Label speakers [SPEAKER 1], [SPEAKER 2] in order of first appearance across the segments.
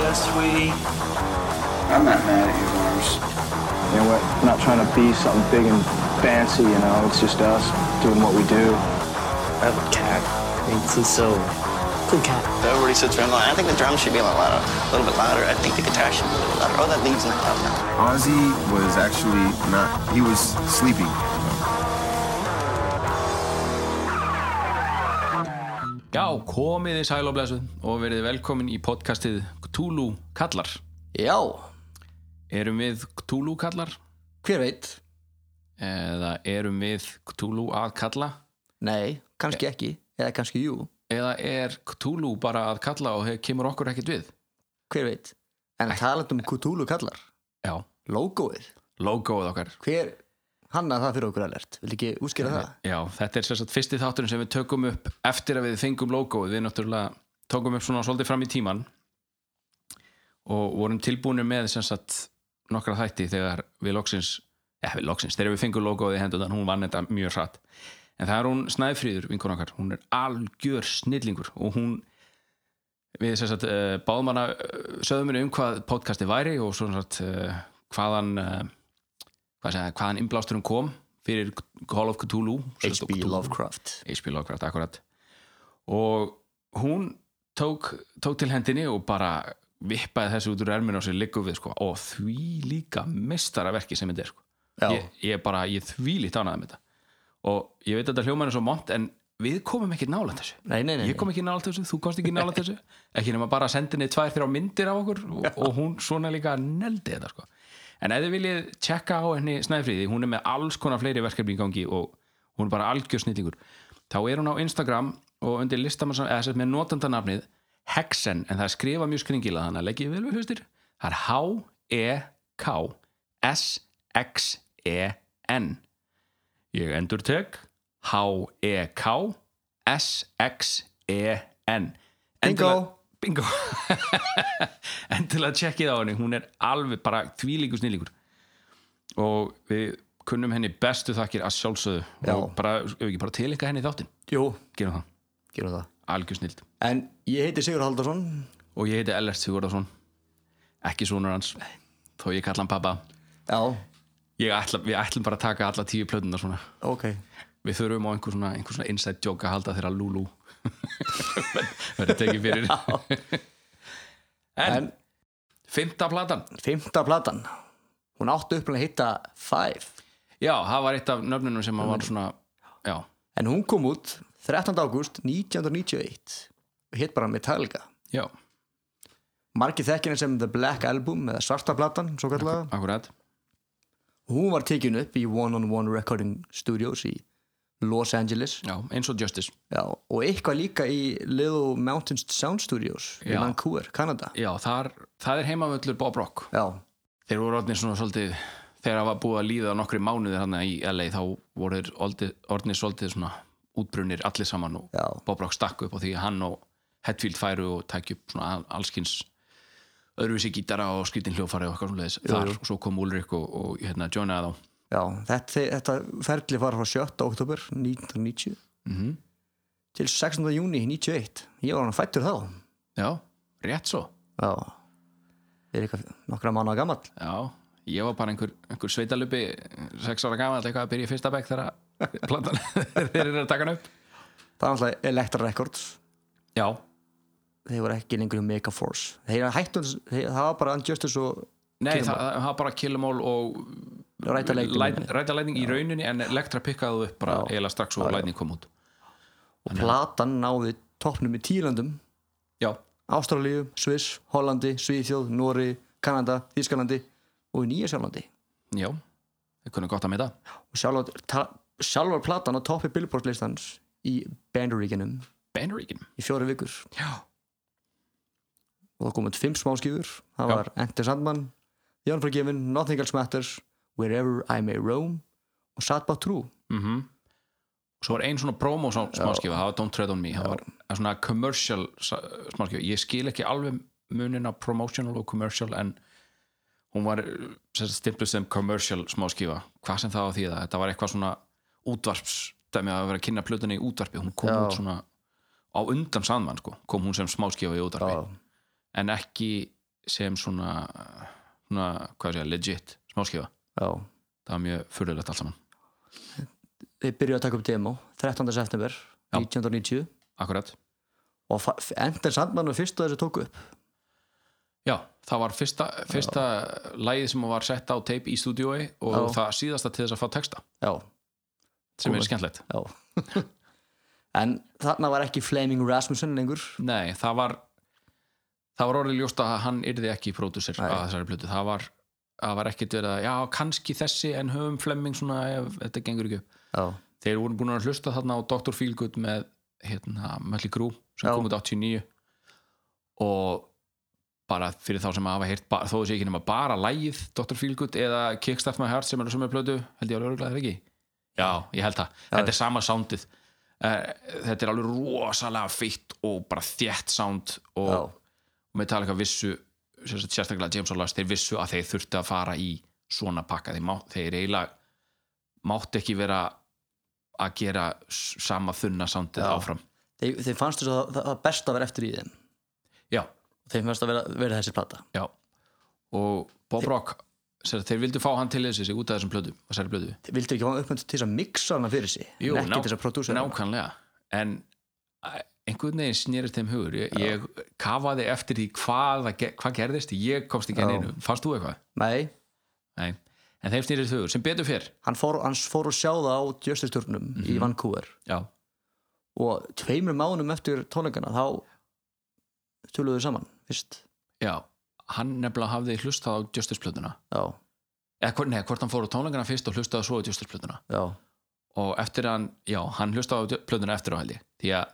[SPEAKER 1] Yeah, sweetie.
[SPEAKER 2] I'm not mad at you, Lars.
[SPEAKER 3] You know, we're not trying to be something big and fancy, you know, it's just us doing what we do.
[SPEAKER 1] I have a cat. It's just so cool cat.
[SPEAKER 4] Everybody sits around line. I think the drums should be a lot louder, a little bit louder. I think the guitar should be a little louder. Oh, that lead's not loud enough.
[SPEAKER 5] Ozzy was actually not, he was sleeping.
[SPEAKER 6] Já, komið þið sæl og blessuð og verið velkomin í podcastið Cthulhu Kallar.
[SPEAKER 4] Já,
[SPEAKER 6] Erum við Cthulhu Kallar?
[SPEAKER 4] hver veit?
[SPEAKER 6] Eða erum við Cthulhu að kalla?
[SPEAKER 4] Nei, kannski ekki. Eða kannski jú,
[SPEAKER 6] Eða er Cthulhu bara að kalla og he- kemur okkur ekkert við?
[SPEAKER 4] hver veit? En talandum Cthulhu kallar,
[SPEAKER 6] Já,
[SPEAKER 4] logoið,
[SPEAKER 6] logoið okkar.
[SPEAKER 4] hver hanna það fyrir okkur alert? Vil ekki útskýra það?
[SPEAKER 6] Já, þetta er sérstætt fyrsti þátturinn sem við tökum upp eftir að við fengum logoið. Við náttúrulega tókum upp svona svolítið fram í tíman og vorum tilbúinu með sérstætt nokkra þætti þegar við loksins, eða við loksins, þegar við fengum logoið í hendutan, hún vann þetta mjög hratt. En það er hún Snæfríður, vinkun okkar, hún er algjör snillingur og hún við sem sagt uh, báðum hana uh, sögðum henni um hvað podcasti væri og svona sagt uh, hvaðan uh, hvað segja, hvaðan innblásturum kom fyrir Call of Cthulhu sem sagt,
[SPEAKER 4] H.P.
[SPEAKER 6] Cthulhu.
[SPEAKER 4] Lovecraft.
[SPEAKER 6] H.P. Lovecraft, akkurat og hún tók, tók til hendinni og bara vippaði þessu út úr erminu og sér liggum við sko, og því líka mestaraverki sem þetta er sko.
[SPEAKER 4] Já.
[SPEAKER 6] ég, ég bara, ég því lít ánaði með þetta og ég veit að þetta hljómaður er svo mont en við komum ekki nála þessu
[SPEAKER 4] Nei, nei, nei.
[SPEAKER 6] ég kom ekki nála þessu, þú komst ekki nála þessu ekki nema bara að senda henni tvær þrjá myndir af okkur og, og hún svona líka neldi þetta sko. en ef þið viljið tjekka á henni Snæfríði, hún er með alls konar fleiri verkefni í gangi og hún er bara algjör snillingur þá er hún á Instagram og undir listamann eða sem sagt með notandanafnið Hexen, en það er skrifa mjög skringilað þannig að leggja vel við hlustir það er E E H-E-K-S-X-E-N Ég E endur tek H-E-K S-X-E-N E En til
[SPEAKER 4] Bingo.
[SPEAKER 6] að- Bingo En til að tjekkið á henni Hún er alveg bara þvílíkur snillíkur Og við kunnum henni bestu þakkir að sjálfsögðu
[SPEAKER 4] Já.
[SPEAKER 6] Og bara, ef ekki bara tilinka henni í þáttinn
[SPEAKER 4] Jú,
[SPEAKER 6] Gerum það,
[SPEAKER 4] gerum það.
[SPEAKER 6] algjör snild
[SPEAKER 4] En ég heiti Sigur Haldarsson.
[SPEAKER 6] Og ég heiti Ellert Sigurðarsson Ekki sonur hans Þó ég kalla hann pappa
[SPEAKER 4] Já,
[SPEAKER 6] Ég ætla, Við ætlum bara að taka alla tíu plötunar svona
[SPEAKER 4] ok.
[SPEAKER 6] Við þurfum á einhver svona, einhver svona inside joke að halda þeirra Lulu verður tekið fyrir en,
[SPEAKER 4] En
[SPEAKER 6] fymta platan
[SPEAKER 4] fymta platan, hún átti upplega að hitta Five.
[SPEAKER 6] já, það var eitt af nöfnunum sem að var svona já,
[SPEAKER 4] En hún kom út 13. ágúst 1991 og hitt bara Metallica.
[SPEAKER 6] já,
[SPEAKER 4] Margið þekkinni sem The Black Album eða Svarta platan, svo kallega.
[SPEAKER 6] akkurat
[SPEAKER 4] Hún var tekin upp í One on One Recording Studios í Los Angeles.
[SPEAKER 6] já, eins og Justice
[SPEAKER 4] Já, og eitthvað líka í Little Mountains Sound Studios í
[SPEAKER 6] Já.
[SPEAKER 4] Vancouver, Kanada.
[SPEAKER 6] já, þar, það er heimavöllur Bob Rock
[SPEAKER 4] Já,
[SPEAKER 6] þeir voru orðnir svona svolítið þegar það var búið að líða nokkri mánuðir hann í LA þá voru þeir orðnir, orðnir svolítið svona útbrunir allir saman og
[SPEAKER 4] Já.
[SPEAKER 6] Bob Rock stakk upp og því hann og Hetfield færu og tækju upp svona al- allskins öðruvísi gítara og skrítin hljófari og eitthvað svoleiðis þar og svo kom Ulrik og, og hérna joinaði þá
[SPEAKER 4] já þetta, þetta ferli var frá 7. oktober 1990
[SPEAKER 6] Mhm.
[SPEAKER 4] til 16. júni 91. Ég var hann fættur þá.
[SPEAKER 6] já, rétt svo
[SPEAKER 4] Já, ég er eitthvað nokkra mánuða gammal.
[SPEAKER 6] já, ég var bara einhver, einhver sveitalupi sex ára gamall eitthvað að byrja í fyrsta bekk þegar platan, þeir eru að taka hann upp
[SPEAKER 4] Það er alltaf Elektra Records.
[SPEAKER 6] já,
[SPEAKER 4] þeir voru ekki lengur í Megaforce þeir hættu, þeir, það var bara Unjustice og
[SPEAKER 6] nei, það, það var bara Killamall og
[SPEAKER 4] Ræta leikum
[SPEAKER 6] rætalætning í rauninni en Elektra pikkaði þú upp bara
[SPEAKER 4] Já.
[SPEAKER 6] eiginlega strax og
[SPEAKER 4] Já, já.
[SPEAKER 6] lætning kom út
[SPEAKER 4] og platan náði toppnum í tílandum
[SPEAKER 6] já,
[SPEAKER 4] Ástralíu, Sviss, Hollandi, Svíþjóð Nóri, Kanada, Þískalandi og í Nýja Sjálflandi
[SPEAKER 6] já, það kunni gott að meita
[SPEAKER 4] og sjálfar, ta, sjálfar platan á toppi Billboard listans í Bandaríkinum
[SPEAKER 6] Banneríkin,
[SPEAKER 4] í fjóri vikur
[SPEAKER 6] já,
[SPEAKER 4] og það komið fimm smáskýfur það
[SPEAKER 6] Já.
[SPEAKER 4] var Enter Sandman, Jón Forgiven Nothing Else Matters, Wherever I May Roam og Sad But True
[SPEAKER 6] mhm svo var ein svona promo sá- smáskifa, það var Don't Tread On Me það var svona commercial sa- smáskifa, ég skil ekki alveg munin á promotional og commercial en hún var stimpluð sem commercial smáskifa hvað sem það á því að þetta var eitthvað svona útvarps, dæmi að vera að kynna plötunni í útvarpi, hún kom
[SPEAKER 4] Já.
[SPEAKER 6] út svona á undan sandmann sko, kom hún sem smáskifa í útvarpi
[SPEAKER 4] Já.
[SPEAKER 6] en ekki sem svona, svona hvað sé, legit smáskifa
[SPEAKER 4] já,
[SPEAKER 6] það var mjög fyrirlegt allt saman
[SPEAKER 4] þeir byrjuðu að taka upp demo 13. september
[SPEAKER 6] Já.
[SPEAKER 4] 1990
[SPEAKER 6] akkurat
[SPEAKER 4] og fa- f- endar sandmannu fyrstu þessi tóku upp
[SPEAKER 6] Já, það var fyrsta, fyrsta lagið sem var sett á tape í stúdiói og
[SPEAKER 4] Já.
[SPEAKER 6] það síðasta til þess að fá texta
[SPEAKER 4] já,
[SPEAKER 6] sem
[SPEAKER 4] Kúl.
[SPEAKER 6] er skemmtlegt
[SPEAKER 4] já en þarna var ekki Flaming Rasmussen lengur
[SPEAKER 6] Nei, það var það var orðið ljóst að hann yrði ekki pródusir
[SPEAKER 4] Nei.
[SPEAKER 6] að þessari plötu, það var það var ekkit verið að, já, kannski þessi en höfum Flemming svona, ef þetta gengur ekki upp
[SPEAKER 4] já,
[SPEAKER 6] þeir voru búin að hlusta þarna á Dr. Feelgood með, hérna, Mötli Grú sem
[SPEAKER 4] Já.
[SPEAKER 6] kom út 89 og bara fyrir þá sem hafa heyrt, ba- þó þessi ekki nema bara lægið Dr. Feelgood eða Kickstart My Heart sem er á sömu plötu, held ég alveg örgulega eða ekki Já, ég held það, þetta er sama soundið Eh, þetta er alveg rosalega feitt og bara þétt sound og
[SPEAKER 4] já,
[SPEAKER 6] Metallica vissu sem sagt, sérstaklega James og Lars, þeir vissu að þeir þurftu að fara í svona pakka þeir, má, þeir eiginlega mátti ekki vera að gera s- sama þunna soundið
[SPEAKER 4] Já.
[SPEAKER 6] áfram
[SPEAKER 4] þeir, þeir fannst þess að það, það- það besta að vera eftir í þeim
[SPEAKER 6] já,
[SPEAKER 4] þeir fannst að vera, vera þessi plata
[SPEAKER 6] já og Bob Rock sem sagt, þeir vildu fá hann til þessi út af þessum plötu, þessari plötu
[SPEAKER 4] þeir vildu ekki fá uppmönd til þess að mixa hana fyrir sig
[SPEAKER 6] Jú,
[SPEAKER 4] en ekki
[SPEAKER 6] ná-
[SPEAKER 4] til þess að prodúsera hana.
[SPEAKER 6] nákvæmlega en eh, einhvern veginn snýrist þeim hugur ég, ég kafaði eftir því hvað, það ge- hvað gerðist, ég komst ekki að
[SPEAKER 4] Já.
[SPEAKER 6] neinu fannst þú eitthvað?
[SPEAKER 4] nei,
[SPEAKER 6] Nei, en þeim snýrist hugur, sem betur fyrr
[SPEAKER 4] hann fór, hann fór að sjá það á djöstisturnum í Vancouver
[SPEAKER 6] já,
[SPEAKER 4] og tveimur mánum eftir tónleikana þá töluðu þau saman, fyrst
[SPEAKER 6] já, hann nefnilega hafði hlustað á Justice plötuna
[SPEAKER 4] já,
[SPEAKER 6] eða hvort, nei, hvort hann fór á tónleikana fyrst og hlustaði svo á Justice plötuna
[SPEAKER 4] já,
[SPEAKER 6] og eftir að hann, já, hann hlustaði á dj- plötuna eftir á held ég, því að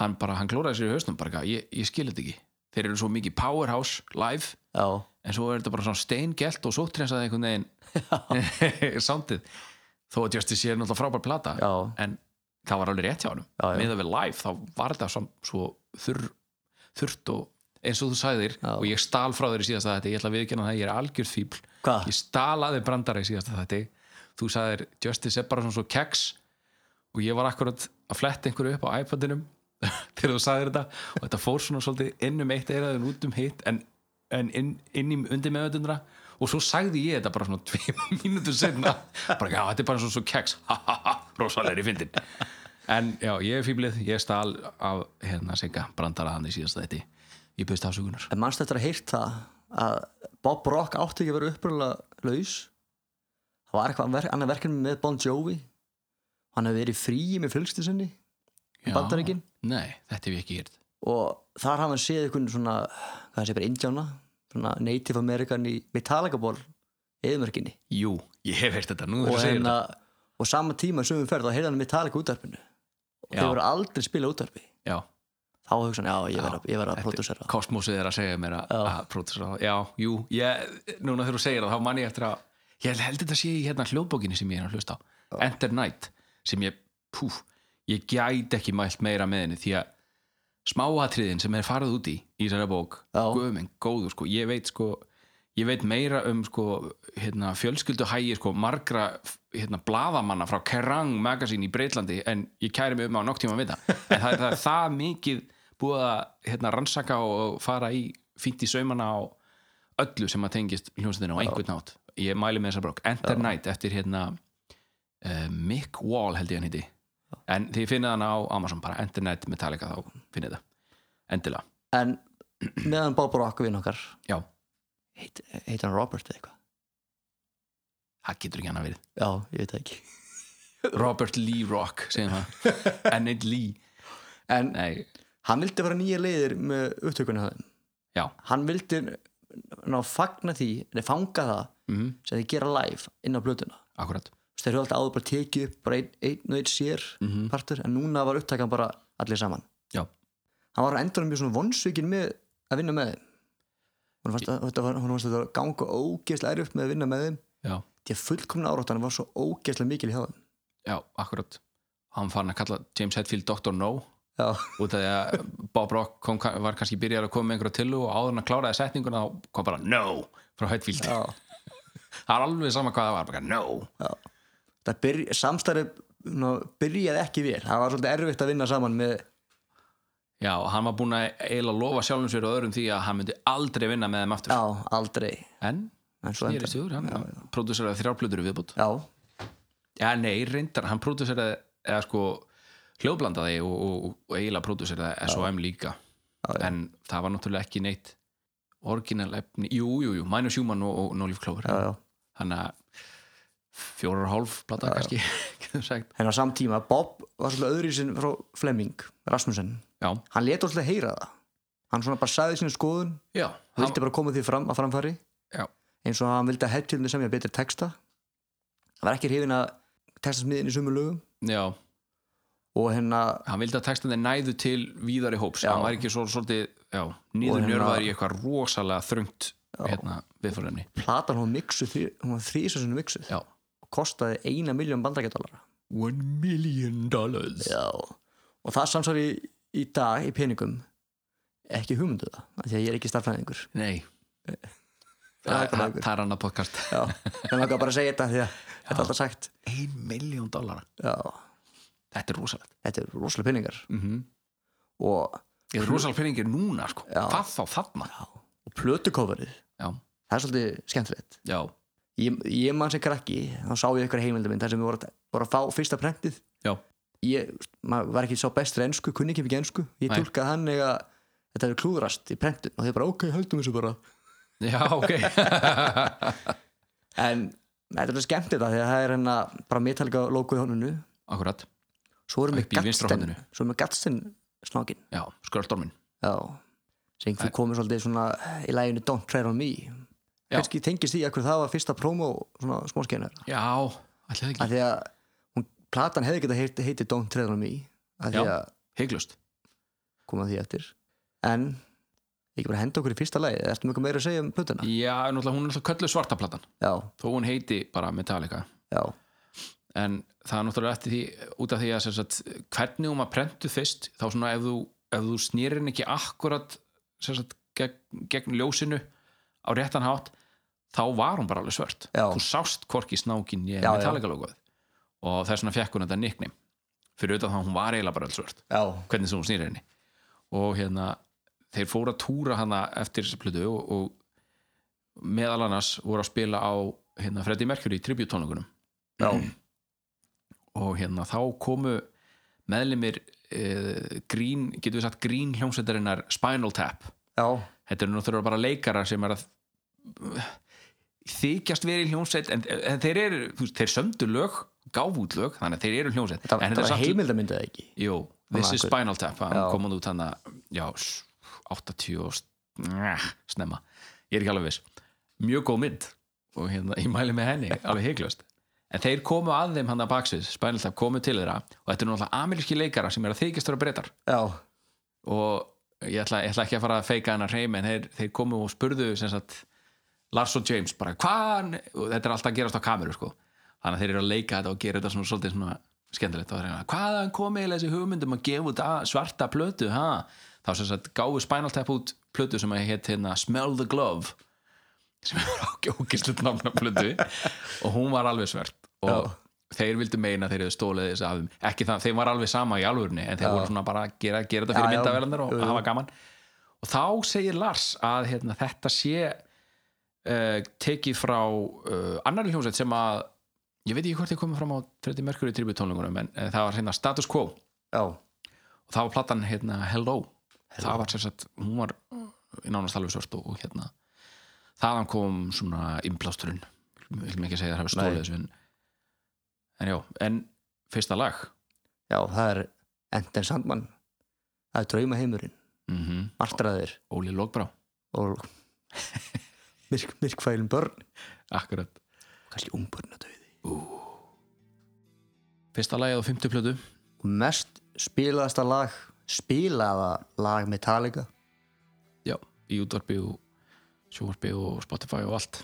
[SPEAKER 6] hann bara, hann klóraði sér í hausnum bara, eitthvað, ég, ég skil þetta ekki, þeir eru svo mikið powerhouse live
[SPEAKER 4] já,
[SPEAKER 6] en svo er þetta bara svona steingelt og sóttrensaði einhvern veginn soundið þó að Justice sé náttúrulega frábær plata
[SPEAKER 4] já,
[SPEAKER 6] en það var alveg rétt hjá honum
[SPEAKER 4] Já, já.
[SPEAKER 6] með að við live þá var þetta svo, svo þurr, þurrt og eins og þú sagðir
[SPEAKER 4] Já.
[SPEAKER 6] og ég stal frá þér í síðasta þetta ég ætla að viðkjanna það, ég er algjör fíbl
[SPEAKER 4] Hvað?
[SPEAKER 6] ég stalaði brandara í síðasta þetta þú sagðir Justice er bara svona svo keks og ég var akkurat að fletta einhverju upp á iPadinum þegar þú sagðir þetta og þetta fór svona svolítið inn um eitt eiraðin út um hitt en, en inn, inn í undir meðvöndundra og svo sagði ég þetta bara svona tveim mínútur senna bara já, þetta er bara svona svo keks rosalegri fyndin en já, ég er fýblið, ég stal af hérna senga brandara hann í síðasta þetta ég byrst afsökunar
[SPEAKER 4] en mannst eftir að heyrt það að Bob Rock átti ekki að vera uppröðlega laus það var eitthvað ver annað verkefni með Bon Jovi hann hefði verið í fríi með fjölskyldu sinni
[SPEAKER 6] Já.
[SPEAKER 4] Bandaríkin?
[SPEAKER 6] Nei, þetta hef ég ekki hýrt
[SPEAKER 4] og þar hafði hann séð einhvern svona hvað hann sé bara indjána svona Native American í Metallica ból eðumörkinni
[SPEAKER 6] Jú, ég hef heyrt þetta nú
[SPEAKER 4] og,
[SPEAKER 6] þegar þú segir
[SPEAKER 4] hérna,
[SPEAKER 6] þetta
[SPEAKER 4] og sama tíma sem við ferð þá heyrði hann um Metallica útarpinu og
[SPEAKER 6] Já.
[SPEAKER 4] þeir voru aldrei spila útarpi
[SPEAKER 6] Já,
[SPEAKER 4] þá hugsa hann, já, ég verð að, ég verð að prodúsera það."
[SPEAKER 6] kosmosið er að segja mér að,
[SPEAKER 4] Já.
[SPEAKER 6] að pródusera það Já, jú, ég, núna þegar þú segir það þá man ég eftir að, ég held þetta sé í hérna hljóðbókinni sem ég er að hlusta á Enter Night, sem ég, púf ég gæti ekki mælt meira með henni því að smáatriðin sem er farið út í í þessari bók,
[SPEAKER 4] Já.
[SPEAKER 6] guðminn, góður sko, ég veit sko ég veit meira um sko hérna, fjölskylduhægi sko margra hérna, bladamanna frá Kerrang magazine í Breitlandi en ég kæri mig um á nokktíma að vita en það er það, er það mikið búið að hérna, rannsaka og fara í fínt í saumana á öllu sem að tengist hljómsveitina á einhvern nátt ég mæli með þessa brók, Enter Night eftir hérna uh, Mick Wall held ég hann hitti en þið finnið hann á Amazon bara Enter Night Metallica þá finnið það endilega,
[SPEAKER 4] en meðan Bob Rock vinn okkar
[SPEAKER 6] já,
[SPEAKER 4] heit, heit hann Robert eða eitthvað
[SPEAKER 6] það getur ekki hann að verið
[SPEAKER 4] Já, ég veit það ekki
[SPEAKER 6] Robert Lee Rock segjum það Ennett Lee
[SPEAKER 4] En
[SPEAKER 6] Nei,
[SPEAKER 4] hann vildi fara nýja leiðir með upptökunni það
[SPEAKER 6] já,
[SPEAKER 4] Hann vildi ná að fagna því eða fanga það
[SPEAKER 6] mhm,
[SPEAKER 4] sem þið gera live inn á blötuna
[SPEAKER 6] akkurat
[SPEAKER 4] Þess þeir höfðu alltaf áður bara tekið upp bara einn ein og einn sér partur en núna var upptakan bara allir saman
[SPEAKER 6] Já,
[SPEAKER 4] Hann var á endanum mjög svona vonsvikinn með að vinna með þeim Hún fannst að þetta var- honum fannst þetta að ganga ógeðslega erfitt með að vinna með þeim
[SPEAKER 6] já,
[SPEAKER 4] því að fullkomna áráttan var svo ógeðslega mikil í hafðan
[SPEAKER 6] já, akkurat Hann fann að kalla James Hetfield Dr. No
[SPEAKER 4] Já,
[SPEAKER 6] út af því að Bob Rock kom, var kannski byrjar að koma með einhverja til og áður en að kláraði setninguna þá kom bara no frá Hetfield
[SPEAKER 4] já
[SPEAKER 6] Það er alveg sama hvað það var, bara no
[SPEAKER 4] það byrja, samstarfi ná, byrjaði ekki vel það var svolítið erfitt að vinna saman með
[SPEAKER 6] Já, hann var búin að eiginlega lofa sjálfum sér og öðrum því að hann myndi aldrei vinna með þeim aftur
[SPEAKER 4] já, aldrei
[SPEAKER 6] En,
[SPEAKER 4] en svo
[SPEAKER 6] snýrist
[SPEAKER 4] endar
[SPEAKER 6] yfir, hann pródúseraði þrjárplötur í viðbútt
[SPEAKER 4] já,
[SPEAKER 6] Já, nei, reyndar, hann pródúseraði eða sko hljóðblandaði og, og, og eiginlega pródúseraði S.O.M. líka En það var náttúrulega ekki neitt orginal efni Jú, jú, jú, Minus Human og, og Nólíf Klóver
[SPEAKER 4] já, já
[SPEAKER 6] Þannig að fjórar og hálf plata kannski, getur sagt
[SPEAKER 4] en á samtíma, Bob var svolítið öðri sinn frá Fleming, Rasmussen
[SPEAKER 6] Já,
[SPEAKER 4] hann leta svolítið heyra það hann svona bara sagði sinni skoðun
[SPEAKER 6] já,
[SPEAKER 4] hann vildi bara koma því fram að framfari
[SPEAKER 6] Já.
[SPEAKER 4] eins og hann vildi að headtilni semja betri texta hann var ekki hrifin að textasmiðin í sömu lögum
[SPEAKER 6] já
[SPEAKER 4] og hérna
[SPEAKER 6] hann vildi að textan þeir næðu til víðari hóps,
[SPEAKER 4] Já.
[SPEAKER 6] hann var ekki svo, svolítið já, nýður
[SPEAKER 4] Og
[SPEAKER 6] njörfaður
[SPEAKER 4] hérna-
[SPEAKER 6] í eitthvað rosalega þröngt hérna, viðfórinni
[SPEAKER 4] platan hún miksu því, hún var þrísa sinni miksu
[SPEAKER 6] já.
[SPEAKER 4] og kostaði eina miljón bandarækjadólara
[SPEAKER 6] one million dollars
[SPEAKER 4] já og það samsvar í, í dag í peningum ekki hugmyndu það af því að ég er ekki starffræðingur
[SPEAKER 6] nei það,
[SPEAKER 4] Það er bara
[SPEAKER 6] það,
[SPEAKER 4] einhver.
[SPEAKER 6] það er annað podcast
[SPEAKER 4] já, en það var bara að segja þetta því að þetta er alltaf sagt
[SPEAKER 6] ein million dollara,
[SPEAKER 4] já,
[SPEAKER 6] þetta er rosalegt
[SPEAKER 4] þetta er rosalega peningar
[SPEAKER 6] mm -hmm.
[SPEAKER 4] og,
[SPEAKER 6] þetta er rosalega peningir núna sko.
[SPEAKER 4] Já.
[SPEAKER 6] hvað þá þarna
[SPEAKER 4] og plötukofarið
[SPEAKER 6] já,
[SPEAKER 4] það er svolítið skemmtilegt
[SPEAKER 6] já,
[SPEAKER 4] ég, ég mann sem krakki, þá sá ég eitthvað heimildamind þar sem við vorum að, voru að fá fyrsta prentið
[SPEAKER 6] já,
[SPEAKER 4] ég maður var ekki sá bestur ensku, kunni ekki mikið ensku ég
[SPEAKER 6] Nei.
[SPEAKER 4] tólkaði hann eða þetta er klúðrast í prentun og þau bara ok, höldum þessu bara
[SPEAKER 6] já ok
[SPEAKER 4] en þetta er alveg skemmt þetta því að það er hérna bara metalika logo í honunu
[SPEAKER 6] akkurat,
[SPEAKER 4] svo erum við
[SPEAKER 6] Upp í vinstra
[SPEAKER 4] gatstinn
[SPEAKER 6] horninu.
[SPEAKER 4] svo erum við gatstinn snákin
[SPEAKER 6] já, skröldormin
[SPEAKER 4] já sem þú komið svolítið svona í læginu Don't Tread On Me
[SPEAKER 6] Já.
[SPEAKER 4] kannski tengist því að hverju það var fyrsta promo svona smáskeinar
[SPEAKER 6] já, allir ekki,
[SPEAKER 4] að því að hún, platan hefði geta heiti, heiti Don't Tread On Me að því
[SPEAKER 6] Já.
[SPEAKER 4] að
[SPEAKER 6] heiklust
[SPEAKER 4] koma því eftir en ekki bara henda okkur í fyrsta lagi ertu mjög meira að segja um plötuna
[SPEAKER 6] já, náttúrulega hún er náttúrulega kölluð svartaplatan
[SPEAKER 4] já,
[SPEAKER 6] þó hún heiti bara Metallica
[SPEAKER 4] já,
[SPEAKER 6] en það er náttúrulega eftir því út af því að sem sagt, hvernig hún var prentu fyrst þá svona ef þú, ef þú snýrir henni ekki akkurat sem sagt, gegn, gegn ljósinu á réttan hátt þá var hún bara alveg svört
[SPEAKER 4] Já.
[SPEAKER 6] þú sást hvorki snákin ég
[SPEAKER 4] Já, já.
[SPEAKER 6] Metallica logoð og þess vegna fekk hún þetta nickname fyrir auðvitað þá hún var eiginlega bara alveg svört
[SPEAKER 4] já,
[SPEAKER 6] hvernig sem hún snýrir henni og hérna þeir fóru að túra hana eftir þessa plötu og, og meðal annars voru að spila á hérna, Freddie Mercury í tributtónleikunum
[SPEAKER 4] já,
[SPEAKER 6] og hérna þá komu meðlimir uh, grín, getur við sagt grín hljómsveitarinnar Spinal Tap
[SPEAKER 4] já,
[SPEAKER 6] þetta eru náttúrulega bara leikarar sem er að eh, þykjast verið í hljómsveit en, en þeir eru, þú veist, þeir sömdu lög gáfu út lög, þannig að þeir eru hljómsveit
[SPEAKER 4] það,
[SPEAKER 6] en
[SPEAKER 4] það var heimildamyndið eða ekki
[SPEAKER 6] jú, This
[SPEAKER 4] Þannig
[SPEAKER 6] is
[SPEAKER 4] að-
[SPEAKER 6] Spinal Tap hann
[SPEAKER 4] Já.
[SPEAKER 6] kom hann út hann að, já, s- 80 og s- njah, snemma ég er ekki alveg viss, mjög góð mynd og hérna, ég mæli með henni alveg heiklust, en þeir komu að þeim hann að baksvið, Spinal Tap komu til þeirra og þetta eru náttúrulega ameríski leikara sem er að þykjast vera breytar
[SPEAKER 4] já,
[SPEAKER 6] og ég ætla, ég ætla ekki að fara að feika hennar heim en þeir, þeir komu og spurðu sem sagt, Lars og James bara hvaðan, og þetta er alltaf að gerast á kameru sko. þannig að þeir eru að leika þetta og gera þetta svona, svolítið svona skemmtilegt og þeir eru að, hvaðan komið þessi hugmyndum að gefa út að- svarta plötu ha? þá sem sagt gáðu Spinal Tap út plötu sem að hétt hérna Smell the Glove sem er ákistlut námna plötu og hún var alveg svert og þeir vildu meina að þeir hefðu stólið þessi af þeim ekki það, þeim var alveg sama í alvörni en þeir voru svona bara að gera, gera þetta
[SPEAKER 4] Já,
[SPEAKER 6] fyrir
[SPEAKER 4] já.
[SPEAKER 6] myndavelandar og
[SPEAKER 4] Jú, jú.
[SPEAKER 6] hafa gaman og þá segir Lars að hérna, þetta sé uh, tekið frá uh, annari hljómsveit sem að ég veit ekki hvort ég komið fram á 30 merkur í tributónlingunum en uh, það var hérna status quo og
[SPEAKER 4] já,
[SPEAKER 6] það var platan hérna Hello, það var sem sagt hún var uh, í nánast alveg svört og, og hérna þaðan kom svona innblásturinn við viljum ekki segja að það hafi stólið
[SPEAKER 4] Nei.
[SPEAKER 6] þessu en, en já, en fyrsta lag
[SPEAKER 4] já, það er Enden Sandman það er drauma heimurinn,
[SPEAKER 6] mm
[SPEAKER 4] martraðir
[SPEAKER 6] Óli Lókbrá,
[SPEAKER 4] og myrk, myrkfælum börn
[SPEAKER 6] akkurat
[SPEAKER 4] kannski ungbörn að dauði
[SPEAKER 6] fyrsta lagið á 50 plötu
[SPEAKER 4] og mest spilaðasta lag spilaða lag Metallica
[SPEAKER 6] já, í útvarpi og sjóvarpi og Spotify og allt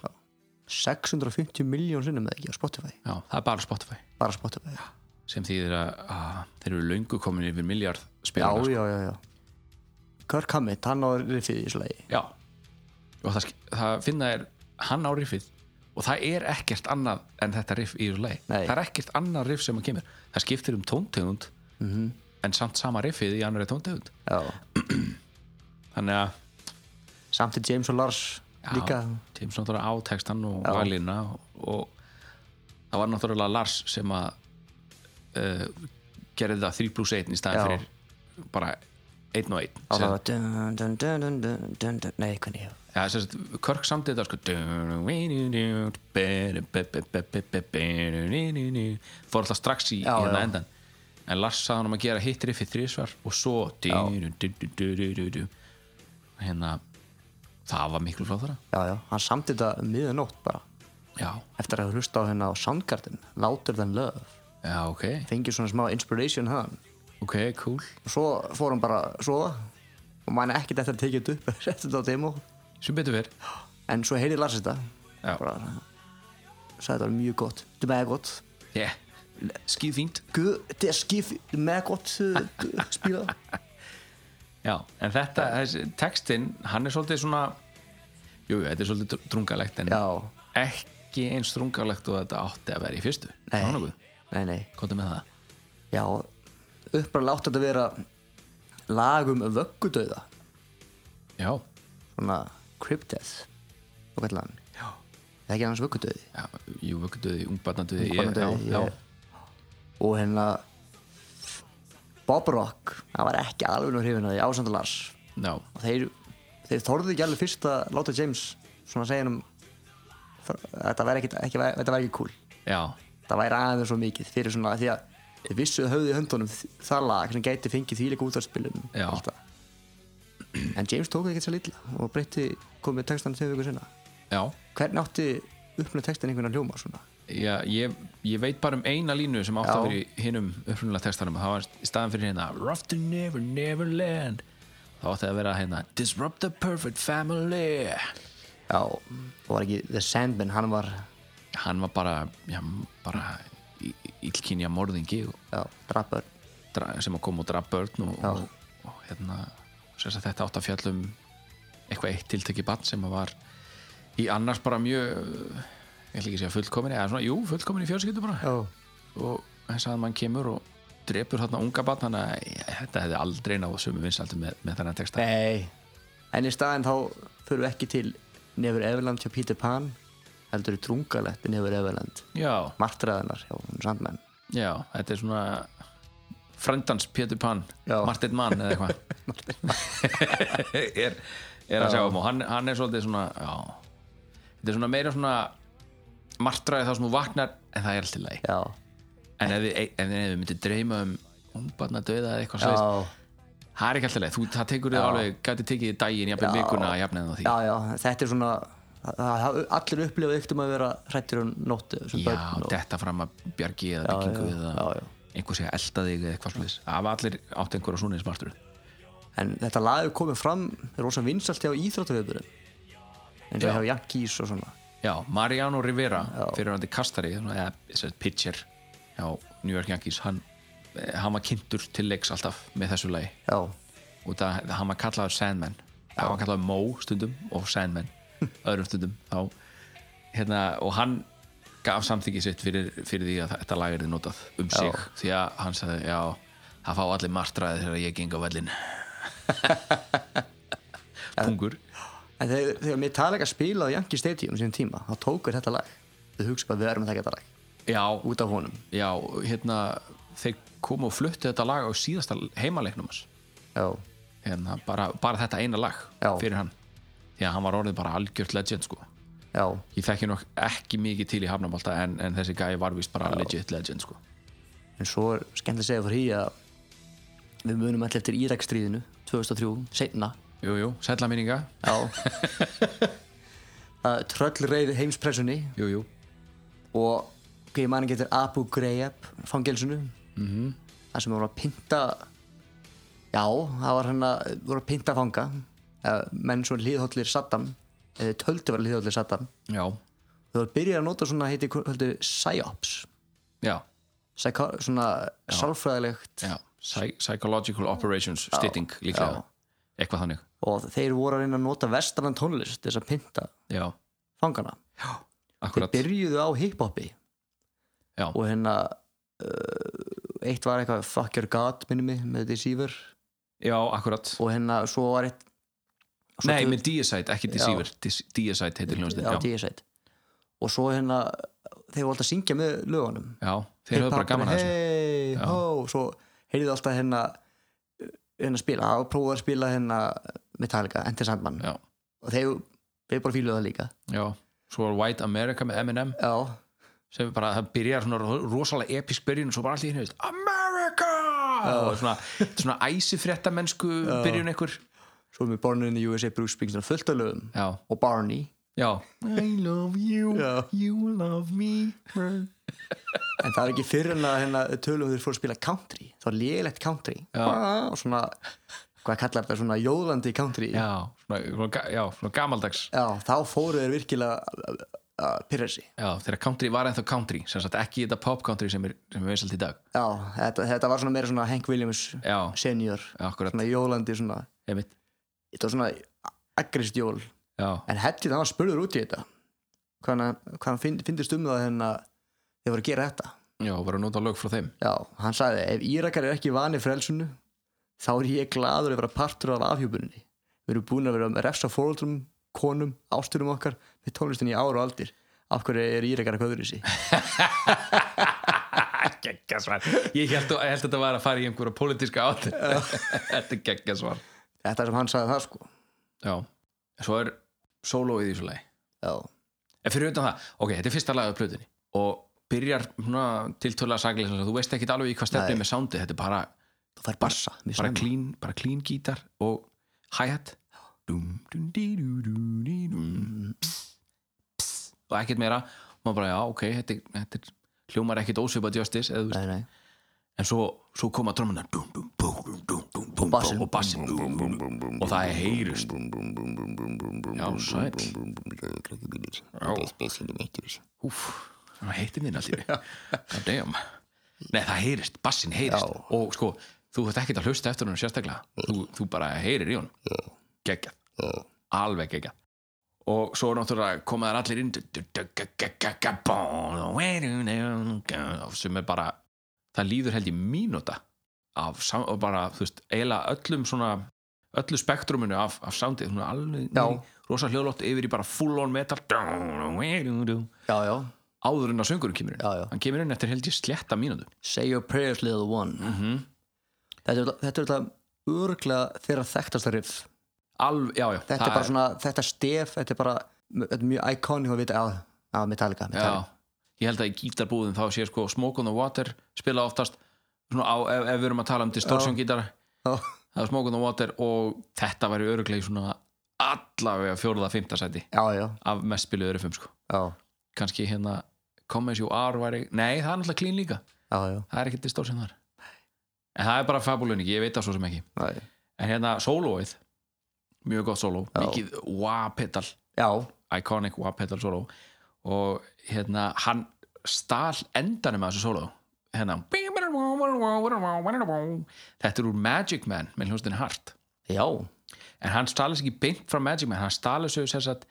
[SPEAKER 4] 650 miljón sinnum eða ekki á Spotify
[SPEAKER 6] já, það er bara Spotify
[SPEAKER 4] bara Spotify,
[SPEAKER 6] sem þýðir að, að þeir eru löngu komin yfir miljard
[SPEAKER 4] já, sko.
[SPEAKER 6] spilar
[SPEAKER 4] já, já, já Kirk Hammett, hann á riffið í þessu lagi
[SPEAKER 6] já. og það, sk- það finna er hann á riffið og það er ekkert annað en þetta riff í þessu lagi
[SPEAKER 4] Nei.
[SPEAKER 6] það er ekkert annað
[SPEAKER 4] Mhm.
[SPEAKER 6] riff sem að kemur það skiptir um tóntegund -hmm. en samt sama riffið í annari tóntegund
[SPEAKER 4] já
[SPEAKER 6] þannig að
[SPEAKER 4] samt til James og Lars líka
[SPEAKER 6] James náttúrulega átextan og
[SPEAKER 4] Já.
[SPEAKER 6] valina og það var náttúrulega Lars sem að uh, gerði það 3 plus 1 í
[SPEAKER 4] Já.
[SPEAKER 6] staðan fyrir bara 1 og 1
[SPEAKER 4] á það var dun, dun, dun, dun, dun, dun, dun. nei, hvernig ég
[SPEAKER 6] Já, sem sagt, Körk samt þetta sko fór alltaf strax í
[SPEAKER 4] Já,
[SPEAKER 6] hérna
[SPEAKER 4] já.
[SPEAKER 6] endan en Lars sað hann um að gera hitt riffið þrísvar og svo hérna það var miklu flóðara
[SPEAKER 4] já, já, hann samt þetta miðanótt bara
[SPEAKER 6] já,
[SPEAKER 4] eftir að hlusta á hérna á Soundgarden Louder Than Love
[SPEAKER 6] já, ok
[SPEAKER 4] fengið svona smá inspiration hann
[SPEAKER 6] ok, cool,
[SPEAKER 4] og svo fór hann bara að sofa og mæna ekkert eftir að tekið þetta upp eftir þetta á demo
[SPEAKER 6] sem betur fyrr
[SPEAKER 4] en svo heyrði Lars þetta
[SPEAKER 6] Já.
[SPEAKER 4] bara sagði þetta var mjög gott þetta er mega gott
[SPEAKER 6] yeah. skýð fínt
[SPEAKER 4] Guð, þetta er skif mega gott uh, spila
[SPEAKER 6] Já, en þetta, þessi, textin, hann er svolítið svona Jú, jú, þetta er svolítið dr- drungalegt en
[SPEAKER 4] Já.
[SPEAKER 6] ekki eins drungalegt og þetta átti að vera í fyrstu
[SPEAKER 4] Nei.
[SPEAKER 6] Nánugu,
[SPEAKER 4] nei, nei,
[SPEAKER 6] komdu með það
[SPEAKER 4] já uppræðlega átti þetta að vera lag um vöggudauða
[SPEAKER 6] Já,
[SPEAKER 4] svona Crypt Death og hvað hann já það er ekki annars vöggudauði
[SPEAKER 6] já jú, vökkuduði, ungbarnaduði
[SPEAKER 4] Ungbarnadauði,
[SPEAKER 6] já,
[SPEAKER 4] ég- og hérna Bob Rock hann var ekki alveg nú hrifin að því ásand og Lars
[SPEAKER 6] já, já,
[SPEAKER 4] og þeir, þeir þorðu ekki alveg fyrst að láta James svona segja um þetta væri ekki, ekki, væri- þetta væri ekki cool
[SPEAKER 6] já,
[SPEAKER 4] það væri aðeins svo mikið fyrir svona því að þeir vissuðu höfðu í höndunum þ- það lag sem gæti fengið þvíleika útvarspilum
[SPEAKER 6] Já.
[SPEAKER 4] en James tók það ekki sér lilla og breytti komið textan þegar við sinna
[SPEAKER 6] já,
[SPEAKER 4] hvernig átti uppnöð textan einhvern að hljóma svona
[SPEAKER 6] já ég, ég veit bara um eina línu sem átti
[SPEAKER 4] Já.
[SPEAKER 6] að vera í hinnum upprunalega textanum Það var í staðan fyrir hérna Rough to never, never land Þá átti að vera hérna Disrupt the perfect family
[SPEAKER 4] já, það var ekki The Sandman hann var,
[SPEAKER 6] hann var bara, já, bara í- illkynja morðingi og
[SPEAKER 4] já, drapar
[SPEAKER 6] dra- sem að koma og draf börn og,
[SPEAKER 4] Já.
[SPEAKER 6] og, og hérna sem sagt, þetta átt að fjallum eitthvað eitt tilteki bann sem að var í annars bara mjög ég ætla ekki að segja fullkomin eða svona, jú, fullkomin í fjölskyldu bara
[SPEAKER 4] já,
[SPEAKER 6] og þess að mann kemur og drepur þarna unga bann þannig að ég- þetta hefði aldrei náðu sömu vinsaldum með, með þennan texta
[SPEAKER 4] Nei En í staðin þá fyrir við ekki til Nefur Everland hjá Peter Pan heldur við drungalegt í Nefur Everland
[SPEAKER 6] já,
[SPEAKER 4] Martraðinar hjá Sandman
[SPEAKER 6] já, þetta er svona frendans Pétur Pan
[SPEAKER 4] Já.
[SPEAKER 6] Martin Mann eða eitthvað er, er að sjá um og hann, hann er svolítið svona já, þetta er svona meira svona martraði þá sem þú vaknar en það er allt í lagi
[SPEAKER 4] Já,
[SPEAKER 6] en ef þið- ef þið myndir dreyma um ungbarna döða eða eitthvað
[SPEAKER 4] já,
[SPEAKER 6] svo það er ekki allt í lagi, þú, það tekur þið alveg gæti tekið þig daginn, jafnvel
[SPEAKER 4] Já.
[SPEAKER 6] vikuna jafnið á því
[SPEAKER 4] já, já, þetta er svona það- það, allir upplifa yktum að vera hrættir um nóttu sem
[SPEAKER 6] Já,
[SPEAKER 4] börn og-
[SPEAKER 6] detta fram að bjargi eða byggingu
[SPEAKER 4] já,
[SPEAKER 6] eða
[SPEAKER 4] já, já.
[SPEAKER 6] einhver sé að elda þig eða eitthvað slúðis það var allir átt einhverja svona smartur
[SPEAKER 4] En þetta lag er komið fram er rosa vinsalt hjá íþróttaveiðburum eins og
[SPEAKER 6] Já.
[SPEAKER 4] hjá Jankís og svona
[SPEAKER 6] Já, Mariano Rivera fyrirhandi kastari, svona, eða sem sagt, pitcher hjá New York Yankees hann, eh, hann var kynntur til leiks alltaf með þessu lagi
[SPEAKER 4] Já,
[SPEAKER 6] og það, hann var kallaður Sandman hann var kallaður Mo stundum og Sandman öðrum stundum þá, hérna, og hann gaf samþyggi sitt fyrir, fyrir því að þetta lag er notað um sig því að hann sagði, já, það fá allir martraði þegar ég geng á vellin pungur
[SPEAKER 4] En þegar, þegar mér tala ekki að spila á Yankee Stadium síðan tíma, þá tókur þetta lag Þau hugsa bara við erum að taka þetta lag
[SPEAKER 6] já,
[SPEAKER 4] út af honum
[SPEAKER 6] Já, hérna þeir komu og fluttu þetta lag á síðasta heimaleiknum hans
[SPEAKER 4] Já
[SPEAKER 6] hérna, bara, bara þetta eina lag
[SPEAKER 4] Já.
[SPEAKER 6] fyrir hann því að hann var orðið bara algjört legend sko.
[SPEAKER 4] Já,
[SPEAKER 6] ég þekki nokk ekki mikið til í Hafnabólta en, en þessi gæi var vist bara legit legend sko.
[SPEAKER 4] en svo er skemmt að segja fyrir því að við munum allir eftir Írakstríðinu 2003, seinna
[SPEAKER 6] Jú, jú, sætla minninga
[SPEAKER 4] já að tröll reyði heimspressunni
[SPEAKER 6] Jú, jú,
[SPEAKER 4] og ég man ekki eftir Abu Ghraib fangelsinu mm þar sem voru að pynta já, það var hann að voru að pynta fanga eh, menn svo hlýðhóllir Saddam eða töldu var hlýðhóllir Saddam
[SPEAKER 6] já,
[SPEAKER 4] þau voru að byrja að nota svona heiti höldu psyops
[SPEAKER 6] já,
[SPEAKER 4] Psycho, svona sálfræðilegt
[SPEAKER 6] já. Psy Psychological Operations Stitting líklega,
[SPEAKER 4] Já.
[SPEAKER 6] eitthvað þannig
[SPEAKER 4] og þeir voru að reyna að nota vestrann tónlist til þess að pynta
[SPEAKER 6] Já,
[SPEAKER 4] fangana þeir
[SPEAKER 6] akkurat
[SPEAKER 4] byrjuðu á hiphopi
[SPEAKER 6] Já.
[SPEAKER 4] og hérna uh, eitt var eitthvað fuck your god minni mig með Deceiver
[SPEAKER 6] já, akkurat
[SPEAKER 4] og hérna svo var eitt svo
[SPEAKER 6] Nei,
[SPEAKER 4] tvö-
[SPEAKER 6] með Deicide, ekki Deceiver Dis- Deicide heitir hljómsveit
[SPEAKER 4] já,
[SPEAKER 6] já,
[SPEAKER 4] Deicide og svo hérna þeir voru alltaf að syngja með lögunum
[SPEAKER 6] já, þeir höfðu bara gaman að þessu
[SPEAKER 4] hey,
[SPEAKER 6] Já.
[SPEAKER 4] hó, svo heyrðu alltaf hérna uh, hérna spila, það var prófað að spila hérna Metallica, Enter Sandman
[SPEAKER 6] já,
[SPEAKER 4] og þeir, þeir bara fíluðu það líka
[SPEAKER 6] já, svo var White America með Eminem
[SPEAKER 4] já,
[SPEAKER 6] sem bara, það byrjar svona ro- rosalega episk byrjun og svo bara allir hérna, veist, America og svona, þetta er svona æsifrétta mennsku byrjun einhver
[SPEAKER 4] svo erum við Born in the USA Bruce Springsteen fullt af lögum
[SPEAKER 6] já,
[SPEAKER 4] og Barney
[SPEAKER 6] já I love you, you love me
[SPEAKER 4] en það er ekki fyrir en að hérna, tölum þeir fóru að spila country það var lélegt country
[SPEAKER 6] Já.
[SPEAKER 4] og svona, hvað kallar þetta svona jóðlandi country
[SPEAKER 6] já, svona, svona, ga- já, svona gamaldags
[SPEAKER 4] Já, þá fóru þeir virkilega að- að- að pyrra sig
[SPEAKER 6] já, þegar country var ennþá country sem sagt ekki þetta pop country sem er, sem er vinsalt í dag
[SPEAKER 4] Já, þetta, þetta var svona meira svona Hank Williams
[SPEAKER 6] já,
[SPEAKER 4] senior
[SPEAKER 6] akkurat,
[SPEAKER 4] svona jólandi svona,
[SPEAKER 6] einmitt
[SPEAKER 4] þetta var svona aggrist jól,
[SPEAKER 6] já,
[SPEAKER 4] en Heddi það var spurður út í þetta hvað hann, hvað hann finn, finnist um það hérna þeir voru að gera þetta
[SPEAKER 6] já, var að nota lög frá þeim
[SPEAKER 4] Já, hann sagði, ef Írakar er ekki vanið frelsunu, þá er ég gladur að vera partur af afhjúbuninni við erum búin að vera með refsa fóröldrum konum, ásturum okkar með tónlistin í ára og aldir af hverju er Írakar að köður í sig
[SPEAKER 6] geggjarsvar ég held, ég held að þetta var að fara í einhverja pólitíska átt þetta er geggjarsvar
[SPEAKER 4] þetta er sem hann sagði það sko
[SPEAKER 6] já, svo er sólóið í þessu lagi
[SPEAKER 4] Já,
[SPEAKER 6] en fyrir utan það, ok, þetta er fyrsta lagið á plötunni og byrjar svona tiltölulega saglega sem sagt, þú veist ekki alveg í hvað stefnið
[SPEAKER 4] Nei.
[SPEAKER 6] með soundi þetta er bara,
[SPEAKER 4] þú fær bassa mjög
[SPEAKER 6] bara,
[SPEAKER 4] snemma.
[SPEAKER 6] clean, bara clean gítar og hi-hat Dúm, dúm, dí, dú, dú, dí, dúm. Pss, pss, og ekkert meira og maður bara, já, ok, þetta, er- þetta er- hljómar ekkert ósvipað Justice eða, þú veist,
[SPEAKER 4] Nei, nei.
[SPEAKER 6] en svo, svo koma drömmunar og
[SPEAKER 4] bassinn.
[SPEAKER 6] og bassin og það er heyrist já, sæl úf, það heitir minn allir god damn nei, það heyrist, bassin heyrist
[SPEAKER 4] Já.
[SPEAKER 6] og sko, þú þurft ekkert að hlusta eftir hún sérstaklega þú, þú bara heyrir í hún geggja, alveg geggja og svo náttúrulega koma þær allir inn sem er bara það líður held ég mínúta af, sam- og bara, þú veist, eiginlega öllum svona, öllu spektruminu af, af soundið, hún er alveg
[SPEAKER 4] Já.
[SPEAKER 6] rosa hljóðlótt yfir í bara full on metal áður
[SPEAKER 4] Já, já,
[SPEAKER 6] en að söngurinn kemur inn
[SPEAKER 4] Já, já.
[SPEAKER 6] hann kemur inn eftir held ég sletta mínútu
[SPEAKER 4] Say your prayers little one Þetta er- þetta er alltaf örglega þeirra þekktasta riff
[SPEAKER 6] Alv, já, já,
[SPEAKER 4] Þetta
[SPEAKER 6] það
[SPEAKER 4] er bara svona, þetta stef Þetta er bara, þetta er mjög iconic að vita á, á Metallica, Metallica.
[SPEAKER 6] já, ég held að í gítarbúðum þá sé sko Smoke on the Water spila oftast svona á, ef, ef við erum að tala um distortion gítara
[SPEAKER 4] Já.
[SPEAKER 6] það er Smoke on the Water og þetta væri örugglega í svona allavega fjóruða fimmta sæti
[SPEAKER 4] Já, já,
[SPEAKER 6] af mest spiluðu örufum sko
[SPEAKER 4] já,
[SPEAKER 6] kannski hérna Come As You Are væri, nei það er náttúrulega clean líka
[SPEAKER 4] já, já.
[SPEAKER 6] það er ekki distortion þar en það er bara fabulunni, ég veit það svo sem ekki
[SPEAKER 4] Nei.
[SPEAKER 6] en hérna soloið, mjög gott solo
[SPEAKER 4] Já.
[SPEAKER 6] mikið wah-pedal,
[SPEAKER 4] já
[SPEAKER 6] iconic wah-pedal solo og hérna hann stal endanum að þessu solo hérna þetta er úr Magic Man með hljóstin Hart
[SPEAKER 4] Já,
[SPEAKER 6] en hann stalið sér ekki beint frá Magic Man hann stalið sér sér satt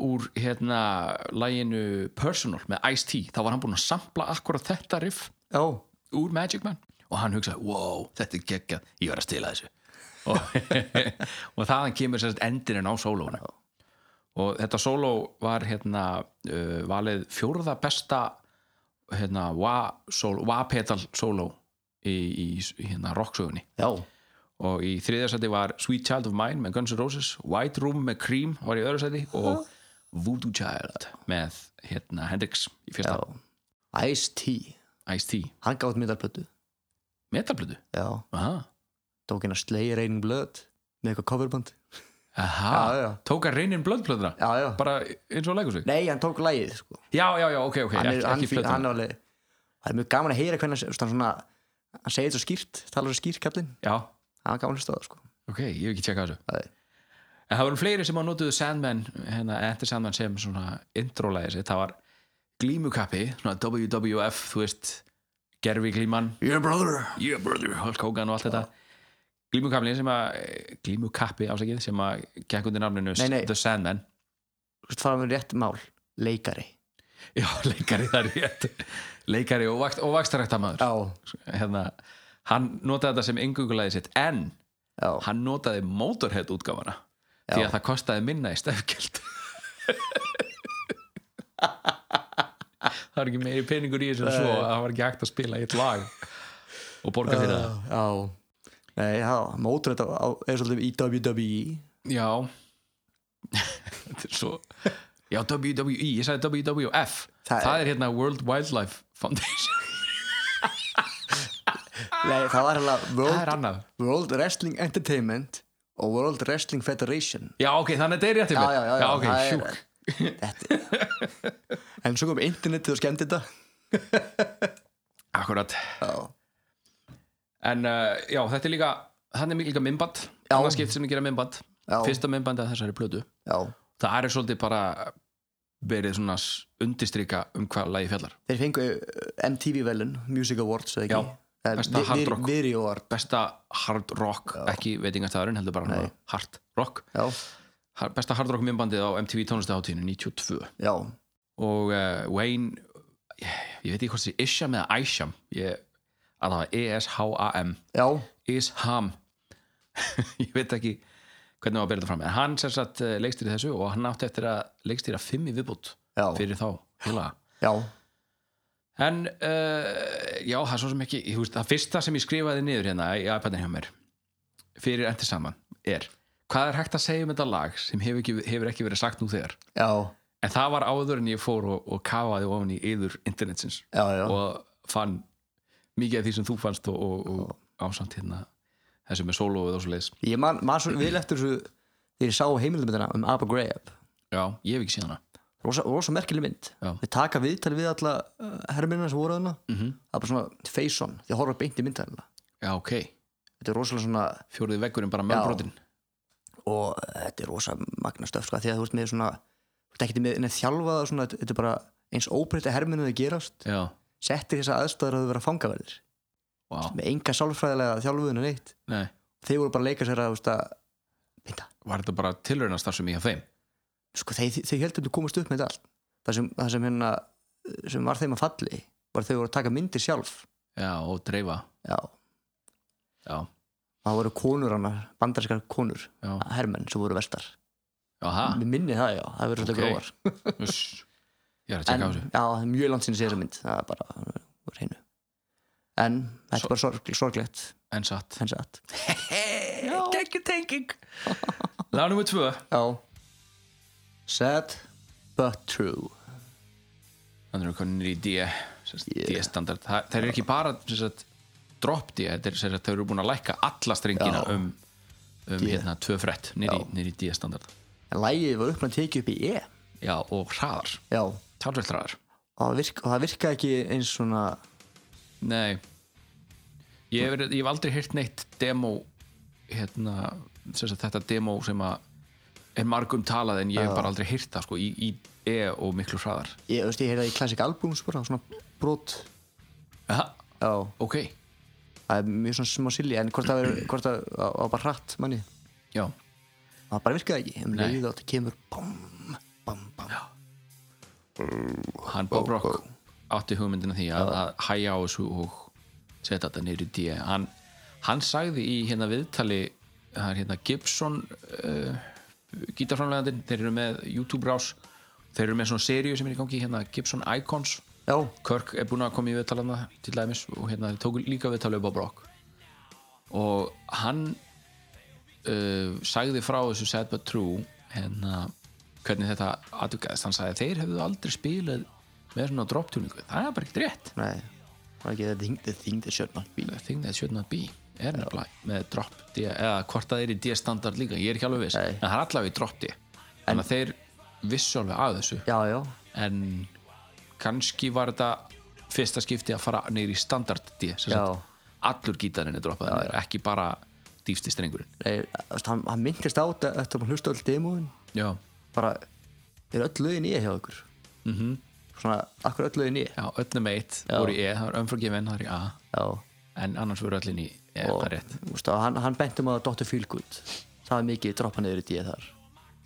[SPEAKER 6] úr hérna læginu Personal með Ice-T þá var hann búinn að sampla akkurat þetta riff
[SPEAKER 4] já,
[SPEAKER 6] úr Magic Man og hann hugsaði, wow, þetta er geggjað ég verð að stila þessu og, og þaðan kemur sérst endinin á sólóna og þetta sóló var hérna uh, valið fjórða besta hérna wah-pedal sóló í, í hérna rocksögunni
[SPEAKER 4] já,
[SPEAKER 6] og í þriðja sæti var Sweet Child of Mine með Guns N' Roses White Room með Cream var í öðru sæti og Voodoo Child með hérna Hendrix í
[SPEAKER 4] já.
[SPEAKER 6] fyrsta
[SPEAKER 4] Ice-T,
[SPEAKER 6] Ice-T
[SPEAKER 4] hann gátt myndarblötu
[SPEAKER 6] metalblödu
[SPEAKER 4] Já,
[SPEAKER 6] aha,
[SPEAKER 4] tók hérna Slayer Raining Blood með eitthvað coverband
[SPEAKER 6] aha.
[SPEAKER 4] Já, já.
[SPEAKER 6] tók að reynin blöðblöðuna
[SPEAKER 4] Já, já,
[SPEAKER 6] bara eins og leikur sig
[SPEAKER 4] nei, hann tók lægið sko.
[SPEAKER 6] já, já, já, ok, ok,
[SPEAKER 4] Hann er,
[SPEAKER 6] ekki,
[SPEAKER 4] hann,
[SPEAKER 6] ekki
[SPEAKER 4] fí- hann
[SPEAKER 6] blöðuna
[SPEAKER 4] er alveg Það er mjög gaman að heyra hvernig hann, hann svona hann segir þetta svo skýrt, talar svo skýrt kallinn
[SPEAKER 6] já,
[SPEAKER 4] hann var gaman að stóða sko.
[SPEAKER 6] ok, ég hef ekki tjekkað þessu
[SPEAKER 4] Nei.
[SPEAKER 6] en það voru fleiri sem að notuðu Sandman hérna, eftir Sandman sem svona introlæði sitt, það var glímukappi svona WWF, þú veist gerfi glíman
[SPEAKER 4] Yeah brother
[SPEAKER 6] yeah brother, Hulk Hogan og allt þetta glímukappi sem að eh, glímukappi ásækið sem að gekk undir nafninu
[SPEAKER 4] Nei, nei.
[SPEAKER 6] The Sandman
[SPEAKER 4] Þú veist, fara með rétt mál, leikari
[SPEAKER 6] já, leikari það er rétt leikari og, vakt, og vakstaræktamæður
[SPEAKER 4] Já,
[SPEAKER 6] hérna, hann notaði þetta sem yngungulæði sitt en
[SPEAKER 4] Já.
[SPEAKER 6] hann notaði Motorhead útgáfana því
[SPEAKER 4] Já.
[SPEAKER 6] að það kostaði minna í stefkjöld það var ekki meiri peningur í þessu en svo að það var ekki hægt að spila í eitt lag og borga fyrir það
[SPEAKER 4] Já Nei, já, mótur þetta á, er svolítið í E. WWE
[SPEAKER 6] já þetta er svo já WWE, ég sagði WWF
[SPEAKER 4] Það
[SPEAKER 6] það,
[SPEAKER 4] er-
[SPEAKER 6] er hérna World Wildlife Foundation
[SPEAKER 4] Nei, það var hérna
[SPEAKER 6] það er
[SPEAKER 4] World,
[SPEAKER 6] annað
[SPEAKER 4] World Wrestling Entertainment og World Wrestling Federation
[SPEAKER 6] já ok, þannig að þetta er rétt hjá
[SPEAKER 4] Já,
[SPEAKER 6] mér.
[SPEAKER 4] já, já, já,
[SPEAKER 6] ok,
[SPEAKER 4] það er-
[SPEAKER 6] sjúk
[SPEAKER 4] Þetta En svo kom internetið og skemmdi þetta
[SPEAKER 6] akkurat
[SPEAKER 4] Já,
[SPEAKER 6] En uh, já, þetta er líka hann er líka minnband,
[SPEAKER 4] Já.
[SPEAKER 6] annars skipt sem ég gera minnband
[SPEAKER 4] Já.
[SPEAKER 6] fyrsta minnbandi að þessari plötu
[SPEAKER 4] já
[SPEAKER 6] það er svolítið bara verið svona s- undirstrika um hvað lagi fjallar
[SPEAKER 4] Þeir fengu eh, MTV velun, Music Awards eða ekki
[SPEAKER 6] Já,
[SPEAKER 4] Það er
[SPEAKER 6] besta
[SPEAKER 4] vi-
[SPEAKER 6] hard
[SPEAKER 4] vi-
[SPEAKER 6] rock.
[SPEAKER 4] Video Award
[SPEAKER 6] besta hard rock, ekki veitingastæðurinn heldur bara hann hard rock
[SPEAKER 4] Já,
[SPEAKER 6] Har- besta hard rock minnbandið á MTV tónlistaháttíðinu 92
[SPEAKER 4] já,
[SPEAKER 6] og uh, Wayne ég, ég veit ekki hvort þessi Isham eða Isham ég, E að það var E-S-H-A-M
[SPEAKER 4] já
[SPEAKER 6] Isham ég veit ekki hvernig maður að byrja þetta fram en hann sem sagt eh, leikstýri þessu og hann átti eftir að leikstýra fimm í viðbútt
[SPEAKER 4] Já.
[SPEAKER 6] fyrir þá félaga
[SPEAKER 4] Já,
[SPEAKER 6] en uh, já, það er svo sem ekki ég, veist, það fyrsta sem ég skrifaði niður hérna í iPadin hjá mér fyrir endur saman er hvað er hægt að segja um þetta lag sem hefur ekki, hefur ekki verið sagt nú þegar
[SPEAKER 4] já,
[SPEAKER 6] en það var áður en ég fór og, og kafaði ofan í yður internetsins
[SPEAKER 4] já, já
[SPEAKER 6] og fann mikið af því sem þú fannst og, og, og ásamt hérna þessu með sólóið og svo leiðis
[SPEAKER 4] Ég man, man svo vil eftir þessu þegar ég sá heimildamindina um Abba Graham
[SPEAKER 6] Já, ég hef ekki séð hana
[SPEAKER 4] rosa, rosa merkileg mynd
[SPEAKER 6] Já.
[SPEAKER 4] við taka viðtal við alla uh, herminna sem voru þarna mm
[SPEAKER 6] Mhm.
[SPEAKER 4] -hmm. það er bara svona face on, því að horfa beint í myndalina
[SPEAKER 6] Já, ok,
[SPEAKER 4] þetta er rosalega svona
[SPEAKER 6] fjórði veggurinn bara mölbrotin
[SPEAKER 4] og þetta er rosa magna stöf sko, því að þú ert með svona þú ert ekkert með neð þjálfaða svona, þetta þetta er bara eins óbreytta herminu þau gerast
[SPEAKER 6] Já,
[SPEAKER 4] settir þessa aðstæður að þau vera fangaverðir
[SPEAKER 6] vá,
[SPEAKER 4] með enga sálfræðilega þjálfuðinu neitt
[SPEAKER 6] nei
[SPEAKER 4] þeir voru bara að leika sér að, þú veist, að mynda
[SPEAKER 6] Var þetta bara tilrauna starfsum í hjá þeim?
[SPEAKER 4] sko, þeir, þeir heldur að komast upp með þetta allt það sem, það sem, hérna, sem var þeim að falli var að þau voru að taka myndir sjálf
[SPEAKER 6] Já, og dreifa
[SPEAKER 4] já,
[SPEAKER 6] Já,
[SPEAKER 4] það voru konur hana bandarskar konur,
[SPEAKER 6] Já.
[SPEAKER 4] hermenn sem voru vestar
[SPEAKER 6] já, það
[SPEAKER 4] mér minni það já, það verður svolítið
[SPEAKER 6] Ok.
[SPEAKER 4] gróðar
[SPEAKER 6] Ég er að
[SPEAKER 4] en,
[SPEAKER 6] tjekka á
[SPEAKER 4] já,
[SPEAKER 6] þessu
[SPEAKER 4] það er mjög langt sinni sér þessa mynd það er bara úr hreinu en þetta er bara sorg, sorglegt
[SPEAKER 6] En satt
[SPEAKER 4] henni satt
[SPEAKER 6] Gekki tenging Lag nummer tvö
[SPEAKER 4] já sad but true
[SPEAKER 6] Þannig erum konir í D
[SPEAKER 4] Yeah.
[SPEAKER 6] D-standard yeah. Þeir eru ekki bara sem sagt, drop D Þeir, sem sagt, þeir eru búin að lækka alla strengina
[SPEAKER 4] Já.
[SPEAKER 6] um, um
[SPEAKER 4] D.
[SPEAKER 6] hérna, tvö frett
[SPEAKER 4] Já.
[SPEAKER 6] nýri D-standard
[SPEAKER 4] en lægið var uppnætt tekið upp í E
[SPEAKER 6] Já, og hraðar
[SPEAKER 4] já, og
[SPEAKER 6] Talvöld hraðar
[SPEAKER 4] það, virk, og það virka ekki eins svona
[SPEAKER 6] Nei Ég hef, verið- ég hef aldrei heyrt neitt demo hérna, sem sagt, þetta demo sem að er margum talað en ég hef bara aldrei heyrt það sko, í, í E og miklu hraðar
[SPEAKER 4] ég, þú veist, ég heyrði það í classic albums bara, svona brot
[SPEAKER 6] Aha,
[SPEAKER 4] já,
[SPEAKER 6] ok,
[SPEAKER 4] það er mjög svona smá silly en hvort það verður- hvort það það var bara hratt manni
[SPEAKER 6] já
[SPEAKER 4] það bara virkaði ekki, um
[SPEAKER 6] Nei.
[SPEAKER 4] leiðið átt að kemur bam, bam, bam
[SPEAKER 6] hann Bob Rock átti hugmyndina því að, að hæja á þessu og setja þetta niður í D hann, hann sagði í hérna viðtali það er hérna Gibson uh, gítarframlegandinn, þeir eru með YouTube rás, þeir eru með svona seríu sem er í gangi hérna Gibson Icons
[SPEAKER 4] já,
[SPEAKER 6] Kirk er búin að koma í viðtalana til dæmis og hérna þeir tóku líka viðtalið upp á Brock og hann uh, sagði frá þessu Sad But True hérna hvernig þetta atvikaðist, hann sagði þeir hefðu aldrei spilað með svona dropptuningu það er bara ekkert rétt
[SPEAKER 4] nei það er ekki the thing, the thing that should not be
[SPEAKER 6] The thing that should not be er nefnilega með drop D eða hvort það er í D standard líka, ég er ekki alveg viss
[SPEAKER 4] Nei.
[SPEAKER 6] en það er allavega í drop D þannig að þeir vissu alveg að þessu
[SPEAKER 4] já, já,
[SPEAKER 6] en kannski var þetta fyrsta skipti að fara niður í standard D sem
[SPEAKER 4] Já.
[SPEAKER 6] sagt, allur gítarinn er droppað niður, ekki bara dýfsti strengurinn
[SPEAKER 4] Nei, Eh, þú veist, hann, hann myndist á þetta eftir að maður hlusta öll demóin
[SPEAKER 6] já.
[SPEAKER 4] bara, er öll lögin ég hjá ykkur mm
[SPEAKER 6] Mhm.
[SPEAKER 4] -hmm. svona, akkur öll lögin ég
[SPEAKER 6] já, öllum eitt voru í E, það var Unforgiven, það er í A
[SPEAKER 4] já,
[SPEAKER 6] en annars voru öllin í E, það
[SPEAKER 4] og
[SPEAKER 6] er rétt
[SPEAKER 4] þú veist, og hann, hann bentum að Dr. Feelgood það er mikið droppa niður í díð þar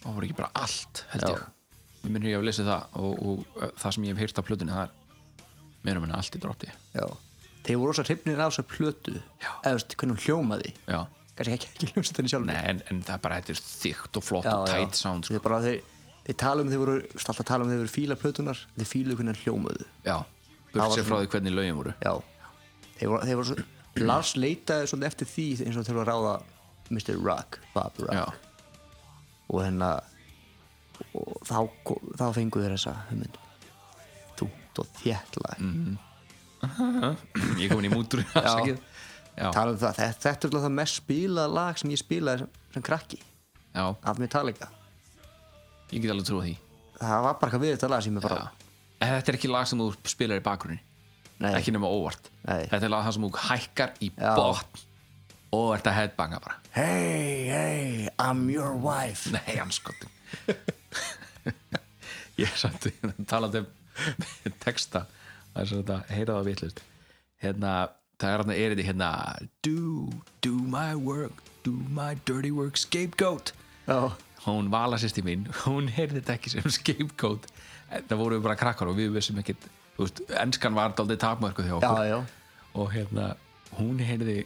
[SPEAKER 6] og voru ekki bara allt, held
[SPEAKER 4] Já.
[SPEAKER 6] ég ég minn ég hef lesið það og, og uh, það sem ég hef heyrt af plötunni það er meira minna allt í droppti
[SPEAKER 4] já, þeir voru rosa hrifnir af þessar plötu
[SPEAKER 6] Já.
[SPEAKER 4] eða þú veist, hvernig hún hljómaði
[SPEAKER 6] já,
[SPEAKER 4] kannski ekki, ekki hljómsveitinni sjálf
[SPEAKER 6] Nei, en, en það er bara þetta er þykkt og flott
[SPEAKER 4] já,
[SPEAKER 6] og
[SPEAKER 4] já.
[SPEAKER 6] tight sound sko.
[SPEAKER 4] Þeir bara þeir, þeir tala um þeir voru alltaf tala um þeir voru fíla plötunar þeir fílu hvernig hann hljómaðu
[SPEAKER 6] Já,
[SPEAKER 4] var
[SPEAKER 6] burt sér frá
[SPEAKER 4] svona-
[SPEAKER 6] því hvernig lögin voru
[SPEAKER 4] Já, þeir voru, þeir voru svo, Lars leitaði svolítið eftir því eins og þeir voru að ráða Mr. Rock, Bob Rock
[SPEAKER 6] Já,
[SPEAKER 4] og hérna og þá, ko- þá fengu þeir þessa hugmynd þúnt og þjætla mm.
[SPEAKER 6] ég kom inn í mútur
[SPEAKER 4] Já.
[SPEAKER 6] afsakið. Já,
[SPEAKER 4] tala um það, þetta, þetta er alltaf það mest spilað lag sem ég spilaði sem, sem krakki
[SPEAKER 6] já,
[SPEAKER 4] af Metallica
[SPEAKER 6] ég get alveg trúa því
[SPEAKER 4] það var bara eitthvað við þetta lag sem ég bara
[SPEAKER 6] Já. En þetta er ekki lag sem þú spilar í bakgrunni
[SPEAKER 4] nei,
[SPEAKER 6] ekki nema óvart
[SPEAKER 4] Nei.
[SPEAKER 6] Þetta er lag það sem þú hækkar í
[SPEAKER 4] Já.
[SPEAKER 6] botn og ert að headbanga bara
[SPEAKER 4] hey, hey, I'm your wife
[SPEAKER 6] Nei, anskotin Ég er samt talandi um texta það er svona að heyra það vitlust hérna, það er hérna erindi hérna do, do my work do my dirty work, scapegoat
[SPEAKER 4] Já.
[SPEAKER 6] hún vala sýsti mín hún heyrði þetta ekki sem scapegoat En það voru bara krakkar og við vissum ekkit þú veist, enskan var daldið takmörku þjá
[SPEAKER 4] já,
[SPEAKER 6] okkur
[SPEAKER 4] já,
[SPEAKER 6] og hérna, hún heyrði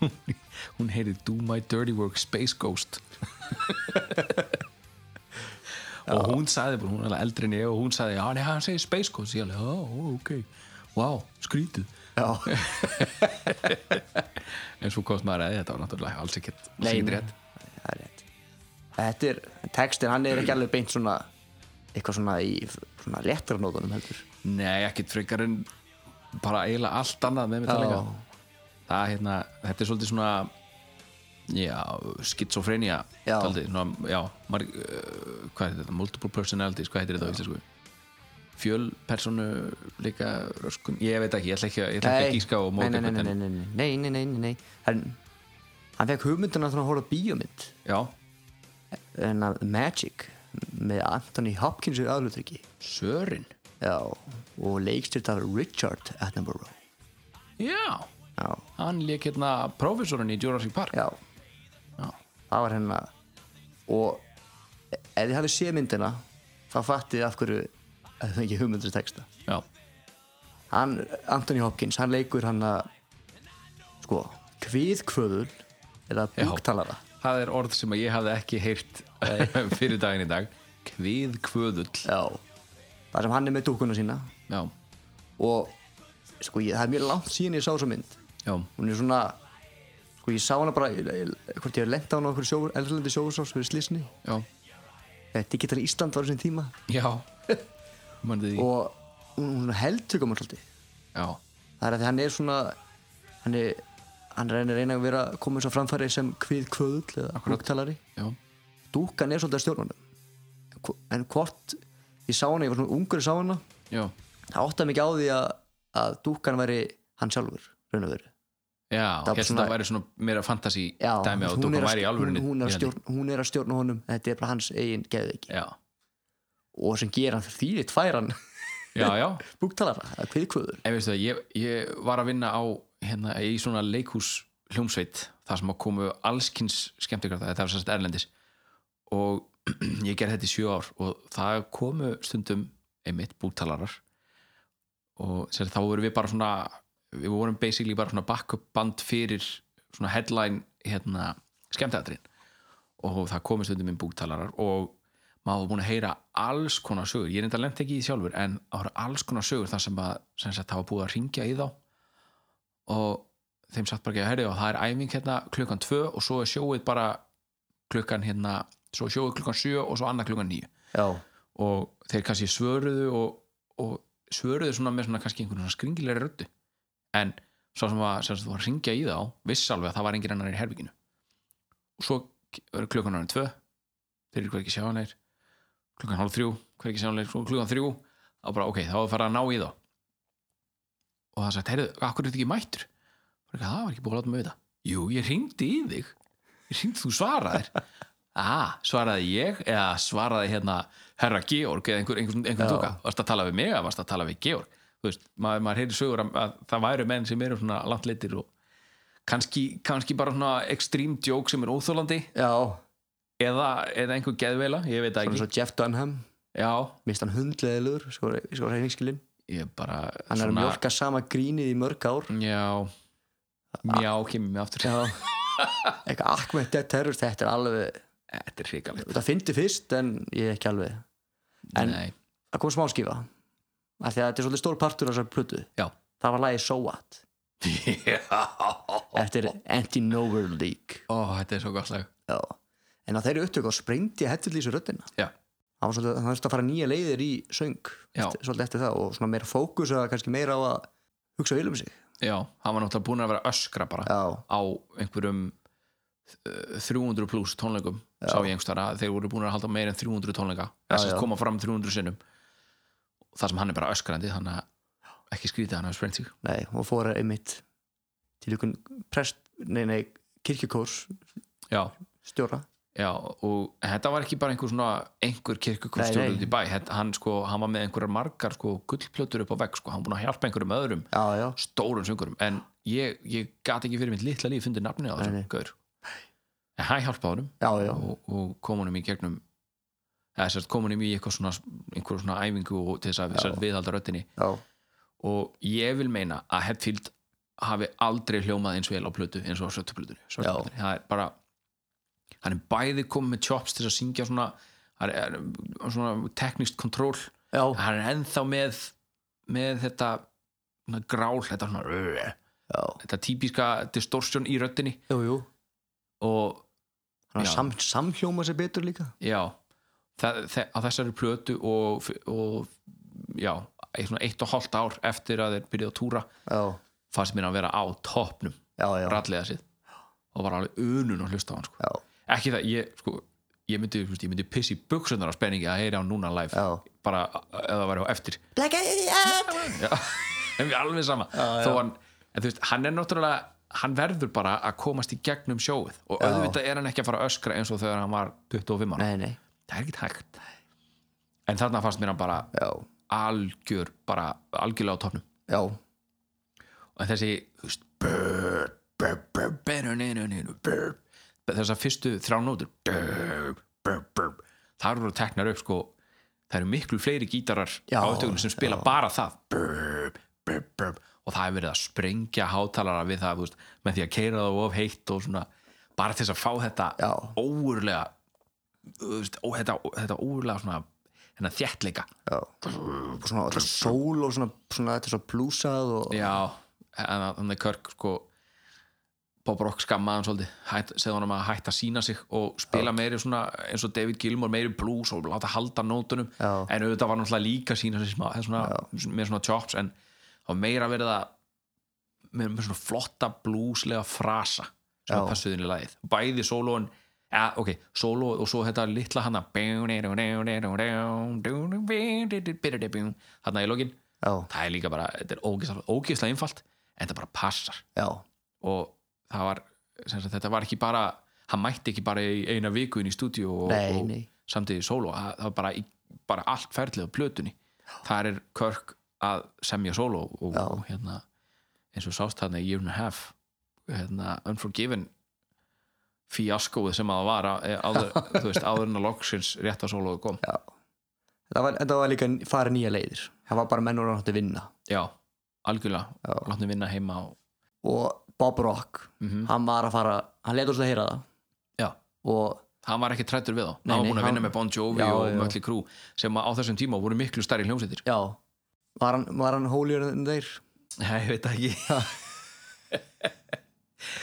[SPEAKER 6] hún heyrði do my dirty work space ghost og hún sagði bara, hún er alveg eldri en ég og hún sagði, já, nei, hann segir space ghost ég alveg, já, ok, wow, skrítið
[SPEAKER 4] já.
[SPEAKER 6] en svo komst maður að þetta var náttúrulega alls ekkert alls
[SPEAKER 4] Nei,
[SPEAKER 6] ekkert
[SPEAKER 4] nei.
[SPEAKER 6] rétt.
[SPEAKER 4] það er rétt þetta er, textin, hann er ekki alveg beint svona eitthvað svona í svona léttra nótunum heldur
[SPEAKER 6] nei, ekkert frekar en bara eiginlega allt annað með mér talega
[SPEAKER 4] Já.
[SPEAKER 6] það, hérna, þetta er svolítið svona já, skitsofrenia
[SPEAKER 4] Já.
[SPEAKER 6] daldið, svona, já, marg, uh, hvað heitir þetta, multiple personalities hvað heitir þetta á íslensku fjölpersonu líka röskun, ég veit ekki, ég ætla ekki, að- ég ætla ekki að gíska og
[SPEAKER 4] nei,
[SPEAKER 6] móta
[SPEAKER 4] nei, nei,
[SPEAKER 6] einhvern,
[SPEAKER 4] nei, nei,
[SPEAKER 6] en-
[SPEAKER 4] nei, nei, nei, nei, nei, nei. Hann, hann fekk hugmyndina þannig að hóra bíómynd
[SPEAKER 6] já,
[SPEAKER 4] en að Magic með Anthony Hopkins í aðlutryggi
[SPEAKER 6] Sörin
[SPEAKER 4] já, og leikstyrt af Richard Attenborough
[SPEAKER 6] já,
[SPEAKER 4] já,
[SPEAKER 6] hann lék hérna prófessorinn í Jurassic Park
[SPEAKER 4] já,
[SPEAKER 6] Já.
[SPEAKER 4] það var hérna og e, ef þið hafið séð myndina þá fattið þið af hverju að það ekki hugmyndur texta
[SPEAKER 6] já,
[SPEAKER 4] hann, Anthony Hopkins, hann leikur hann að sko, kviðkvöðul eða
[SPEAKER 6] Já.
[SPEAKER 4] búktalara
[SPEAKER 6] það er orð sem að ég hafði ekki heyrt fyrir daginn í dag kvið kvöðull
[SPEAKER 4] já, þar sem hann er með dúkuna sína
[SPEAKER 6] já,
[SPEAKER 4] og sko, ég, það er mjög langt síðan ég sá þessa mynd
[SPEAKER 6] já,
[SPEAKER 4] hún er svona sko, ég sá hana bara, ég- ég- hvort ég hef lent á hana á okkur sjó, eldralandi sjóðsás fyrir slísni
[SPEAKER 6] já
[SPEAKER 4] digital Ísland var á þessum tíma
[SPEAKER 6] Já Mændi því
[SPEAKER 4] og hún, hún heldtökum alltaf
[SPEAKER 6] Já,
[SPEAKER 4] það er að því hann er svona hann er, hann reynir að reyna að vera koma eins og framfæri sem hvið kvöðull eða hugtalari
[SPEAKER 6] já,
[SPEAKER 4] dúkan er svolítið að stjórnanum en hvort ég sá hana, ég var svona ungur ég sá hana
[SPEAKER 6] já
[SPEAKER 4] það áttaði mikið á því að, að dúkan væri hann sjálfur, raun og veru
[SPEAKER 6] Já,
[SPEAKER 4] var
[SPEAKER 6] ég held að
[SPEAKER 4] svona-
[SPEAKER 6] það væri svona meira fantasi
[SPEAKER 4] Já,
[SPEAKER 6] dæmi á
[SPEAKER 4] hún
[SPEAKER 6] dókum
[SPEAKER 4] er að-
[SPEAKER 6] væri í alvörunni
[SPEAKER 4] hún, hún, er að
[SPEAKER 6] í henni.
[SPEAKER 4] stjórn, hún er að stjórna honum þetta er bara hans eigin geðveiki
[SPEAKER 6] Já,
[SPEAKER 4] og sem ger hann því þitt fær hann
[SPEAKER 6] já, já
[SPEAKER 4] búktalara, eða kviðkvöður
[SPEAKER 6] En veistu það, ég, ég var að vinna á hérna, í svona leikhús hljómsveit þar sem að komu allskins skemmtikrafta þetta var sérst erlendis og ég gerði þetta í sjö ár og það komu stundum einmitt búttalarar og sér, þá vorum við bara svona við vorum basically bara svona backup band fyrir svona headline hérna, skemmtæðatrin og það komu stundum inn búttalarar og maður var búin að heyra alls konar sögur ég er enda lent ekki í því sjálfur en það voru alls konar sögur þar sem að sem sagt, það var búið að ringja í þá og þeim satt bara ekki að herja og það er æfing hérna klukkan tvö og svo er sjóið bara klukkan hérna svo er sjóið klukkan sjö og svo annað klukkan níu
[SPEAKER 4] já,
[SPEAKER 6] og þeir kannski svöruðu og, og svöruðu svona með svona kannski einhvern svona skringilegri röddu en svo sem var, sem sagt, var að ringja í þá viss alveg að það var engin annar í herbygginu og svo verður klukkan árið tvö þeir eru hver ekki sjáanleir klukkan hálf þrjú, hver ekki sjáanleir svo klukkan þrjú, þá bara ok, þá er að fara að ná í þá og það sagt, heyrðu, akkur er þetta ekki mættur bara, það var ekki búið að láta mig við það jú, ég ringdi í þig ég ringdi þú svaraðir Aha, svaraði ég eða svaraði hérna herra Georg eða einhver, einhver, einhver
[SPEAKER 4] Já.
[SPEAKER 6] tóka varst að tala við mig eða varst að tala við Georg þú veist, maður, maður heyri sögur að, að það væru menn sem eru svona langt litir og kannski, kannski bara svona extreme joke sem er óþólandi
[SPEAKER 4] já
[SPEAKER 6] eða, eða einhver geðveila, ég veit það
[SPEAKER 4] svona
[SPEAKER 6] ekki
[SPEAKER 4] svo Jeff Dunham,
[SPEAKER 6] já,
[SPEAKER 4] mist hann hundleðilegur sko, sko reyningskilin,
[SPEAKER 6] ég bara
[SPEAKER 4] hann er að mjölka sama grínið í mörg ár
[SPEAKER 6] já, já, kemur mig aftur
[SPEAKER 4] já, eitthvað akkurat dead terror þetta er alveg,
[SPEAKER 6] Þetta er hrikalegt
[SPEAKER 4] þetta fyndi fyrst en ég er ekki alveg En-
[SPEAKER 6] Nei,
[SPEAKER 4] það kom smá skífa af því að þetta er svolítið stór partur af þessar plötu
[SPEAKER 6] já
[SPEAKER 4] það var lagið So What
[SPEAKER 6] Já
[SPEAKER 4] eftir Anti-Nowhere League
[SPEAKER 6] Ó, þetta er svo gott lag
[SPEAKER 4] Já. en á þeirri upptöku þá sprengdi ég hettilísu röddina
[SPEAKER 6] Já,
[SPEAKER 4] það var svolítið, það þurfti að fara nýja leiðir í söng
[SPEAKER 6] Já.
[SPEAKER 4] eftir, svolítið eftir það og svona meira fókus eða kannski meira á að hugsa vel um sig
[SPEAKER 6] já, hann var náttúrulega búin að vera að öskra bara
[SPEAKER 4] Já.
[SPEAKER 6] á einhverjum uh, 300 pluss tónleikum sá ég einhvers þar að þeir voru búin að halda meira en 300 tónleika þess
[SPEAKER 4] já.
[SPEAKER 6] að koma fram 300 sinnum þar sem hann er bara öskrandi þannig að ekki skrítið að hann hafa sprengt sig
[SPEAKER 4] nei, og fóra einmitt til ykkur prest, nei nei kirkjukórs
[SPEAKER 6] Já,
[SPEAKER 4] stjóra
[SPEAKER 6] já, og þetta var ekki bara einhver svona einhver
[SPEAKER 4] Nei,
[SPEAKER 6] kirkukunstjóð
[SPEAKER 4] nei.
[SPEAKER 6] út í bæ Þetta- hann, sko, hann var með einhverjar margar sko, gullplötur upp á vegg sko, hann búin að hjálpa einhverjum öðrum
[SPEAKER 4] já, já,
[SPEAKER 6] stórum söngurum en ég, ég gat ekki fyrir mitt litla líf fundið nafnið á
[SPEAKER 4] Nei,
[SPEAKER 6] þessum
[SPEAKER 4] nei.
[SPEAKER 6] gaur en hann hjálpa honum
[SPEAKER 4] já, já,
[SPEAKER 6] og, og kom honum í gegnum eða sérst kom honum í eitthvað svona einhver svona æfingu og til þess að sérst, viðhalda röttinni
[SPEAKER 4] já.
[SPEAKER 6] og ég vil meina að Hetfield hafi aldrei hljómað eins vel á plötu eins og á svörtuplötunni svörtuplötunni. það er bara hann er bæði komið með chops til að syngja svona, hann er, er svona teknist kontról
[SPEAKER 4] já.
[SPEAKER 6] hann er ennþá með með þetta svona grál, þetta svona
[SPEAKER 4] já.
[SPEAKER 6] þetta típiska distortion í röttinni
[SPEAKER 4] Jú, jú.
[SPEAKER 6] og
[SPEAKER 4] Hann
[SPEAKER 6] Já.
[SPEAKER 4] sam, samhjóma sér betur líka
[SPEAKER 6] já það, það, á þessari plötu og, og já, eitt, svona eitt og hálft ár eftir að þeir byrjuðu að túra
[SPEAKER 4] já,
[SPEAKER 6] fannst mér að vera á toppnum
[SPEAKER 4] já, já,
[SPEAKER 6] rallega síð og var alveg unun að hlusta á hann sko.
[SPEAKER 4] já,
[SPEAKER 6] ekki það, ég sko ég myndi, þú veist, ég myndi pissi buksunar á spenningi að heyra á núna live
[SPEAKER 4] Já.
[SPEAKER 6] bara ef það væri á eftir Já, en við alveg sama þó hann, en þú veist, hann er náttúrulega hann verður bara að komast í gegnum sjóið og auðvitað er hann ekki að fara að öskra eins og þegar hann var 25 ára
[SPEAKER 4] nei, nei,
[SPEAKER 6] það er ekkert hægt en þarna fannst mér hann bara
[SPEAKER 4] já,
[SPEAKER 6] algjör bara algjörlega á topnum
[SPEAKER 4] já,
[SPEAKER 6] og þessi þú veist, brr, brr, brr, brr, brr, brr, brr, þessar fyrstu þrjá nótur brr, brr, brr, þar eru teknar upp sko, það eru miklu fleiri gítarar
[SPEAKER 4] Já,
[SPEAKER 6] á upptökunum sem spila
[SPEAKER 4] já.
[SPEAKER 6] bara það brr, brr, brr, og það er verið að sprengja hátalara við það þú veist, með því að keira það of heitt og svona bara til þess að fá þetta
[SPEAKER 4] Já.
[SPEAKER 6] óurlega þú veist, ó, þetta, þetta óurlega svona þennan þéttleika
[SPEAKER 4] já. Og svona, þetta er sól og svona, svona þetta er svo blúsað og
[SPEAKER 6] Já, en að- þannig Körk sko Bob Rock skammaði hann svolítið hætt, segði honum að hætta að sína sig og spila meiri svona eins og David Gilmour meiri blues og láta halda nótunum
[SPEAKER 4] Já.
[SPEAKER 6] en auðvitað var náttúrulega líka að sína sig smá, eða svona, með svona chops en þá meira verið að með, með svona flotta blueslega frasa sem
[SPEAKER 4] Já.
[SPEAKER 6] passuðin í lagið bæði sólóin Ja, ok, solo og svo þetta litla hana þarna í lokin
[SPEAKER 4] já,
[SPEAKER 6] það er líka bara, þetta er ógeðslega, ógeðslega einfalt en þetta bara passar
[SPEAKER 4] já,
[SPEAKER 6] og það var, sem sagt, þetta var ekki bara hann mætti ekki bara í eina viku inn í stúdíu og,
[SPEAKER 4] Nei,
[SPEAKER 6] og
[SPEAKER 4] nei.
[SPEAKER 6] samtidig sóló það, það var bara, í, bara allt ferlið á plötunni þar er Körk að semja sóló og,
[SPEAKER 4] Já.
[SPEAKER 6] og hérna eins og sást þarna í Year and a Half hérna, Unforgiven fíaskóið sem að það var á- eh, áður, þú veist, áður en að loksins rétt á sólóðu kom
[SPEAKER 4] já. Þetta var, þetta var líka farið nýja leiðir. Það var bara menn og rátti vinna.
[SPEAKER 6] já, algjörlega,
[SPEAKER 4] Já.
[SPEAKER 6] láttum vinna heima og,
[SPEAKER 4] Og Bob Rock,
[SPEAKER 6] Mhm.
[SPEAKER 4] hann var að fara, hann letur svo að heyra það.
[SPEAKER 6] já,
[SPEAKER 4] Og
[SPEAKER 6] hann var ekki trættur við þá hann
[SPEAKER 4] Nei,
[SPEAKER 6] var
[SPEAKER 4] nei,
[SPEAKER 6] búin að vinna
[SPEAKER 4] hann-
[SPEAKER 6] með Bon Jovi
[SPEAKER 4] Já,
[SPEAKER 6] og
[SPEAKER 4] já.
[SPEAKER 6] Mötli Krú sem að á þessum tíma voru miklu stærri hljómsveitir sko.
[SPEAKER 4] já, var hann, var hann hóljur en þeir?
[SPEAKER 6] Nei, ég veit það ekki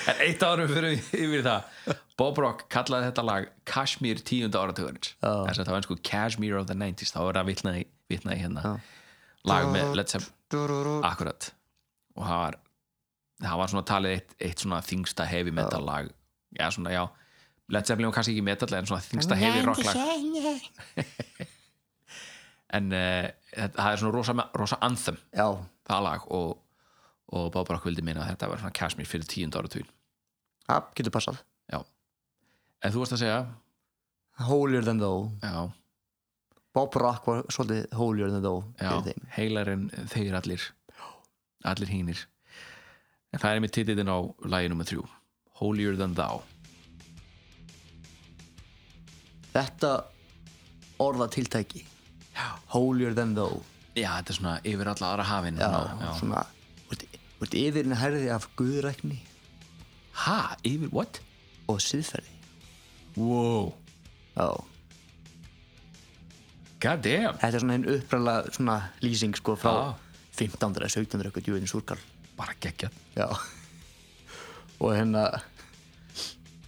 [SPEAKER 6] en eitt árum fyrir yfir það Bob Rock kallaði þetta lag Kashmir tíunda áratugurins
[SPEAKER 4] Já.
[SPEAKER 6] þess að það var einsko Kashmir of the 90s þá er það vitnaði, vitnaði hérna lag með Let's Have Akkurat og það var, það var svona talið eitt, eitt svona þingsta heavy metal lag já svona já Led Zeppelin var kannski ekki metal en svona þingsta heavy rock lag en uh, það er svona rosa, rosa anthem
[SPEAKER 4] Já,
[SPEAKER 6] það lag og, og Bob Rock vildi minna að þetta var svona Kashmir fyrir tíund áratugin
[SPEAKER 4] það getur passað.
[SPEAKER 6] já en þú varst að segja
[SPEAKER 4] Hóljur en þó.
[SPEAKER 6] já,
[SPEAKER 4] Bob Rock var svolítið hóljur en þó. fyrir
[SPEAKER 6] já
[SPEAKER 4] þeim.
[SPEAKER 6] heilarinn eh, þeir allir allir hínir en það er með titillin á lagi nummer þrjú Holier Than Thou
[SPEAKER 4] Þetta orðatiltæki. Hóljur en þó.
[SPEAKER 6] já þetta er svona yfir alla aðra hafin
[SPEAKER 4] Já,
[SPEAKER 6] svona, já.
[SPEAKER 4] svona, þú ert- þú ert yfir henni herði af guðrækni
[SPEAKER 6] ha, yfir, what?
[SPEAKER 4] og siðferði
[SPEAKER 6] wow,
[SPEAKER 4] Já.
[SPEAKER 6] god damn
[SPEAKER 4] þetta er svona einn upprænlega svona lýsing sko frá
[SPEAKER 6] Já.
[SPEAKER 4] 1500 eða 1700 eitthvað djúðin súrkall
[SPEAKER 6] bara geggjað
[SPEAKER 4] já og hérna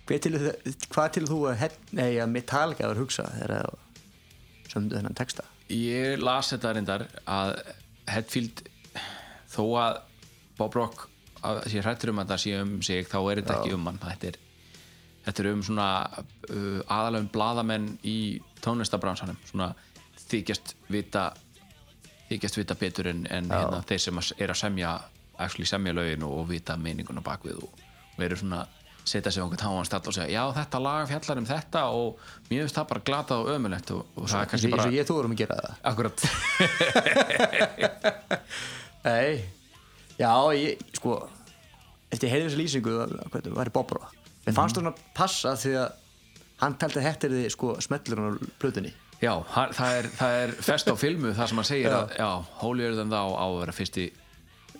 [SPEAKER 4] hvað til, hvað til þú að hef, nei, að Metallica var að hugsa þegar það sömdu þennan texta
[SPEAKER 6] Ég las þetta reyndar að Hetfield þó að Bob Rock að sé hrættur um að það sé um sig þá er þetta ekki um hann þetta er, þetta er um svona uh, aðalöfum blaðamenn í tónlistabransanum svona þykjast vita þykjast vita betur en, en hérna, þeir sem að s- eru að semja actually semja lögin og, og vita meininguna bakvið og, og eru svona setja sig á einhvern háan stall og segja já þetta lag fjallar um þetta og mér finnst það bara glatað og ömulegt og, og það er
[SPEAKER 4] eins
[SPEAKER 6] kannski
[SPEAKER 4] og- eins
[SPEAKER 6] bara
[SPEAKER 4] og ég þú vorum að gera það
[SPEAKER 6] Akkurat
[SPEAKER 4] nei já ég sko eftir heyrði þessa lýsingu hvað var í Bob Rock mér fannst það svona passa því að hann taldi að þetta er því sko smellurinn á plötunni
[SPEAKER 6] Já, hann, það, er, það er fest á filmu það sem hann segir að já, Holy Earth and Thou á að vera fyrsti,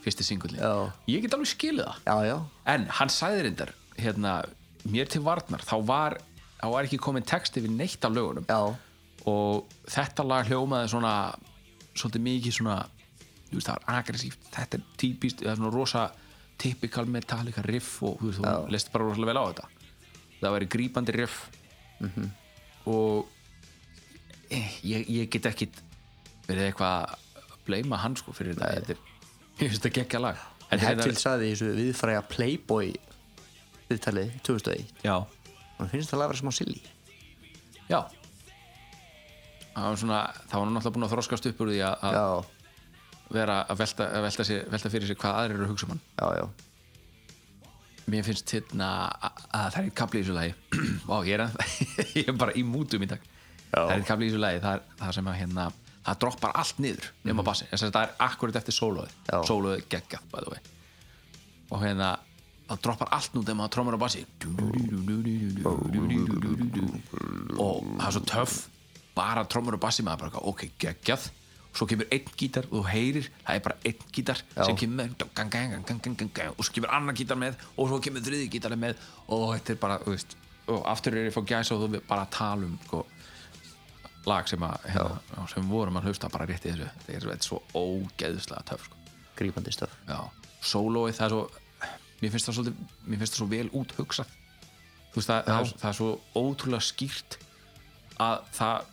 [SPEAKER 6] fyrsti singullin
[SPEAKER 4] Já.
[SPEAKER 6] Ég get alveg skilið það
[SPEAKER 4] já já
[SPEAKER 6] En hann sagði reyndar hérna, mér til varnar, þá var þá var ekki komin texti við neitt af lögunum
[SPEAKER 4] já
[SPEAKER 6] og þetta lag hljómaði svona svolítið mikið svona þú veist, það var agressíft, þetta er típist það er svona rosa typical metallica riff og þú veist, þú leist bara rosalega vel á þetta það væri grípandi riff og eh, ég, ég get ekki verið eitthvað að bleima hann sko fyrir þetta, þetta er, ég finnst þetta geggja lag Þetta
[SPEAKER 4] En
[SPEAKER 6] er
[SPEAKER 4] Hetfield
[SPEAKER 6] reyndar-
[SPEAKER 4] saði í þessu viðfræja Playboy viðtalið 2001
[SPEAKER 6] Já,
[SPEAKER 4] og finnst það að vera smá silly
[SPEAKER 6] já það var svona, það var nú náttúrulega búin að þroskast upp úr því að- að
[SPEAKER 4] Já,
[SPEAKER 6] vera að velta, að velta, sér, velta fyrir sér hvað aðrir eru að hugsa um hann
[SPEAKER 4] já, já
[SPEAKER 6] mér finnst hérna að, að það er einn kapli í þessu lagi Vá, ég, er að, ég er bara í mútum í dag það er einn kapli í þessu lagi það, er- það sem að hérna það droppar allt niður nema mm. bassin það er akkurat eftir sólóið
[SPEAKER 4] Já.
[SPEAKER 6] sólóið geggjað bæðu vei og hérna það droppar allt nú þegar maður trómar á bassi og það er svo töff bara trómar á bassi maður bara ok, geggjað svo kemur einn gítar og þú heyrir það er bara einn gítar sem kemur með gang, gang, gang, gang, gang, gang, gang, og svo kemur annar gítar með og svo kemur þriði gítar með og þetta er bara, þú veist og aftur er ég fá gæsa og þú við bara tala um sko, lag sem að hérna, já, sem vorum að hlusta bara rétt í þessu þetta er, þetta er svo ógeðslega töff sko
[SPEAKER 4] grípandi stöf
[SPEAKER 6] já, sólóið það er svo mér finnst það, svolítið, mér finnst það svo vel út hugsað þú veist það, það, er, það er svo ótrúlega skýrt að það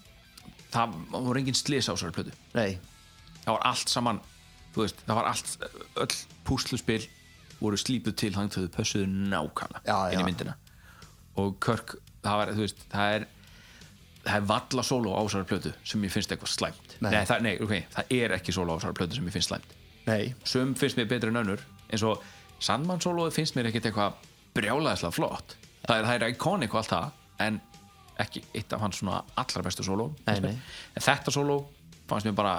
[SPEAKER 6] það voru engin slis á þessari plötu
[SPEAKER 4] Nei,
[SPEAKER 6] það var allt saman þú veist, það var allt, öll púsluspil voru slípuð til þannig þau pössuðu nákvæmlega
[SPEAKER 4] Já,
[SPEAKER 6] inn í
[SPEAKER 4] já.
[SPEAKER 6] myndina og Körk, það var, þú veist, það er það er valla sóló á þessari plötu sem ég finnst eitthvað slæmt
[SPEAKER 4] Nei.
[SPEAKER 6] nei, það, nei, okay, það er ekki sóló á þessari plötu sem ég finnst slæmt
[SPEAKER 4] nei,
[SPEAKER 6] sum finnst mér betri en önnur eins og Sandmann-sólóið finnst mér ekkert eitthvað brjálæðislega flott það er, það er iconic og allt það en ekki eitt af hans svona allra bestu sóló
[SPEAKER 4] Nei, nei.
[SPEAKER 6] en þetta sóló fannst mér bara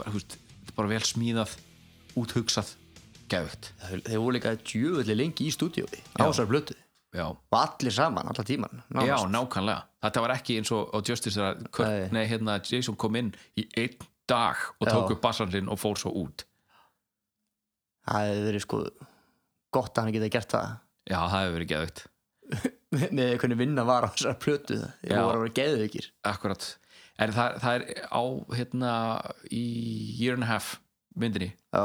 [SPEAKER 6] bara, húst, bara vel smíðað úthugsað, geðvögt
[SPEAKER 4] þeir þeir voru líka djöfulli lengi í stúdíói á þessar blötu
[SPEAKER 6] já,
[SPEAKER 4] og allir saman, allar tíman
[SPEAKER 6] já, nákvæmlega þetta var ekki eins og á Justice þegar Kurt-
[SPEAKER 4] Nei.
[SPEAKER 6] nei, hérna, Jason kom inn í einn dag og
[SPEAKER 4] Já.
[SPEAKER 6] tók upp bassan sinn og fór svo út
[SPEAKER 4] Það hefði verið sko gott að hann geta gert það
[SPEAKER 6] já, það hefur verið geðvögt
[SPEAKER 4] með hvernig vinna var á þessar blötu þeir
[SPEAKER 6] Já.
[SPEAKER 4] voru að vera geðveikir
[SPEAKER 6] Akkurat En það, það er á hérna í year and a half myndinni
[SPEAKER 4] Já,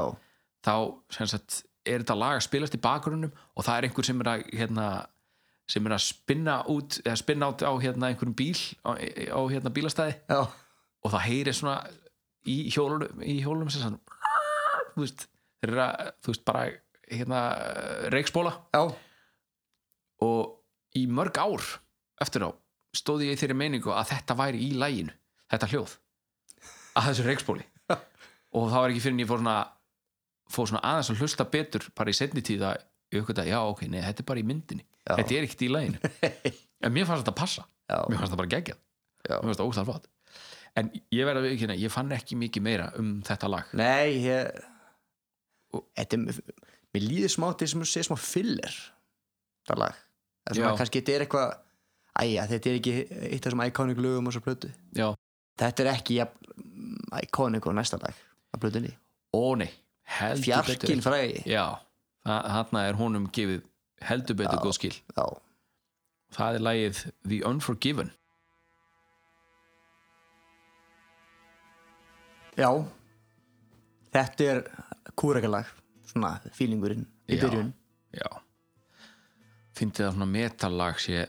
[SPEAKER 6] þá sem sagt er þetta lag að spilast í bakgrunum og það er einhver sem er að hérna sem er að spinna út eða spinna út á hérna einhverjum bíl á, á hérna bílastæði
[SPEAKER 4] já,
[SPEAKER 6] og það heyri svona í hjólunum í hjólunum sem sann þú veist, þeir eru að þú veist bara hérna reikspóla
[SPEAKER 4] já,
[SPEAKER 6] og í mörg ár eftir á stóði ég í þeirri meiningu að þetta væri í læginu, þetta hljóð að þessu reikspóli og það var ekki fyrir en ég fór svona fór svona aðeins að hlusta betur bara í setni tíð að ég aukvitað, já ok, nei, þetta er bara í myndinni
[SPEAKER 4] Já.
[SPEAKER 6] þetta er ekkert í læginu en mér fannst þetta passa,
[SPEAKER 4] Já.
[SPEAKER 6] mér fannst þetta bara geggjað
[SPEAKER 4] Já.
[SPEAKER 6] mér fannst þetta óslega flott en ég verða við ekki hérna, ég fann ekki mikið meira um þetta lag
[SPEAKER 4] nei ég... Þetta er, mér líður smá til sem að segja smá filler það lag það er svona,
[SPEAKER 6] Já.
[SPEAKER 4] kannski þetta er eitthvað æja, þetta er ekki eitt af þessum iconic lögum á svo plötu
[SPEAKER 6] já,
[SPEAKER 4] þetta er ekki ja, iconic og næsta lag á plötunni
[SPEAKER 6] ó nei heldur betur ekki.
[SPEAKER 4] fjarkinn fræði
[SPEAKER 6] já, þa- þarna er honum gefið heldur betur góð skil
[SPEAKER 4] já,
[SPEAKER 6] það er lagið The Unforgiven
[SPEAKER 4] já þetta er kúrakalag svona feelingurinn í
[SPEAKER 6] Já.
[SPEAKER 4] byrjun
[SPEAKER 6] já fyndið að svona metallag sé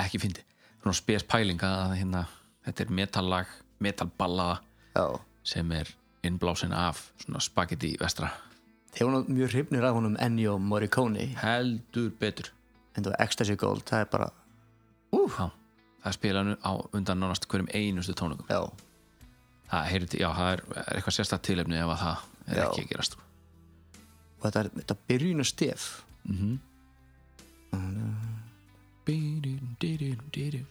[SPEAKER 6] ekki fyndið, svona spes pæling að hérna, þetta er metallag metalballaða
[SPEAKER 4] já,
[SPEAKER 6] sem er innblásin af svona spagetti vestra
[SPEAKER 4] þegar hún er mjög hrifnir af honum Ennio Morricone
[SPEAKER 6] heldur betur
[SPEAKER 4] en það var Ecstasy Gold, það er bara
[SPEAKER 6] uh. já, það spila nú á undan nánast hverjum einustu tónleikum
[SPEAKER 4] já,
[SPEAKER 6] það, heyrði, já, það er, er eitthvað sérstætt tilefni ef að það er
[SPEAKER 4] Já.
[SPEAKER 6] ekki að gerast sko.
[SPEAKER 4] og þetta er þetta byrjun og stef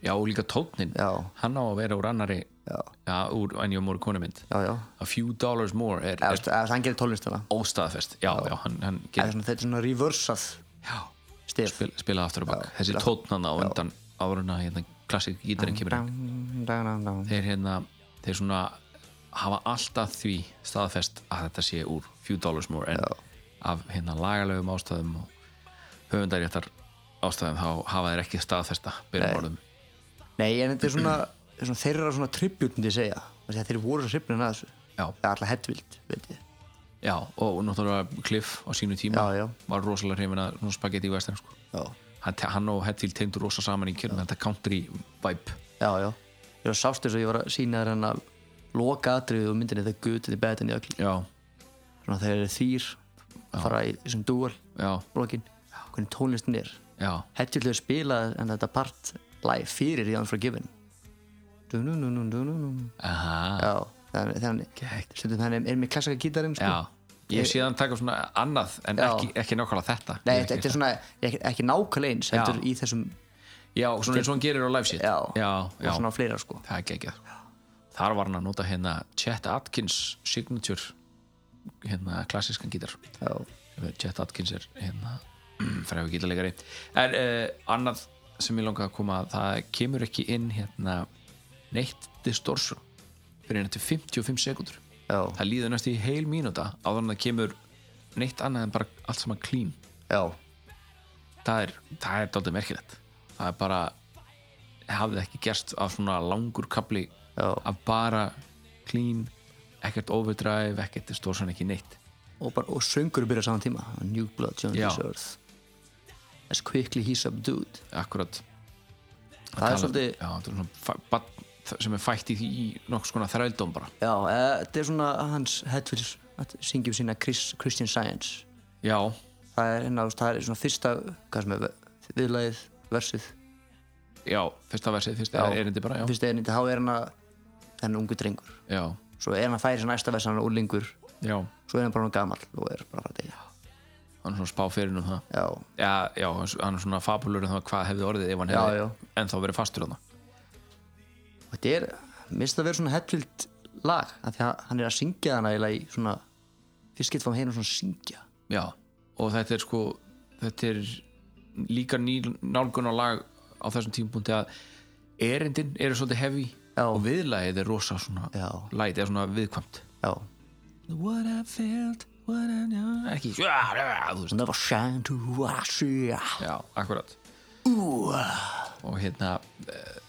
[SPEAKER 6] já og líka tóknin
[SPEAKER 4] já,
[SPEAKER 6] hann á að vera úr annari
[SPEAKER 4] já,
[SPEAKER 6] já, úr Ennjó Móri konumynd
[SPEAKER 4] já, já
[SPEAKER 6] A Few Dollars More er, er
[SPEAKER 4] eða þú veist, eða hann gerir tónlistana
[SPEAKER 6] óstaðfest já, já, hann, hann
[SPEAKER 4] Eða
[SPEAKER 6] gerir
[SPEAKER 4] svona, þetta er svona reversað
[SPEAKER 6] já,
[SPEAKER 4] stef
[SPEAKER 6] spil, spilað aftur og bak þessi tóknan á undan áruna hérna, klassik gítarinn kemur inn
[SPEAKER 4] Dang, dang, dang, dang.
[SPEAKER 6] þeir hérna, þeir svona hafa alltaf því staðfest að þetta sé úr few dollars more en af hérna lagalegum ástæðum og höfundaréttar ástæðum þá hafa þeir ekki staðfesta byrjum orðum
[SPEAKER 4] Nei, en þetta er svona, þetta er svona þeirra svona tribut myndi ég segja, Þessi að þeir voru svo hrifnir að þessu
[SPEAKER 6] Já.
[SPEAKER 4] það er alltaf hettvild, veit ég
[SPEAKER 6] já, og náttúrulega Cliff á sínu tíma
[SPEAKER 4] Já, já.
[SPEAKER 6] var rosalega hreifin að svona spagetti í vestan sko.
[SPEAKER 4] Já,
[SPEAKER 6] hann, hann og Hetfield tegndu rosa saman í kjörnum þetta country vibe
[SPEAKER 4] já, já Ég var sást þess að ég var að sína þér hann að loka atriðið og myndinni The Good, The Bad and The Ugly
[SPEAKER 6] já,
[SPEAKER 4] svona þeir eru þýr að fara í þessum dúal
[SPEAKER 6] já,
[SPEAKER 4] lokin, hvernig tónlistin er
[SPEAKER 6] já
[SPEAKER 4] Hettvild hefur spilað en þetta part live fyrir í Unforgiven Du-nu-nu-nu-nu-nu-nu.
[SPEAKER 6] aha,
[SPEAKER 4] Já, þannig þannig- stundum þannig er með klassika gítarinn sko.
[SPEAKER 6] já ég sé hann taka svona annað en
[SPEAKER 4] Já.
[SPEAKER 6] ekki, ekki nákvæmlega þetta
[SPEAKER 4] Nei,
[SPEAKER 6] Ég
[SPEAKER 4] þetta þetta er svona ekki, ekki nákvæmlega eins,
[SPEAKER 6] Já.
[SPEAKER 4] heldur í þessum
[SPEAKER 6] Já, svona eins og hann gerir á live shit
[SPEAKER 4] já,
[SPEAKER 6] já,
[SPEAKER 4] og
[SPEAKER 6] já.
[SPEAKER 4] svona fleira sko
[SPEAKER 6] það er geggjað Þar var hann að nota hérna Chet Atkins signature hérna klassískan gítar
[SPEAKER 4] já,
[SPEAKER 6] Eh, Chet Atkins er hérna fræðu gítarleikari En uh, annað sem ég langaði að koma að það kemur ekki inn hérna neitt distortion fyrir hérna til 55 sekundur
[SPEAKER 4] já,
[SPEAKER 6] Það líður næst í heil mínúta á þannig að það kemur neitt annað en bara allt saman clean
[SPEAKER 4] já,
[SPEAKER 6] það er, það er dálítið merkilegt það er bara hafði ekki gerst af svona langur kapli
[SPEAKER 4] Já.
[SPEAKER 6] að bara clean, ekkert overdrive ekkert distortion, ekki neitt
[SPEAKER 4] og, bara, og söngur byrja saman tíma New Blood, John
[SPEAKER 6] Já.
[SPEAKER 4] Lee's Earth As quickly he's subdued
[SPEAKER 6] akkurat
[SPEAKER 4] Það er svolítið-
[SPEAKER 6] um- já, það er svona fa- barn sem er fætt í, því- í nokkuð skona þrældóm bara
[SPEAKER 4] Já, eða, þetta er svona hans Hetfield að syngjum sína Chris, Christian Science
[SPEAKER 6] já,
[SPEAKER 4] það er hérna, þú veist, það er svona fyrsta hvað sem er ve- viðlagið, versið
[SPEAKER 6] já, fyrsta versið fyrsta
[SPEAKER 4] Já.
[SPEAKER 6] erindi bara, já,
[SPEAKER 4] fyrsta einnig, þá er hann að hann er ungu drengur,
[SPEAKER 6] já,
[SPEAKER 4] svo er hann að færi sér næsta vers hann er úlingur,
[SPEAKER 6] já
[SPEAKER 4] svo er hann bara hann gamall og er bara að fara að deyja
[SPEAKER 6] hann er svona spá fyrir um það
[SPEAKER 4] Já,
[SPEAKER 6] já, já, hann er svona fabulur um það hvað hefði orðið ef hann
[SPEAKER 4] Já,
[SPEAKER 6] hefði
[SPEAKER 4] já.
[SPEAKER 6] ennþá verið fastur þarna
[SPEAKER 4] og þetta er minnst að vera svona Hetfield lag af því að hann er að syngja hana eiginlega í svona fyrst getur fórum heim og svona syngja
[SPEAKER 6] Já, og þetta er sko þetta er líka ný nálgun á lag á þessum tímpunkti að erindin eru svolítið heavy
[SPEAKER 4] Já.
[SPEAKER 6] og viðlagið er rosa svona
[SPEAKER 4] Já.
[SPEAKER 6] læt, er svona viðkvæmt
[SPEAKER 4] já,
[SPEAKER 6] What I felt, what I know ekki, já, já, já, þú veist
[SPEAKER 4] svona var shine to Russia
[SPEAKER 6] Já, akkurat Og hérna eh,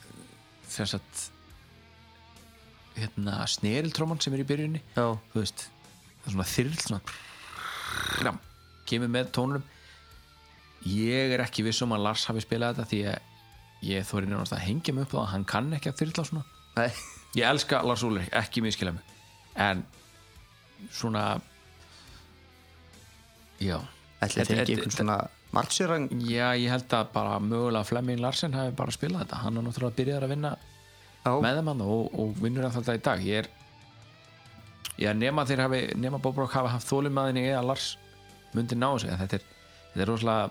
[SPEAKER 6] sem sagt hérna sneriltróman sem er í byrjunni
[SPEAKER 4] já,
[SPEAKER 6] þú veist, það er svona þyrl svona kram, kemur með tónum ég er ekki viss um að Lars hafi spilað þetta því að ég þóri nefnast að hengja mig upp á það hann kann ekki að þyrla svona
[SPEAKER 4] nei,
[SPEAKER 6] ég elska Lars Úlrik, ekki miskila mig en svona já
[SPEAKER 4] ætli
[SPEAKER 6] Þetta-
[SPEAKER 4] þetta ekki
[SPEAKER 6] þetta-
[SPEAKER 4] einhvern svona margsirang
[SPEAKER 6] já, ég held að bara mögulega Flemming Larsen hafi bara spilað þetta, hann er náttúrulega byrjaður að vinna
[SPEAKER 4] já,
[SPEAKER 6] með þeim hann og, og vinnur hann þetta í dag ég er ég er nema þeir hafi, nema Bob Rock hafi haft þólum að henni eða Lars myndi ná þessu en þetta er, þetta er rosalega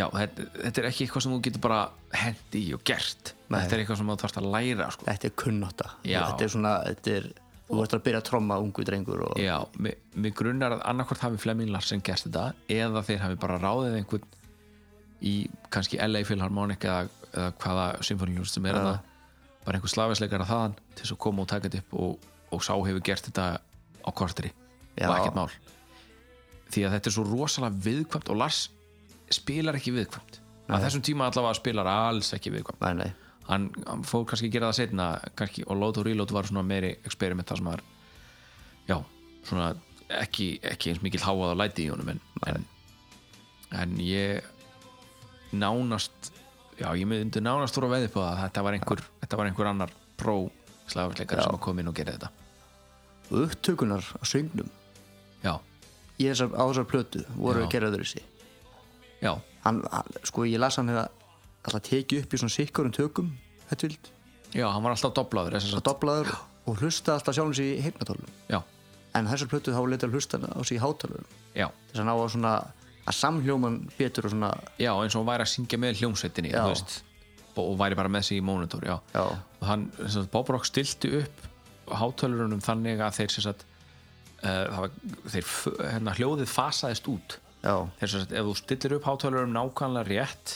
[SPEAKER 6] já, þetta, þetta er ekki eitthvað sem þú getur bara hent í og gert
[SPEAKER 4] Nei.
[SPEAKER 6] þetta er eitthvað sem þú þarfst að læra sko.
[SPEAKER 4] þetta er kunnáta
[SPEAKER 6] Já.
[SPEAKER 4] þetta er svona, þetta er þú ert að byrja að tromma ungu drengur og
[SPEAKER 6] já, mig, mig grunnar að annarkvort hafi Flemming Larsen gert þetta eða þeir hafi bara ráðið einhvern í kannski LA Philharmonic eða, eða hvaða symfóniljóð sem er
[SPEAKER 4] Já.
[SPEAKER 6] ja. bara einhver slafisleikar að þaðan til þess að koma og taka þetta upp og, og sá hefur gert þetta á korteri
[SPEAKER 4] Já.
[SPEAKER 6] og ekkert mál því að þetta er svo rosalega viðkvæmt og Lars spilar ekki viðkvæmt að þessum tíma allavega spilar alls ekki viðkvæmt
[SPEAKER 4] Nei, nei,
[SPEAKER 6] hann, hann fór kannski að gera það setna kannski, og load og reload var svona meiri experiment þar sem maður já, svona ekki, ekki eins mikill háað á læti í honum en, en, en ég nánast já, ég myndi nánast voru að veði upp á það að þetta var einhver, þetta var einhver annar pró slagafisleikar sem kom inn og gerði þetta
[SPEAKER 4] upptökunar á söngnum
[SPEAKER 6] já,
[SPEAKER 4] í þessar, á þessar plötu voru
[SPEAKER 6] Já.
[SPEAKER 4] að gera öðru sig
[SPEAKER 6] já,
[SPEAKER 4] hann, hann, sko ég las hann hefða alltaf tekið upp í svona sikkurum tökum þetta vild,
[SPEAKER 6] já, hann var alltaf doblaður þess
[SPEAKER 4] og
[SPEAKER 6] að,
[SPEAKER 4] doblaður og hlusta alltaf sjálfum sig í heimnatólum
[SPEAKER 6] já,
[SPEAKER 4] en þessar plötu þá letur hlusta á sig í hátalurum
[SPEAKER 6] já,
[SPEAKER 4] þess að ná að svona að samhljóman betur og svona
[SPEAKER 6] já, eins og hann væri að syngja með hljómsveitinni,
[SPEAKER 4] Já.
[SPEAKER 6] þú veist og væri bara með sig í monitor, já,
[SPEAKER 4] já,
[SPEAKER 6] og hann, sem sagt, Bob Rock stilti upp hátölurunum þannig að þeir sem sagt uh, það var, þeir, f- hérna, hljóðið fasaðist út
[SPEAKER 4] já,
[SPEAKER 6] þeir sem sagt, ef þú stillir upp hátölurunum nákvæmlega rétt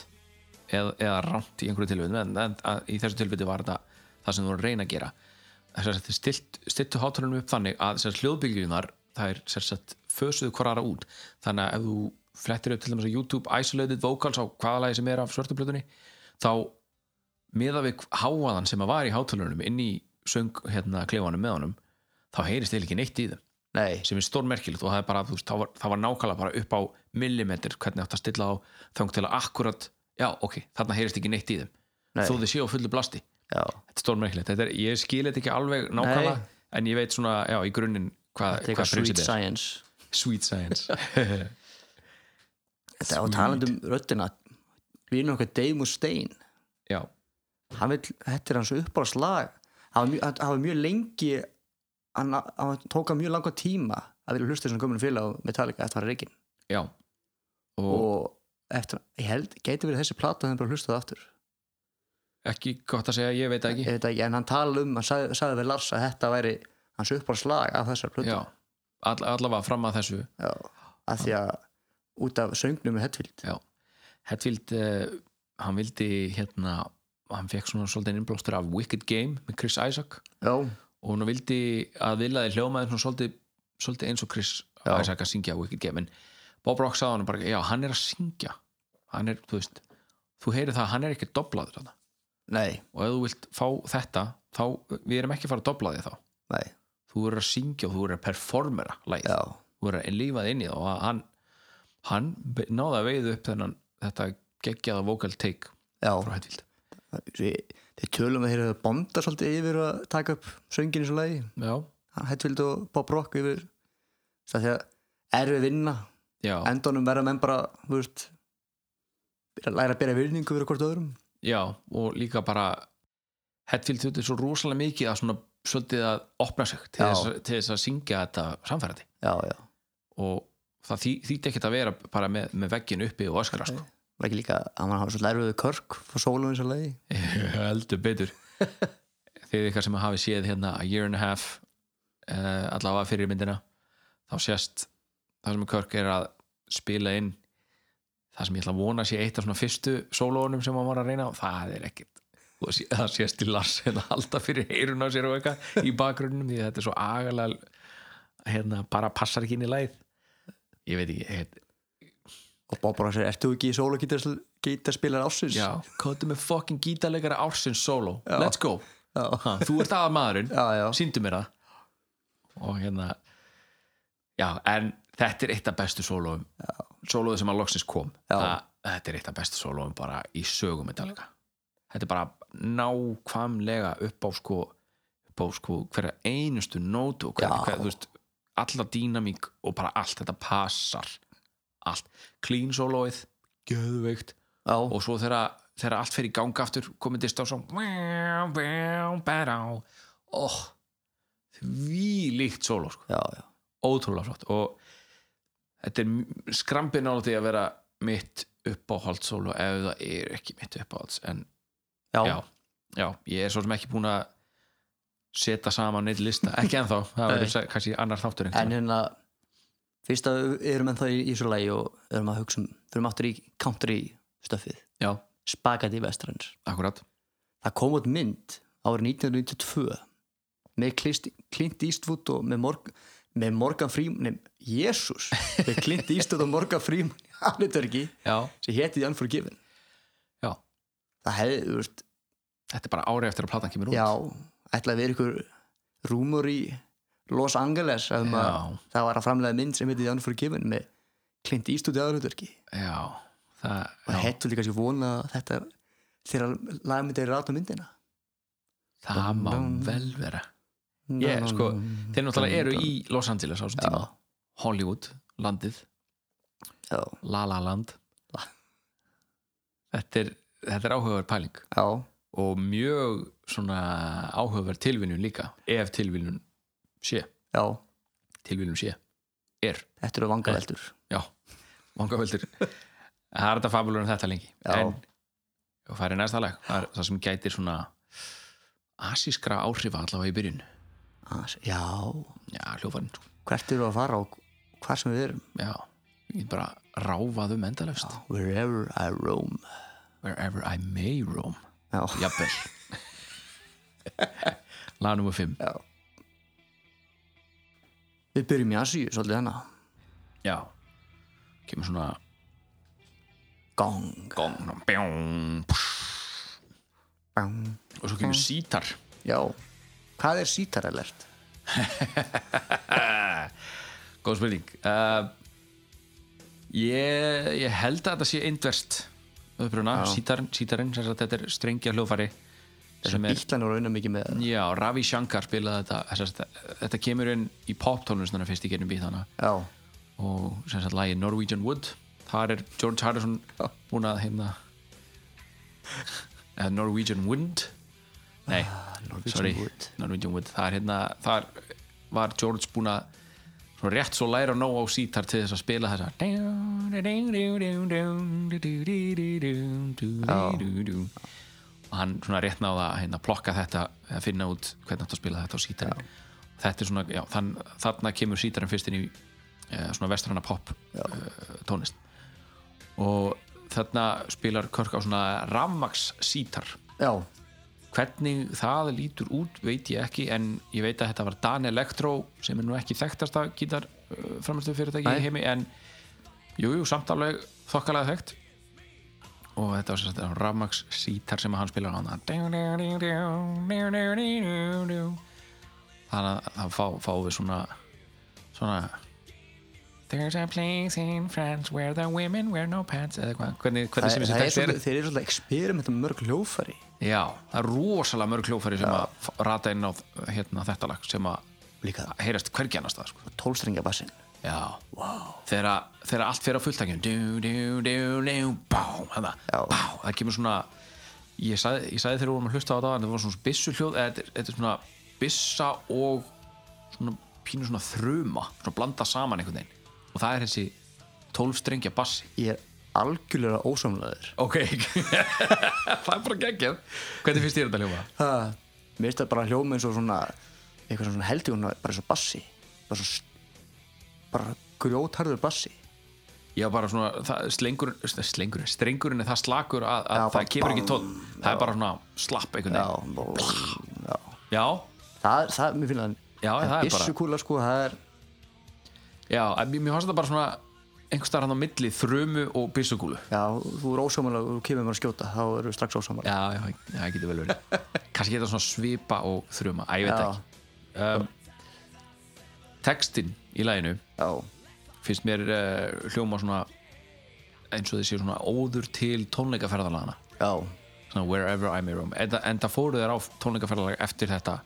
[SPEAKER 6] eða, eða rámt í einhverju tilvíðum en, en að, í þessu tilvíðu var þetta það sem þú voru að reyna að gera þess að þeir stilt, stiltu hátölurunum upp þannig að sem sagt, hljóðbylgjurnar þær sem sagt, fösuðu hvorara út þannig að ef þú flettir upp til dæmis að YouTube isolated vocals á hvaða lagi sem er af svörtuplutunni þá miða við háaðan sem að var í hátölunum inn í söng hérna klefanum með honum þá heyrist eða ekki neitt í þeim
[SPEAKER 4] nei
[SPEAKER 6] sem er stórmerkilegt og það er bara þú veist, það, var, það var nákvæmlega bara upp á millimetr hvernig átt að stilla á þang til að akkurat já ok, þarna heyrist ekki neitt í þeim
[SPEAKER 4] Nei.
[SPEAKER 6] þó þið séu á fullu blasti
[SPEAKER 4] já,
[SPEAKER 6] þetta er stórmerkilegt, þetta er, ég skil þetta ekki alveg nákvæmlega
[SPEAKER 4] Nei.
[SPEAKER 6] en ég veit svona, já, í grunninn hvað,
[SPEAKER 4] þetta
[SPEAKER 6] hvað
[SPEAKER 4] er eitthvað sweet
[SPEAKER 6] prinsipið er
[SPEAKER 4] science
[SPEAKER 6] sweet science
[SPEAKER 4] þetta er á talandum röddina vinur okkar Dave Mustaine
[SPEAKER 6] já,
[SPEAKER 4] hann vill, þetta er hans uppáðs lag hann var mjög- hann- hann var mjög lengi hann, hann tók hann mjög langa tíma að vilja hlusta þessum gömulum félag á Metallica eftir hann reygin
[SPEAKER 6] já og,
[SPEAKER 4] og eftir, ég held, gæti verið þessi plata þannig bara hlustaði aftur
[SPEAKER 6] ekki gott að segja, ég veit það
[SPEAKER 4] ég
[SPEAKER 6] ekki
[SPEAKER 4] veit ekki, en hann tala um, hann sagði, sagði við Lars að þetta væri hans uppáðs lag af þessar plötu
[SPEAKER 6] já, all, allavega fram að þessu
[SPEAKER 4] Já, af því að út af söngnum með Hetfield
[SPEAKER 6] Já, Hetfield uh, hann vildi hérna hann fekk svona svolítið innblástur af Wicked Game með Chris Isaac
[SPEAKER 4] Já,
[SPEAKER 6] og hann vildi að viljaði hljómaði svona svolítið, svolítið eins og Chris
[SPEAKER 4] Já.
[SPEAKER 6] Isaac að syngja Wicked Game en Bob Rock sagði hann bara, já, hann er að syngja hann er, þú veist þú heyrir það, hann er ekki doblaður þarna
[SPEAKER 4] nei,
[SPEAKER 6] og ef þú vilt fá þetta þá, við erum ekki að fara að dobla þig þá
[SPEAKER 4] nei,
[SPEAKER 6] þú verður að syngja og þú verður að performera lægið
[SPEAKER 4] já,
[SPEAKER 6] og er að lífað inn í það og að hann, hann be- náði að veið upp þennan þetta geggjaða vocal take
[SPEAKER 4] já
[SPEAKER 6] frá Hetfield
[SPEAKER 4] Þi- Þeir tölum að þeir eru bonda svolítið yfir að taka upp söngin í svo lagi
[SPEAKER 6] já,
[SPEAKER 4] Hann Hetfield og Bob Rock yfir Það því að erfið vinna
[SPEAKER 6] já,
[SPEAKER 4] Endunum verða menn bara, þú veist byrja að læra að bera virðningu fyrir hvort öðrum
[SPEAKER 6] já og líka bara Hetfield þurfti svo rosalega mikið að svona svolítið að opna sig til,
[SPEAKER 4] Já.
[SPEAKER 6] þess, að- til þess að syngja þetta samfærandi
[SPEAKER 4] Já, já,
[SPEAKER 6] og það þý, þýtti ekkert að vera bara með, með veggin uppi og öskra sko.
[SPEAKER 4] var ekki líka að mann hafa svolítið erfið við Körk fór sólum í svo lagi
[SPEAKER 6] heldur betur þegar ykkar sem hafi séð hérna a year and a half uh, allavega fyrir myndina þá sést það sem Körk er að spila inn það sem ég ætla að vona sé eitt af svona fyrstu sólóunum sem hann var að reyna á, það er ekkert Og sé- það sést til Lars hérna halda fyrir eyrun á sér og eitthvað í bakgrunnum því að þetta er svo agalega hérna bara passar ekki inn í læð ég veit ekki heit,
[SPEAKER 4] Og Bob Rock sér, ertu ekki í sólagítarspilar ásins?
[SPEAKER 6] já, kóttu með fucking gítarleikara ársins sóló,
[SPEAKER 4] Já.
[SPEAKER 6] let's go
[SPEAKER 4] já,
[SPEAKER 6] ha, þú ert aðal maðurinn,
[SPEAKER 4] já, já.
[SPEAKER 6] síndu mér það og hérna já, en þetta er eitt af bestu sólóum sólóðu sem að loksins kom
[SPEAKER 4] Já.
[SPEAKER 6] það, þetta er eitt af bestu sólóum bara í sögum Metallica þetta er bara nákvæmlega upp á sko, upp á sko hverja einustu nótu og hverja,
[SPEAKER 4] Já.
[SPEAKER 6] hverja, þú veist, alla dýnamík og bara allt, þetta passar allt, clean sólóið geðveikt
[SPEAKER 4] já.
[SPEAKER 6] og svo þegar, þegar allt fer í gang aftur komið Distortion oh, því líkt solo sko.
[SPEAKER 4] já, já.
[SPEAKER 6] ótrúlega flott og þetta er skrampin á því að vera mitt uppáhald solo ef það er ekki mitt uppáhalds en
[SPEAKER 4] Já,
[SPEAKER 6] já, já, ég er svo sem ekki búin að setja saman neitt lista, ekki ennþá það
[SPEAKER 4] Nei.
[SPEAKER 6] verður sa- kannski annar þáttur
[SPEAKER 4] en
[SPEAKER 6] einhvern tímann.
[SPEAKER 4] hérna fyrst að við erum ennþá í, í svo lagi og erum að hugsa um, þurfum aftur í country stöfið,
[SPEAKER 6] já,
[SPEAKER 4] Spaghetti Westerns
[SPEAKER 6] akkurat
[SPEAKER 4] það kom út mynd árið 1992 með Clint, Clint Eastwood og með, Morg, með Morgan Freeman nei, Jesus, með Clint Eastwood og Morgan Freeman hlutverki
[SPEAKER 6] já,
[SPEAKER 4] sem héti The Unforgiven
[SPEAKER 6] já,
[SPEAKER 4] það hefði, þú veist,
[SPEAKER 6] þetta er bara ári eftir að platan kemur út
[SPEAKER 4] já ætlaði að vera ykkur rúmur í Los Angeles um að
[SPEAKER 6] Já.
[SPEAKER 4] það var að framlega mynd sem heiti The Unforgiven með Clint Eastwood í aðalhutverki
[SPEAKER 6] já, það,
[SPEAKER 4] og
[SPEAKER 6] já,
[SPEAKER 4] hettu líka sér vona að þetta þegar lagmyndið er rátt á myndina
[SPEAKER 6] það má vel vera ég, sko, þeir náttúrulega eru í Los Angeles á þessum tíma Hollywood, landið,
[SPEAKER 4] já,
[SPEAKER 6] La La Land
[SPEAKER 4] La-
[SPEAKER 6] þetta er, þetta er áhugaverð pæling
[SPEAKER 4] já,
[SPEAKER 6] og mjög svona áhugaverð tilvinnun líka ef tilvinnun sé
[SPEAKER 4] já
[SPEAKER 6] tilvinnun sé, er
[SPEAKER 4] þetta eru vangaveldur
[SPEAKER 6] já, vanga völdur það er þetta fabulur um þetta lengi
[SPEAKER 4] Já.
[SPEAKER 6] en og færi næsta lag það, er, það sem gætir svona asískra áhrifa allavega í byrjun
[SPEAKER 4] As- já,
[SPEAKER 6] já, hljófarinn sko.
[SPEAKER 4] hvert eru að fara og hvað sem við erum
[SPEAKER 6] já, ég get bara ráfað um endalaust
[SPEAKER 4] wherever I roam
[SPEAKER 6] wherever I may roam
[SPEAKER 4] já,
[SPEAKER 6] jafnvel lag nummer 5
[SPEAKER 4] já. við byrjum í Asíu svolítið hana
[SPEAKER 6] já, kemur svona
[SPEAKER 4] gong
[SPEAKER 6] gong, svona bjóng,
[SPEAKER 4] bang.
[SPEAKER 6] og svo kemur sítar
[SPEAKER 4] já, hvað er sítaralert?
[SPEAKER 6] góð spurning uh, ég, ég held að þetta sé indverst uppruna, sítarinn, sítarinn sem sagt, þetta er strengja hljófari sem er,
[SPEAKER 4] Ítlan voru að unna mikið með það
[SPEAKER 6] já, Ravi Shankar spilaði þetta, sem sagt, þetta kemur inn í poptónlistuna fyrst í gerum býtana
[SPEAKER 4] já,
[SPEAKER 6] og sem sagt lagi Norwegian Wood þar er George Harrison búin að hérna eða Norwegian Wind nei,
[SPEAKER 4] Norwegian
[SPEAKER 6] sorry
[SPEAKER 4] Wood.
[SPEAKER 6] Norwegian Wood, þar hérna þar var George búin að svona rétt svo læra nóg á sítar til þess að spila þessa og hann svona rétt náða að hérna, plokka þetta að finna út hvernig þetta spila þetta á sítar þetta er svona, já, þann, þarna kemur sítarinn fyrst inn í eh, svona vestranna pop eh, tónlist og þarna spilar Körk á svona rafmaks sítar
[SPEAKER 4] já,
[SPEAKER 6] hvernig það lítur út veit ég ekki en ég veit að þetta var Dan Electro sem er nú ekki þekktasta gítar framistu fyrirtæki í heimi en jújú, jú, samt alveg þokkalega þekkt og þetta var sérstaklega Ramax sítar sem hann spilar á hann þannig að það fá, fá við svona svona There's a place in France where the women wear no pants eða hvað, hvernig,
[SPEAKER 4] það,
[SPEAKER 6] hvernig sem
[SPEAKER 4] er-
[SPEAKER 6] þessi
[SPEAKER 4] það er
[SPEAKER 6] texti er
[SPEAKER 4] svolítið, þeir eru svolítið eksperiment með mörg hljófari
[SPEAKER 6] Já, það er rosalega mörg hljófæri sem að f- rata inn á þ- hérna, þetta lag sem að
[SPEAKER 4] líka
[SPEAKER 6] heyrast hvergi annars það sko.
[SPEAKER 4] tólstrengja bassin
[SPEAKER 6] Já, wow. þegar, þegar allt fer á fulltækjum dú, dú, dú, dú, bá, hana,
[SPEAKER 4] Já.
[SPEAKER 6] bá, það kemur svona ég sagði, ég sagði þegar við vorum að hlusta á þetta en það var svona byssu hljóð eða þetta er- þetta er svona byssa og svona pínu svona þruma svona blanda saman einhvern veginn og það er þessi tólfstrengja bassi
[SPEAKER 4] ég er algjörlega ósamlegaður
[SPEAKER 6] Ok, það er bara geggjað Hvernig finnst þér þetta hljófa?
[SPEAKER 4] Ha, mér finnst það bara hljóma eins og svona eitthvað svona heldur hún bara eins og bassi bara svo s- bara grjótharður bassi
[SPEAKER 6] Já, bara svona, það, slengur, slengur, strengurinn er það slakur að, að
[SPEAKER 4] Já,
[SPEAKER 6] það
[SPEAKER 4] bara
[SPEAKER 6] kemur ekki
[SPEAKER 4] bang.
[SPEAKER 6] tótt. Það er bara svona slapp einhvern
[SPEAKER 4] já,
[SPEAKER 6] veginn.
[SPEAKER 4] bó- já.
[SPEAKER 6] Já,
[SPEAKER 4] Það, það, mér finnst
[SPEAKER 6] Já,
[SPEAKER 4] það
[SPEAKER 6] það er bara-
[SPEAKER 4] bissukúla sko, það er
[SPEAKER 6] já, en mér- mér fannst þetta bara svona einhvers staðar hann á milli þrömu og byssugúlu.
[SPEAKER 4] já, þú er ósamlega, þú kemur mér að skjóta þá eru við strax ósamlega
[SPEAKER 6] Já, já, já, það getur vel verið. Kannski þetta svona svipa og þröma, að ég veit
[SPEAKER 4] Já.
[SPEAKER 6] ekki. Um, textin í læginu
[SPEAKER 4] já,
[SPEAKER 6] finnst mér uh, hljóma svona eins og þessi svona óður til tónleikaferðalagana.
[SPEAKER 4] já,
[SPEAKER 6] svona Wherever I May Roam en, en það fóru þér á tónleikaferðalag eftir þetta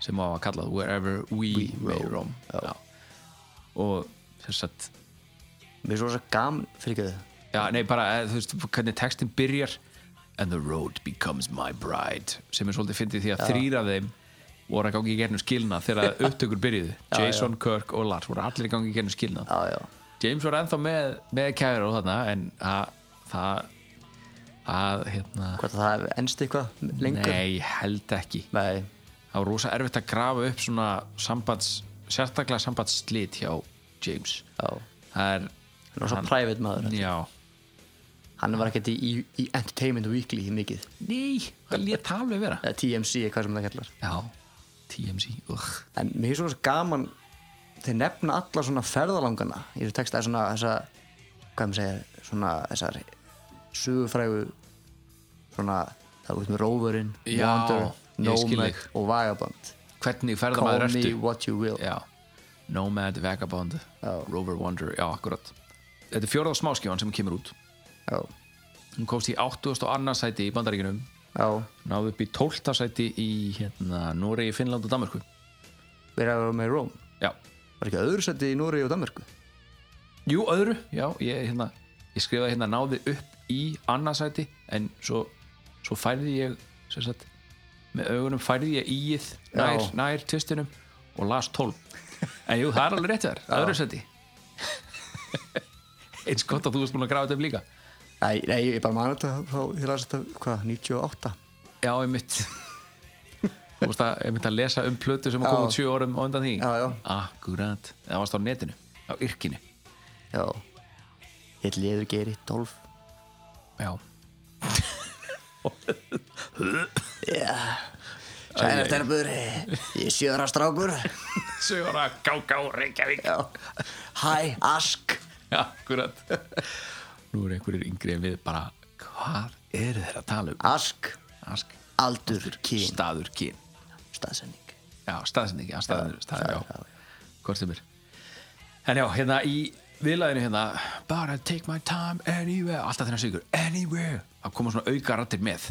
[SPEAKER 6] sem á að kallað Wherever We, May Roam já. og þess að
[SPEAKER 4] mér finnst það gaman fyrir ekki þau
[SPEAKER 6] já, nei bara, eh, þú veist, hvernig textin byrjar and the road becomes my bride sem er svolítið fyndið því að þrír af þeim voru að gangi í gernum skilna þegar upptökur byrjuðu, Jason, Kirk og Lars voru allir í gangi í gernum skilna
[SPEAKER 4] já, já,
[SPEAKER 6] James var ennþá með, með kæru og þarna en það það, það hérna
[SPEAKER 4] hvað það hefur ennst eitthvað lengur
[SPEAKER 6] nei, ég held ekki
[SPEAKER 4] Nei.
[SPEAKER 6] það var rosa erfitt að grafa upp svona sambands, sérstaklega sambandsslit hjá James
[SPEAKER 4] já,
[SPEAKER 6] það er
[SPEAKER 4] hann var svo private maður
[SPEAKER 6] já,
[SPEAKER 4] hann var ekkert í, í, í Entertainment Weekly mikið,
[SPEAKER 6] nei, það lét það alveg vera
[SPEAKER 4] eða TMC eða hvað sem það kallar
[SPEAKER 6] já, TMZ ugh.
[SPEAKER 4] en mér finnst svo gaman þeir nefna alla svona ferðalangana í þessu texta er svona þessa hvað maður segja svona þessar sögufrægu svona það er út með Roverinn,
[SPEAKER 6] Já,
[SPEAKER 4] Wanderer,
[SPEAKER 6] ég skil
[SPEAKER 4] Nomad
[SPEAKER 6] þig.
[SPEAKER 4] og Vagabond
[SPEAKER 6] hvernig
[SPEAKER 4] Call
[SPEAKER 6] ferðamaður
[SPEAKER 4] me
[SPEAKER 6] ertu
[SPEAKER 4] what you will
[SPEAKER 6] já. Nomad, Vagabond,
[SPEAKER 4] Já.
[SPEAKER 6] Rover Wanderer já, akkurat þetta er fjóraða smáskjáðan sem kemur út
[SPEAKER 4] já,
[SPEAKER 6] hún komst í 82. sæti í Bandaríkinum
[SPEAKER 4] já.
[SPEAKER 6] náðu upp í 12. sæti í hérna, Noregi, Finnland og Danmarku
[SPEAKER 4] við erum með Rome
[SPEAKER 6] já,
[SPEAKER 4] var ekki öðru seti í Núri og Danmörku
[SPEAKER 6] jú, öðru já, ég, hérna, ég skrifaði hérna náði upp í annað sæti en svo, svo færði ég sem sagt, með augunum færði ég íið nær,
[SPEAKER 4] Já.
[SPEAKER 6] nær tvistinum og las 12 en jú, það er alveg rétt þér, öðru sæti eins gott að þú veist búin að grafa þetta upp líka
[SPEAKER 4] nei, nei, ég bara man þetta þá ég las þetta, hvað, 98
[SPEAKER 6] já, einmitt þú veist að, einmitt að lesa um plötu sem að koma
[SPEAKER 4] Já.
[SPEAKER 6] út 7 árum og undan því
[SPEAKER 4] Já, já.
[SPEAKER 6] akkurat, það varst á netinu á yrkinu
[SPEAKER 4] já ég leður geri, Dolf
[SPEAKER 6] já,
[SPEAKER 4] Sænar Terpur, ég er sjöra strákur
[SPEAKER 6] sögur að gá gá Reykjavík
[SPEAKER 4] já. hæ, ask
[SPEAKER 6] já, akkurat nú eru einhverjir yngri en við bara hvað eru þeir að tala um
[SPEAKER 4] ask,
[SPEAKER 6] Ask.
[SPEAKER 4] aldur, kyn
[SPEAKER 6] staður kyn
[SPEAKER 4] staðsending
[SPEAKER 6] já, staðsending, já, staður, staður,
[SPEAKER 4] staður,
[SPEAKER 6] já. hvort sem er en já, hérna í viðlæðinu hérna bara take my time anywhere alltaf þennan sigur, anywhere það koma svona auka rattir með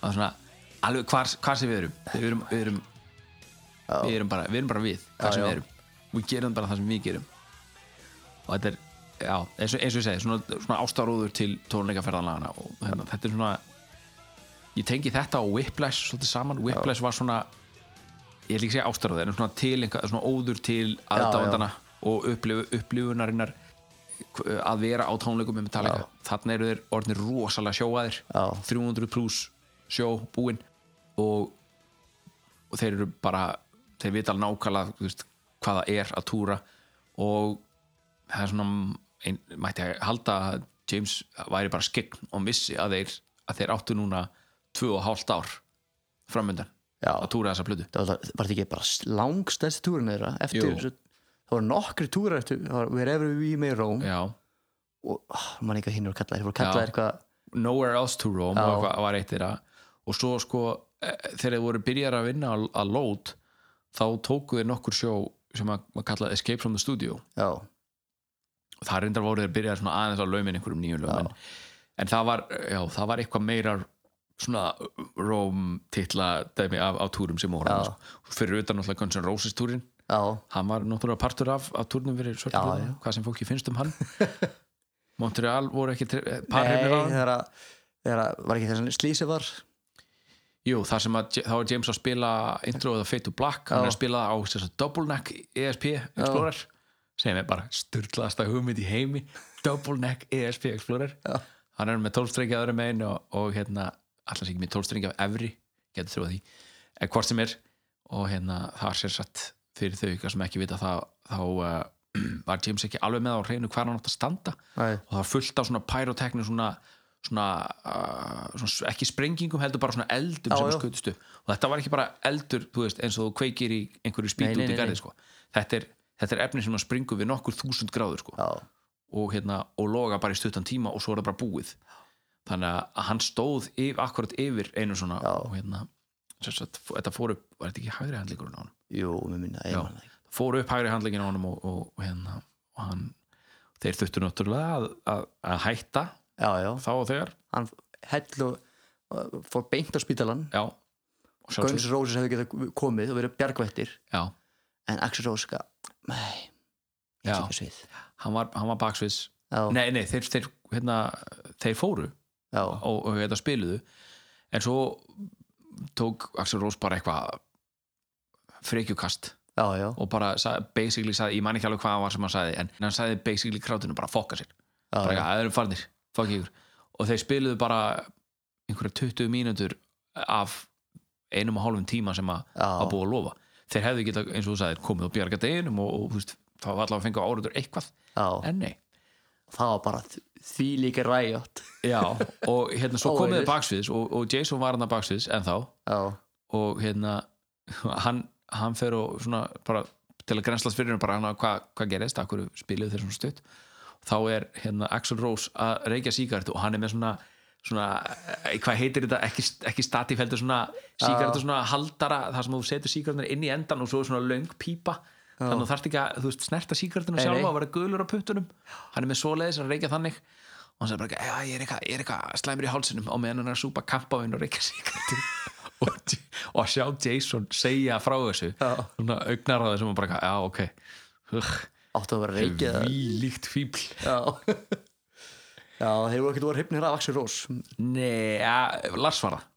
[SPEAKER 6] það er svona, alveg hvar, hvar sem við erum við erum, við erum, við erum bara við erum bara við,
[SPEAKER 4] Já,
[SPEAKER 6] hvað sem
[SPEAKER 4] já.
[SPEAKER 6] við erum við gerum bara það sem við gerum og þetta er, já, eins og, eins og ég segi svona, svona ástaróður til tónleikaferðanlagana og hérna, þetta er svona ég tengi þetta og Whiplash svolítið saman, Whiplash var svona ég ætla ekki að segja ástaróður, en svona tilenga svona óður til aðdáðandana og upplifu, upplifunarinnar eh, að vera á tónleikum með Metallica þannig eru þeir orðinir rosalega sjóaðir
[SPEAKER 4] Já.
[SPEAKER 6] 300 pluss sjó búinn og, og þeir eru bara þeir vita alveg nákvæmlega þú veist, hvað það er að túra og það er svona ein, mætti að halda að James væri bara skegn og missi að þeir, að þeir áttu núna tvö og hálft ár framöndan
[SPEAKER 4] Já.
[SPEAKER 6] að túra þessa plötu
[SPEAKER 4] það var, var þetta ekki bara langstæðst túrin þeirra eftir,
[SPEAKER 6] Jú.
[SPEAKER 4] svo, það voru nokkri túrar eftir, það var wherever we may roam
[SPEAKER 6] Já.
[SPEAKER 4] og oh, mann ekki að hinn voru kallaðir, þeir voru kallaðir
[SPEAKER 6] Já.
[SPEAKER 4] eitthvað
[SPEAKER 6] Nowhere Else to Roam
[SPEAKER 4] Já.
[SPEAKER 6] var, eitthvað- var eitt þeirra og svo sko eh, þegar þeir voru byrjar að vinna að, að load þá tóku þeir nokkur sjó sem að, að kalla Escape from the Studio
[SPEAKER 4] já,
[SPEAKER 6] og það reyndar voru þeir byrjar svona aðeins að laumin einhverjum nýjum lögum en, en það var, já, það var eitthvað meira svona Róm titla dæmi af, af túrum sem voru
[SPEAKER 4] Já.
[SPEAKER 6] þarna, sko. fyrir utan náttúrulega Guns N' Roses túrin
[SPEAKER 4] já,
[SPEAKER 6] hann var náttúrulega partur af, af túrnum fyrir
[SPEAKER 4] Já,
[SPEAKER 6] Svörnum,
[SPEAKER 4] já.
[SPEAKER 6] hvað sem fólki finnst um hann Montreal voru ekki eh,
[SPEAKER 4] nei,
[SPEAKER 6] parrið með hann
[SPEAKER 4] þegar að þegar að, var ekki þessan slísi var
[SPEAKER 6] Jú, þar sem að, þá er James að spila introið á Fade to Black, hann
[SPEAKER 4] Já.
[SPEAKER 6] er að spila á þess að Double Neck ESP Explorer sem er bara styrlaðasta hugmynd í heimi Double Neck ESP Explorer
[SPEAKER 4] Já.
[SPEAKER 6] hann er með 12 strengja öðrum megin og, og hérna, allans ekki með 12 strengja af evri, getur trúið því en hvort sem er, og hérna það er sér satt fyrir þau ykkar sem ekki vita það, þá uh, var James ekki alveg með á hreinu hvar hann átt að standa
[SPEAKER 4] Nei.
[SPEAKER 6] og það var fullt af svona pyrotekni svona, svona, uh, svona ekki sprengingum heldur bara svona eldum
[SPEAKER 4] Já,
[SPEAKER 6] sem
[SPEAKER 4] já.
[SPEAKER 6] skutist upp og þetta var ekki bara eldur þú veist, eins og þú kveikir í einhverju
[SPEAKER 4] Nei,
[SPEAKER 6] spýt
[SPEAKER 4] nei,
[SPEAKER 6] út í
[SPEAKER 4] nei,
[SPEAKER 6] garði sko. þetta, er, þetta er efni sem að springu við nokkur þúsund gráður sko.
[SPEAKER 4] já,
[SPEAKER 6] og, hérna, og loga bara í stuttan tíma og svo er það bara búið þannig að hann stóð yf, akkurat yfir einu svona
[SPEAKER 4] Já.
[SPEAKER 6] og hérna sem sagt, fó- þetta fór upp, var þetta ekki hægri handlíkurinn á hann
[SPEAKER 4] jú, mér minna, ég
[SPEAKER 6] Já.
[SPEAKER 4] man það ekki
[SPEAKER 6] fór upp hægri handlegin á honum og, og, og, hérna, og hann, þeir þurftu náttúrulega að, að, að hætta
[SPEAKER 4] já, já,
[SPEAKER 6] þá og þegar
[SPEAKER 4] hann hell og fór beint á spítalan
[SPEAKER 6] já, og
[SPEAKER 4] Guns
[SPEAKER 6] sjálfsögðu-
[SPEAKER 4] Roses hefði getað komið og verið bjargvættir
[SPEAKER 6] já,
[SPEAKER 4] en Axel Rose sko, gaf, nei, ég
[SPEAKER 6] Já.
[SPEAKER 4] ekki þessu við
[SPEAKER 6] hann var, hann var baksviðs
[SPEAKER 4] Já.
[SPEAKER 6] nei, nei, þeir, þeir, hérna, þeir fóru
[SPEAKER 4] já,
[SPEAKER 6] og, og hérna, spiluðu en svo tók Axel Rós bara eitthvað frekjukast
[SPEAKER 4] já, já,
[SPEAKER 6] og bara sa, basically sagði, ég man ekki alveg hvað hann var sem hann sagði en hann sagði basically krátinu bara fokka sér bara
[SPEAKER 4] já,
[SPEAKER 6] eitthvað, það eru farnir, fokk ykkur og þeir spiluðu bara einhverja 20 mínútur af einum og hálfum tíma sem að
[SPEAKER 4] Já.
[SPEAKER 6] að búa að lofa þeir hefðu geta, eins og þú sagðir, komið og bjarga deginum og, og þú veist, þá var allavega að fengja áriður eitthvað
[SPEAKER 4] já.
[SPEAKER 6] en nei,
[SPEAKER 4] það var bara þ- því líka ræjot
[SPEAKER 6] já og hérna svo
[SPEAKER 4] Óeirir.
[SPEAKER 6] komið þið baksviðs og, og Jason var hérna hann að baksviðs en þá
[SPEAKER 4] já,
[SPEAKER 6] og hérna hann, hann fer og svona bara til að grenslast fyrir hann bara hann að hvað hva gerist, akkur spiluðu þeir svona stutt þá er hérna Axel Rose að reykja sígartu og hann er með svona, svona eh, hvað heitir þetta, ekki, ekki statifeldur svona sígartu svona haldara þar sem þú setur sígartunar inn í endan og svo er svona löng pípa þannig að þú þarft ekki að þú veist, snerta sígartuna
[SPEAKER 4] Nei,
[SPEAKER 6] sjálfa
[SPEAKER 4] nei.
[SPEAKER 6] og vera gulur á puttunum hann er með svoleiðis að reykja þannig og hann sagði bara, "Já, ég er eitthvað ég er eitthvað slæmur í hálsinum og meðan hann er að súpa kampaðin og reykja sígartu og, og að sjá Jason segja frá þessu
[SPEAKER 4] Já.
[SPEAKER 6] svona augnar á þessum og bara, já, ok Ugh,
[SPEAKER 4] áttu að vera reykið eða-
[SPEAKER 6] Vílíkt fíbl
[SPEAKER 4] já já, þeir voru ekkert voru hrypnir af Axel Rós
[SPEAKER 6] Nei, ja, Lars var það
[SPEAKER 4] já,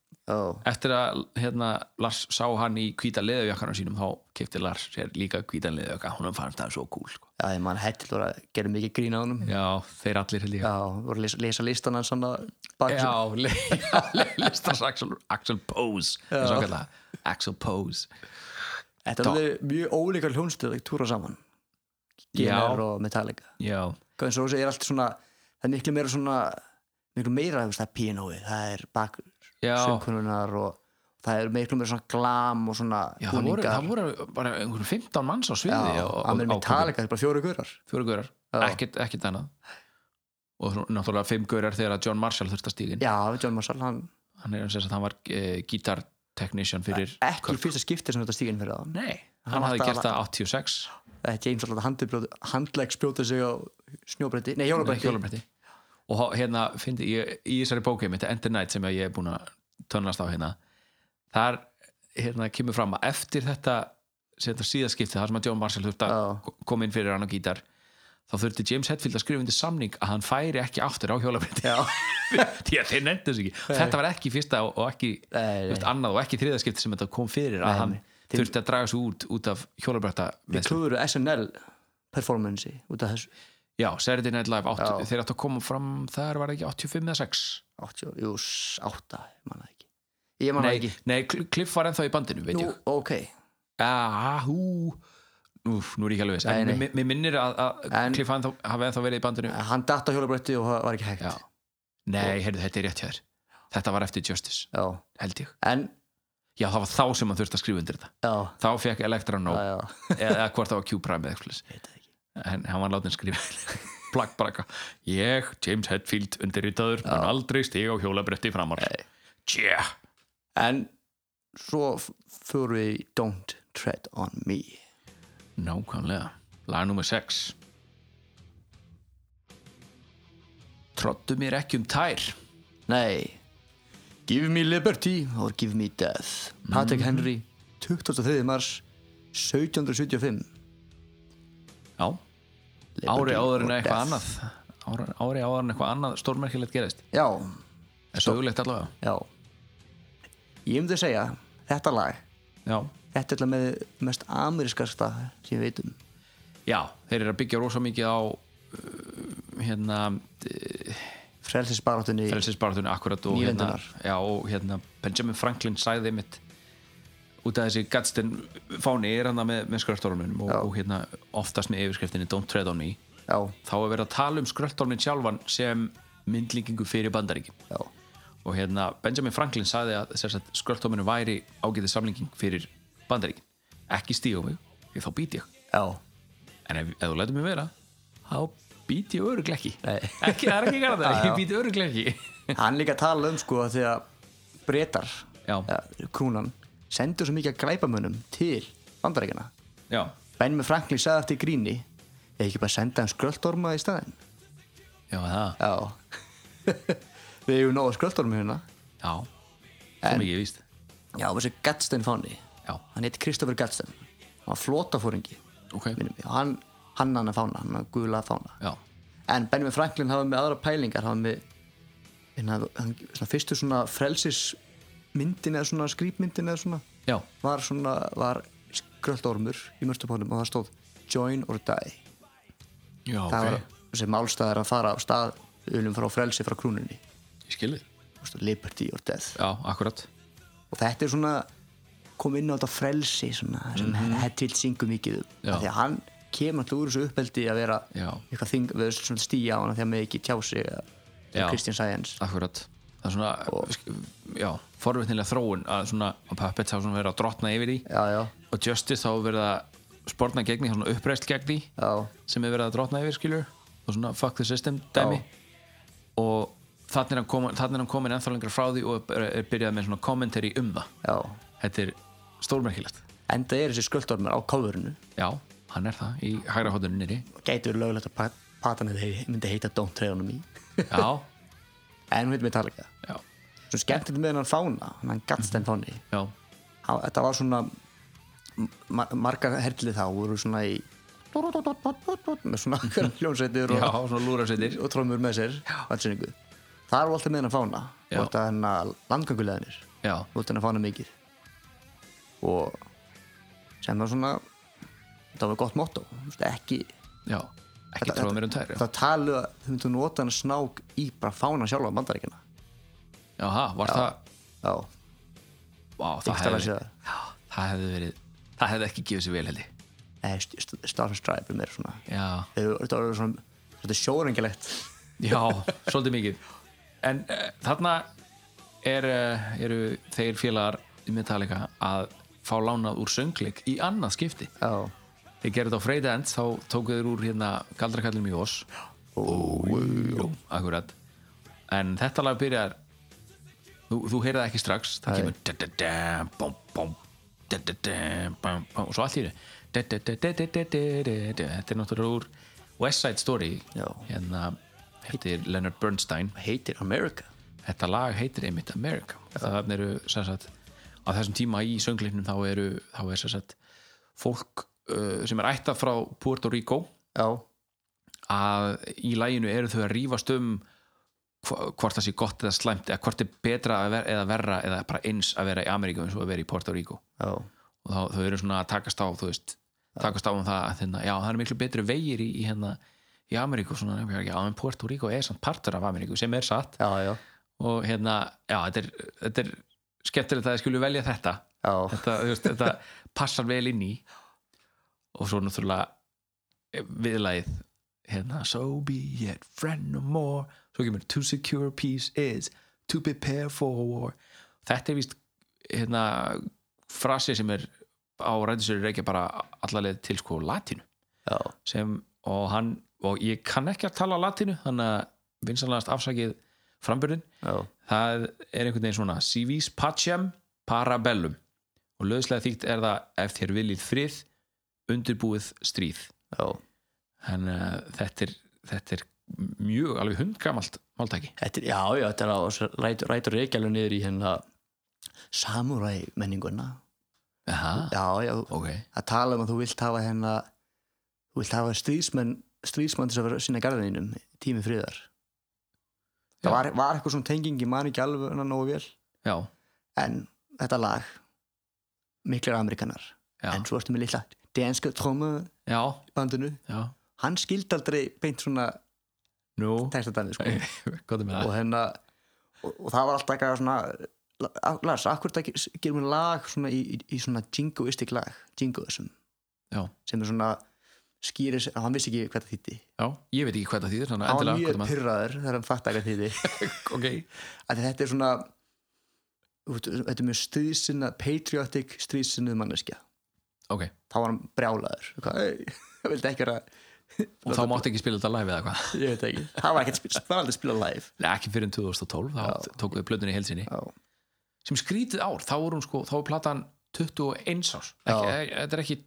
[SPEAKER 6] Eftir að hérna, Lars sá hann í hvíta leðujakkanum sínum þá kefti Lars sér líka hvítan leðujakka hún fannst það svo cool sko.
[SPEAKER 4] já, ég mann hættil voru að gera mikið grín á honum já,
[SPEAKER 6] Já, þeir allir held ég
[SPEAKER 4] voru að lesa, lesa listan hans hann að baki
[SPEAKER 6] Já, le- le- listans Axel, Axel Pose eins og hann kallaði það. Axel Pose
[SPEAKER 4] Þetta
[SPEAKER 6] Dó-
[SPEAKER 4] er mjög ólíkar hljónstöð að túra saman GNR og Metallica
[SPEAKER 6] Já,
[SPEAKER 4] Guns N' Roses er allt svona það er miklu meira svona miklu meira þú veist, það er píanói, það er bak
[SPEAKER 6] Já.
[SPEAKER 4] sökununar og það er miklu meira svona glam og svona
[SPEAKER 6] já það, voru, það voru bara einhverjum 15 manns á sviði
[SPEAKER 4] já,
[SPEAKER 6] á- á-
[SPEAKER 4] að með
[SPEAKER 6] á-
[SPEAKER 4] Metallica, það er bara fjóru gurar
[SPEAKER 6] fjóru gaurar,
[SPEAKER 4] Já.
[SPEAKER 6] ekkert, ekkert annað og svo náttúrulega fimm gaurar þegar að John Marshall þurfti að stígin
[SPEAKER 4] Já, John Marshall, hann
[SPEAKER 6] hann er sem sagt, hann var uh, gítarteknisján fyrir
[SPEAKER 4] ekki í
[SPEAKER 6] Kirk.
[SPEAKER 4] fyrsta skipti sem þetta stíginn fyrir það
[SPEAKER 6] Nei,
[SPEAKER 4] Hann
[SPEAKER 6] hann hafði
[SPEAKER 4] átti
[SPEAKER 6] gert
[SPEAKER 4] að-
[SPEAKER 6] það 86
[SPEAKER 4] James alltaf handleggsbrjóta sig á snjóbretti, nei hjólabretti
[SPEAKER 6] hjólabretti og hó- hérna, fyndi, ég, í þessari bókið mitt Ender Night sem ég er búin að tönnast á hérna þar hérna kemur fram að eftir þetta sem þetta síðaskipti, þar sem að John Marshall þurfti að koma inn fyrir hann á gítar þá þurfti James Hetfield að skrifa undir samning að hann færi ekki aftur á hjólabretti því að þeir nefndu þessu ekki þetta var ekki fyrsta og, og ekki
[SPEAKER 4] Nei, nei.
[SPEAKER 6] þú veist, annað og ekki þriðaskipti sem þetta kom fyrir að hann
[SPEAKER 4] nei.
[SPEAKER 6] þurfti að draga sig út út af hjólabrætta
[SPEAKER 4] klúður SNL performansi út af þessu
[SPEAKER 6] Já, Saturday Night Live 8,
[SPEAKER 4] Já.
[SPEAKER 6] þeir áttu að koma fram þar var það ekki 85 eða 6
[SPEAKER 4] 80, jú, 8, ég manna ekki ég manna
[SPEAKER 6] Nei,
[SPEAKER 4] ekki
[SPEAKER 6] nei Cl- Cliff var ennþá í bandinu, veit
[SPEAKER 4] Nú,
[SPEAKER 6] ég
[SPEAKER 4] ok,
[SPEAKER 6] Ah, hú Úf, nú er ég ekki alveg viss
[SPEAKER 4] Nei,
[SPEAKER 6] En
[SPEAKER 4] nei.
[SPEAKER 6] mér- Mér minnir að, að
[SPEAKER 4] En-
[SPEAKER 6] Cliff ennþá, hafi ennþá verið í bandinu
[SPEAKER 4] hann datt á hjólabretti og það var ekki hægt
[SPEAKER 6] Já. Nei, heyrðu, þetta er rétt hjá þér Þetta var eftir Justice,
[SPEAKER 4] Já.
[SPEAKER 6] held ég
[SPEAKER 4] en
[SPEAKER 6] Já, það var þá sem hann þurfti að skrifa undir þetta
[SPEAKER 4] já,
[SPEAKER 6] Þá fekk Electra No
[SPEAKER 4] já, já,
[SPEAKER 6] eða eða hvort það var Q-Prime eða eitthvað svoleiðis. en hann var látið að skrifa plagg bara eitthvað ég, James Hetfield, undirritaður mun aldrei stiga á hjólabretti framar tjá,
[SPEAKER 4] en svo f- fórum við í Don't Tread On Me
[SPEAKER 6] nákvæmlega lag nummer 6 trottu mér ekki um tær
[SPEAKER 4] nei Give me liberty or give me death
[SPEAKER 6] Mhm.
[SPEAKER 4] Patrick Henry, 23. mars 1775
[SPEAKER 6] já, ári áður en
[SPEAKER 4] or
[SPEAKER 6] eitthvað
[SPEAKER 4] death.
[SPEAKER 6] annað ári, ári áður en eitthvað annað stórmerkilegt gerist
[SPEAKER 4] já,
[SPEAKER 6] er sögulegt allavega
[SPEAKER 4] já ég myndi að segja, þetta lag
[SPEAKER 6] já.
[SPEAKER 4] þetta er alltaf með mest amerískasta sem um. við veitum
[SPEAKER 6] já, þeir eru að byggja rosa mikið á uh, hérna
[SPEAKER 4] frelsisbarátunni
[SPEAKER 6] frelsisbaratunni akkurat og hérna,
[SPEAKER 4] Nýlendunar.
[SPEAKER 6] já, og hérna Benjamin Franklin sagði mitt út af þessi Gadsden fáni er hann með, með skröltormunum og,
[SPEAKER 4] Já.
[SPEAKER 6] og hérna oftast með yfirskriftinni Don't Tread On Me
[SPEAKER 4] já,
[SPEAKER 6] þá er verið að tala um skröltormin sjálfan sem myndlíkingu fyrir bandaríkin
[SPEAKER 4] já,
[SPEAKER 6] og hérna Benjamin Franklin sagði að skröltorminu væri ágætið samlíking fyrir bandaríkin ekki stíga á mig, því þá být ég
[SPEAKER 4] já
[SPEAKER 6] en ef, ef þú lætur mig vera þá být ég örugglega ekki
[SPEAKER 4] Nei.
[SPEAKER 6] ekki, það er ekki garðar,
[SPEAKER 4] Já, já.
[SPEAKER 6] ég být örugglega ekki
[SPEAKER 4] hann líka að tala um sko að því að breytar
[SPEAKER 6] Já.
[SPEAKER 4] krúnan sendur svo mikið að glæpamönnum til bandarækjana
[SPEAKER 6] já,
[SPEAKER 4] Benjamin Franklin sagði eftir gríni eða ekki bara senda hann skröldorma í staðinn
[SPEAKER 6] já, það
[SPEAKER 4] já við hefum nóga skröldorma hérna
[SPEAKER 6] Já, svo
[SPEAKER 4] En-
[SPEAKER 6] mikið er víst
[SPEAKER 4] já, þessi Gadsden fáni
[SPEAKER 6] Já,
[SPEAKER 4] hann heiti Kristoffer Gadsden hann var flótafóringi
[SPEAKER 6] ok
[SPEAKER 4] minnum mig. og hann hann hann að fána, hann að guðla að fána
[SPEAKER 6] Já,
[SPEAKER 4] en Benjamin Franklin hafa með aðra pælingar hafa með hérna, hann, svona, fyrstu svona frelsismyndin eða svona skrýpmyndin eða svona
[SPEAKER 6] já,
[SPEAKER 4] var svona var skröldormur í mörstupónum og það stóð join or die
[SPEAKER 6] já,
[SPEAKER 4] það
[SPEAKER 6] ok
[SPEAKER 4] var þessi málstæðar að fara á stað unum frá frelsi frá krúnunni
[SPEAKER 6] Ég skilði
[SPEAKER 4] Þú veist, liberty or death
[SPEAKER 6] Já, akkurat
[SPEAKER 4] og þetta er svona kom inn á þetta frelsi svona, sem mm -hmm. Hedvild syngur mikið um
[SPEAKER 6] Mhm. Já.
[SPEAKER 4] Af því að hann kemur alltaf úr þessu uppeldi að vera
[SPEAKER 6] Já.
[SPEAKER 4] eitthvað þing, við erum svona stíja á hana þegar með ekki tjá sig
[SPEAKER 6] Já.
[SPEAKER 4] Kristján Sæjans
[SPEAKER 6] Akkurat Það er svona, já, forvitnilega þróun að svona, að Puppets hafa svona verið að drotna yfir því
[SPEAKER 4] já, já,
[SPEAKER 6] og Justice hafa verið að sporna gegni, svona uppreist gegni
[SPEAKER 4] já,
[SPEAKER 6] sem hefur verið að drotna yfir, skilur og og svona fuck the system dæmi og þannig er hann komin, þarna er hann komin ennþá lengra frá því og er, er byrjað með svona kommentari um það
[SPEAKER 4] já,
[SPEAKER 6] þetta er stórmerkilegt
[SPEAKER 4] enda er þessi sköldormur á coverinu
[SPEAKER 6] já, hann er það í hægra hóttunni nýri
[SPEAKER 4] og gætur lögulegt að pat- patanið hei- myndi heita Don't Trey on Me
[SPEAKER 6] já,
[SPEAKER 4] en hún heit Metallica
[SPEAKER 6] já,
[SPEAKER 4] svo skemmtilegt með hennan fána hann
[SPEAKER 6] Mhm.
[SPEAKER 4] Gatstein fáni
[SPEAKER 6] já,
[SPEAKER 4] Há- þetta var svona mar margar herlið þá voru svona í með svona hljónsveitir
[SPEAKER 6] já,
[SPEAKER 4] og,
[SPEAKER 6] svona lúrafsettir
[SPEAKER 4] og trómur með sér allsynningu það eru alltaf með hennan fána
[SPEAKER 6] Já.
[SPEAKER 4] og þetta hennar landganguleðinir
[SPEAKER 6] já,
[SPEAKER 4] og þetta hennar fána mikið og sem var svona þetta var gott motto þú veist, ekki
[SPEAKER 6] já ekki tróða mér um tær já,
[SPEAKER 4] það talu að þau myndu nota hann snák í bara fána sjálfa bandaríkina
[SPEAKER 6] ha, var það
[SPEAKER 4] já,
[SPEAKER 6] á, það,
[SPEAKER 4] Yngsta
[SPEAKER 6] hefði,
[SPEAKER 4] lagið.
[SPEAKER 6] verið- já, það hefði verið það hefði ekki gefið sér vel held ég
[SPEAKER 4] Nei, st- st- Star and Stripe er meira svona
[SPEAKER 6] já,
[SPEAKER 4] Þau- þetta var svona þetta er sjórengilegt
[SPEAKER 6] já, svolítið mikið en uh, þarna er, uh, eru þeir félagar í Metallica að fá lánað úr söngleik í annað skipti
[SPEAKER 4] já,
[SPEAKER 6] þeir gerðu þetta á Freyda End þá tóku þeir úr hérna Galdrakallum í Oss Jú, akkurat en þetta lag byrjar þú, þú heyrið það ekki strax það kemur da-da-da, bom, bom, da-da-da, bom, bom, og svo allt í einu Da-da-da-da-da-da-da-da. þetta er náttúrulega úr West Side Story
[SPEAKER 4] Já.
[SPEAKER 6] hérna heitir Leonard Bernstein
[SPEAKER 4] heitir America
[SPEAKER 6] þetta lag heitir einmitt America það eru sem sagt á þessum tíma í söngleiknum þá eru þá er sem sagt fólk uh, sem er ættað frá Puerto Rico
[SPEAKER 4] já,
[SPEAKER 6] að í læginu eru þau að rífast um hv- hvort það sé gott eða slæmt eða hvort er betra að ver eða verra eða bara eins að vera í Ameríku eins og að vera í Puerto Rico
[SPEAKER 4] já,
[SPEAKER 6] og þá, þau eru svona að takast á þú veist, takast á um það að hérna, já, það er miklu betri vegir í, í hérna í Ameríku, svona, já, en Puerto Rico er samt partur af Ameríku sem er satt
[SPEAKER 4] já, já,
[SPEAKER 6] og hérna, já, þetta er, þetta er skemmtilegt að þið skilju velja þetta
[SPEAKER 4] já.
[SPEAKER 6] þetta, þú veist, þetta passar vel inn í og svo náttúrulega viðlagið hérna, so be it, friend no more svo kemur, to secure peace is to prepare for war þetta er víst hérna, frasi sem er á ræðisöru reykja bara allarleið til sko latinu
[SPEAKER 4] já.
[SPEAKER 6] sem, og hann og ég kann ekki að tala latinu þannig að vinsanlegast afsakið frambyrðin
[SPEAKER 4] já.
[SPEAKER 6] það er einhvern veginn svona civis pacem parabellum og löðslega þýtt er það ef þér viljið frið undirbúið stríð
[SPEAKER 4] já.
[SPEAKER 6] þannig að þetta er, þetta er mjög alveg hundgamalt máltæki
[SPEAKER 4] Þetta, er- já, já, þetta er á þessu rætur, rætur reykjælu niður í hérna samurai menninguna
[SPEAKER 6] Aha,
[SPEAKER 4] já, já,
[SPEAKER 6] ok,
[SPEAKER 4] að tala um að þú vilt hafa hérna þú vilt hafa stríðsmenn stríðsmann til að vera sinna garðinum tími friðar
[SPEAKER 6] Já.
[SPEAKER 4] það var, var eitthvað svona tenging ég man ekki alveg hana nógu vel
[SPEAKER 6] já,
[SPEAKER 4] en þetta lag miklir amerikanar
[SPEAKER 6] já
[SPEAKER 4] en svo ertu með litla danska tróma
[SPEAKER 6] já,
[SPEAKER 4] bandinu
[SPEAKER 6] já,
[SPEAKER 4] hann skildi aldrei beint svona
[SPEAKER 6] nú
[SPEAKER 4] textadæmi sko.
[SPEAKER 6] gott með
[SPEAKER 4] og
[SPEAKER 6] það,
[SPEAKER 4] hérna og, og það var alltaf eitthvað svona La- Lars, akkur þetta gerum við lag svona í, í, í svona jingoistik lag jingoism
[SPEAKER 6] já,
[SPEAKER 4] sem er svona skýris, hann vissi ekki hvað það þýtti
[SPEAKER 6] já ég veit ekki hvað það þýðir þannig að
[SPEAKER 4] hann var
[SPEAKER 6] endilega
[SPEAKER 4] mjög
[SPEAKER 6] hvað
[SPEAKER 4] pyrraður þegar hann fatt ekki hvað það þýtti
[SPEAKER 6] það ok,
[SPEAKER 4] að þetta er svona þú veist, þetta er mjög stríðsinna patriotic stríðsinnið manneskja
[SPEAKER 6] ok
[SPEAKER 4] þá var hann brjálaður Hvað, "Ey, ég vildi ekki vera
[SPEAKER 6] og þá máttu ekki spila þetta live eða hvað
[SPEAKER 4] ég veit ekki, það var ekkert spil, það var aldrei spila live
[SPEAKER 6] Nei, ekki fyrir en 2012, þá tókuðu plötunni í helsini
[SPEAKER 4] já,
[SPEAKER 6] sem skrítið ár, þá voru hún sko þá var platan 21 árs ekki,
[SPEAKER 4] Já.
[SPEAKER 6] e- þetta er ekki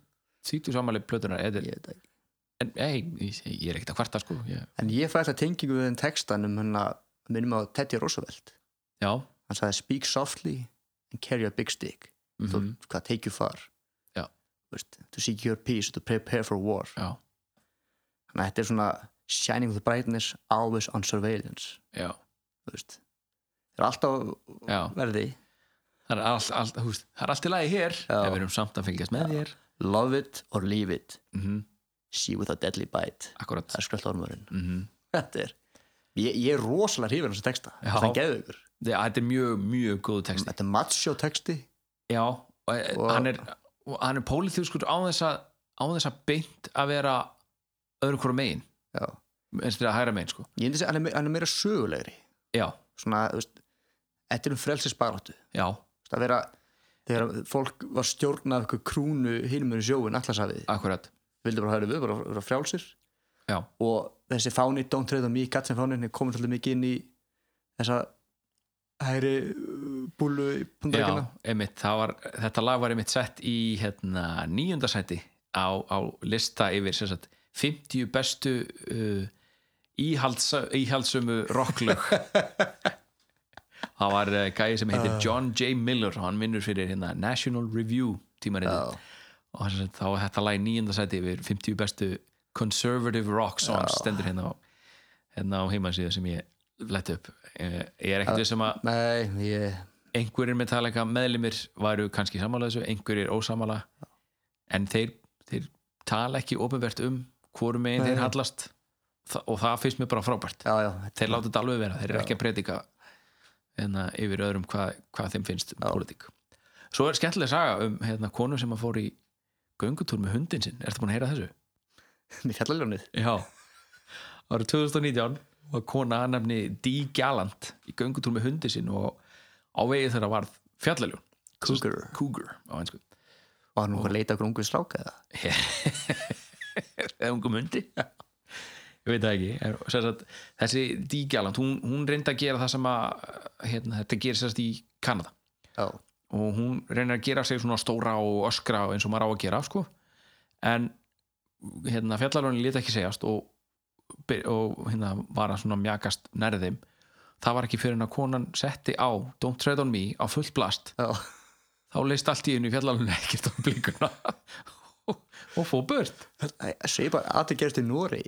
[SPEAKER 6] 30 samanlega plötunar þetta er,
[SPEAKER 4] ég veit ekki
[SPEAKER 6] en, ei, ég, ég er ekkert að kvarta sko ég,
[SPEAKER 4] en ég fæ alltaf tengingu við þenn textan um hann að minnum á Teddy Roosevelt
[SPEAKER 6] já,
[SPEAKER 4] hann sagði speak softly and carry a big stick mm
[SPEAKER 6] Mhm.
[SPEAKER 4] hvað take you far
[SPEAKER 6] Já.
[SPEAKER 4] Þú veist, to seek your peace, to prepare for war
[SPEAKER 6] já,
[SPEAKER 4] þannig að þetta er svona shining with brightness, always on surveillance
[SPEAKER 6] já,
[SPEAKER 4] þú veist það er alltaf
[SPEAKER 6] já
[SPEAKER 4] verði
[SPEAKER 6] það er allt, allt, þú veist, það er allt í lagi hér
[SPEAKER 4] Já.
[SPEAKER 6] ef við erum samt að fylgjast með þér
[SPEAKER 4] love it or leave it
[SPEAKER 6] mm -hmm,
[SPEAKER 4] see with a deadly bite
[SPEAKER 6] akkurat
[SPEAKER 4] það er skröld ormurinn
[SPEAKER 6] mm
[SPEAKER 4] þetta er ég, ég er rosalega hrifin á þessu texta
[SPEAKER 6] Já.
[SPEAKER 4] það er geðugur
[SPEAKER 6] þetta er mjög, mjög góðu texti
[SPEAKER 4] þetta er macho texti
[SPEAKER 6] Já, og, e,
[SPEAKER 4] Og-
[SPEAKER 6] hann er, og hann er pólitískur á þess að á þess að beint að vera öðru hvora megin,
[SPEAKER 4] já.
[SPEAKER 6] eins og þetta hæra megin sko.
[SPEAKER 4] ég myndi segja að hann er me- hann er meira sögulegri
[SPEAKER 6] já,
[SPEAKER 4] svona, þú veist, þetta er um frelsisbaráttu
[SPEAKER 6] já,
[SPEAKER 4] Þú veist, að vera þegar fólk var stjórnað eitthvað krúnu hinum með sjóin allarsafið
[SPEAKER 6] akkurat
[SPEAKER 4] vildi bara höfðu við, bara, bara frjálsir
[SPEAKER 6] já,
[SPEAKER 4] og þessi fáni Don't Trade on Me, Gatsen fánin er komin svolítið mikið inn í þessa hægri uh, búlu í
[SPEAKER 6] Já,
[SPEAKER 4] pundaríkina
[SPEAKER 6] einmitt, það var, þetta lag var einmitt sett í hérna, nýjunda sæti á, á lista yfir sem sagt, 50 bestu uh, íhalds, íhaldsumu rocklög Það var uh, gæði sem heitir John J. Miller og hann vinnur fyrir hérna, National Review tímaritið og sem sagt, þá var þetta lag í nýjunda sæti yfir 50 bestu conservative rock songs stendur hérna á, hérna á heimasíðu sem ég lett upp Eh, ég er ekkert við sem að
[SPEAKER 4] Nei, ég,
[SPEAKER 6] einhverjir Metallica meðlimir væru kannski samanlega þessu, einhverjir ósamanlega en þeir, þeir tala ekki ofinvert um hvorum megin þeir hallast Þa, og það finnst mér bara frábært
[SPEAKER 4] já, já, þetta
[SPEAKER 6] þeir láta þetta alveg vera, þeir eru ekki að predika en að yfir öðrum hvað, hvað þeim finnst um pólitík svo er skemmtileg saga um hérna, konu sem að fór í göngutúr með hundin sinn, ertu búin að heyra þessu?
[SPEAKER 4] er mér fjallaljónið
[SPEAKER 6] Já Árið 2019 var kona að nefni Dee Gallant í göngutúr með hundi sinn og á vegi þeirra varð fjallaljón
[SPEAKER 4] Cougar.
[SPEAKER 6] Sem sagt, Cougar á einsku
[SPEAKER 4] Var hann nú að leita okkur ungu stráka eða?
[SPEAKER 6] eða ungum hundi ég veit það ekki En sem sagt, þessi Dee Gallant, hún, hún reyndi að gera það sem að hérna, þetta gerir sérst í Kanada
[SPEAKER 4] Já,
[SPEAKER 6] og hún reynir að gera sig svona stóra og öskra eins og maður á að gera sko. en hérna, fjallarlónin lét ekki segjast og, byr- og hérna, var að svona mjakast nærði þeim það var ekki fyrir en að konan setti á Don't Tread on Me á fullt blast
[SPEAKER 4] já,
[SPEAKER 6] þá leist allt í hennu fjallarlónin ekkert á blikuna og, og fór burt
[SPEAKER 4] Æ, svipa, aðeins gerist í Nóri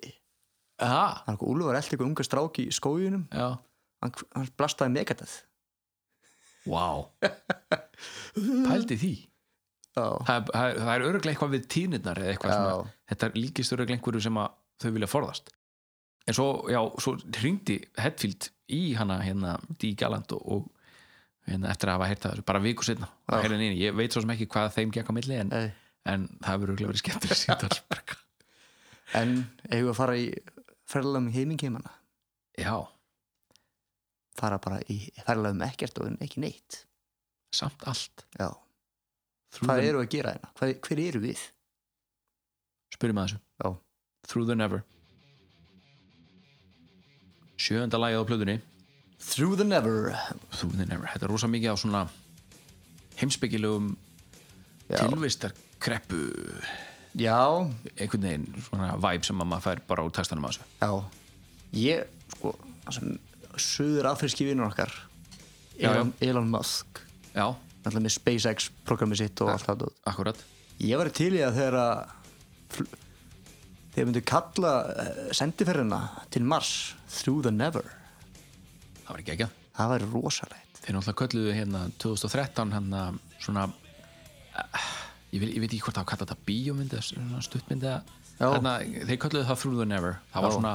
[SPEAKER 6] Aha,
[SPEAKER 4] Hann okkur Úlfur eldi okkur ungu stráki í skóginum
[SPEAKER 6] já,
[SPEAKER 4] Hann, hann blastaði megatað
[SPEAKER 6] wow pældi því
[SPEAKER 4] Já,
[SPEAKER 6] það, það, það er öruglega eitthvað við tínirnar eða eitthvað
[SPEAKER 4] Já.
[SPEAKER 6] svona, þetta líkist öruglega einhverju sem að þau vilja forðast en svo, já, svo hringdi Hetfield í hana hérna Dee Gallant og, og hérna, eftir að hafa heyrt það þessu, bara viku setna
[SPEAKER 4] Já.
[SPEAKER 6] ég veit svo sem ekki hvað þeim gekk á milli en,
[SPEAKER 4] Nei.
[SPEAKER 6] en það hefur öruglega verið skemmtileg síndar
[SPEAKER 4] en eigum við að fara í ferðalöfum heimingheimana
[SPEAKER 6] já,
[SPEAKER 4] fara bara í ferðalöfum ekkert og ekki neitt
[SPEAKER 6] samt allt
[SPEAKER 4] Já,
[SPEAKER 6] Through
[SPEAKER 4] hvað
[SPEAKER 6] the-
[SPEAKER 4] eru að gera hérna? Hvað, hver eru við?
[SPEAKER 6] spyrjum að þessu
[SPEAKER 4] Já.
[SPEAKER 6] Through the Never sjöönda lagið á plöðunni
[SPEAKER 4] Through the Never
[SPEAKER 6] Through the Never, þetta er rosa mikið á svona heimspekilegum
[SPEAKER 4] Já,
[SPEAKER 6] tilvistar kreppu
[SPEAKER 4] já,
[SPEAKER 6] einhvern veginn svona væp sem að maður fær bara úr textanum að þessu
[SPEAKER 4] já. Ég, sko, sem söður afríski vinnur okkar
[SPEAKER 6] Já,
[SPEAKER 4] Elon, Elon Musk
[SPEAKER 6] já,
[SPEAKER 4] Alltaf með SpaceX programmi sitt og allt það
[SPEAKER 6] akkurat
[SPEAKER 4] Ég var til í að þegar að fl- þegar myndu kalla eh, sendiferðina til Mars Through the Never
[SPEAKER 6] það var ekki ekki
[SPEAKER 4] Það væri rosalegt
[SPEAKER 6] þeir náttúrulega kölluðu hérna 2013 hérna svona eh, ég, vil, ég veit ekki hvort það var kallað þetta bíómynd eða svona stuttmynd eða
[SPEAKER 4] Já.
[SPEAKER 6] hérna, þeir kölluðu það Through the Never það var
[SPEAKER 4] Já.
[SPEAKER 6] svona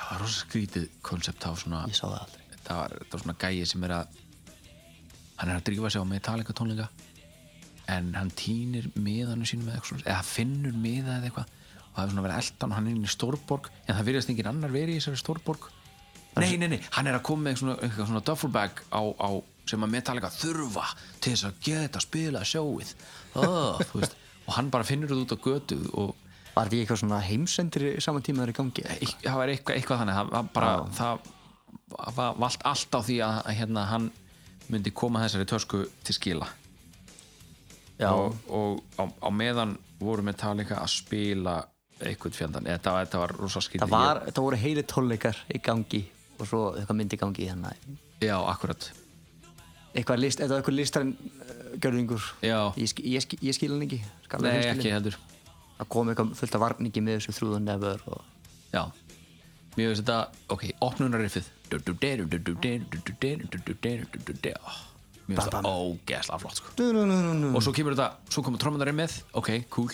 [SPEAKER 6] það var rosa skrítið koncept það var svona
[SPEAKER 4] Ég sá það aldrei
[SPEAKER 6] þetta var, þetta var svona gæi sem er að hann er að drífa sig á Metallica tónleika en hann týnir miðanum sínum eða, eitthvað svona, eða finnur miða eða eitthvað og það er svona verið eldan og hann er inn í stórborg en það virðast engin annar verið í þessari stórborg nei, nei, nei, hann er að koma með eitthvað svona, eitthvað svona duffelbag á, á sem að Metallica þurfa til þess að geta að spila sjóið oh, veist, og hann bara finnur þetta út á götu og
[SPEAKER 4] Var því eitthvað svona heimsendri saman tíma það er í gangi?
[SPEAKER 6] Eitth- það var eitthvað, eitthvað þannig það var bara, það var valt allt á því að, að hérna, hann myndi koma þessari tösku til skila
[SPEAKER 4] Já,
[SPEAKER 6] og, og á, á meðan voru Metallica að spila eitthvað fjandann, þetta, var- þetta var rosa skrítið
[SPEAKER 4] það, var, það voru heilir tónleikar í gangi og svo eitthvað myndi í gangi þannig að
[SPEAKER 6] ég, já, akkurat
[SPEAKER 4] eitthvað list, eitthvað eitthvað listarinn uh, görðingur
[SPEAKER 6] Já.
[SPEAKER 4] ég, sk- ég, sk- ég skil hann ekki skal
[SPEAKER 6] nei,
[SPEAKER 4] hann skilja.
[SPEAKER 6] ekki hérna. heldur
[SPEAKER 4] það kom eitthvað fullt af varningi með þessu þrúðan nefur og
[SPEAKER 6] já, mér finnst þetta ok, opnunarriffið Ah, mér finnst það ógeðslega flott sko og svo kemur þetta, svo komur trommunar með ok, cool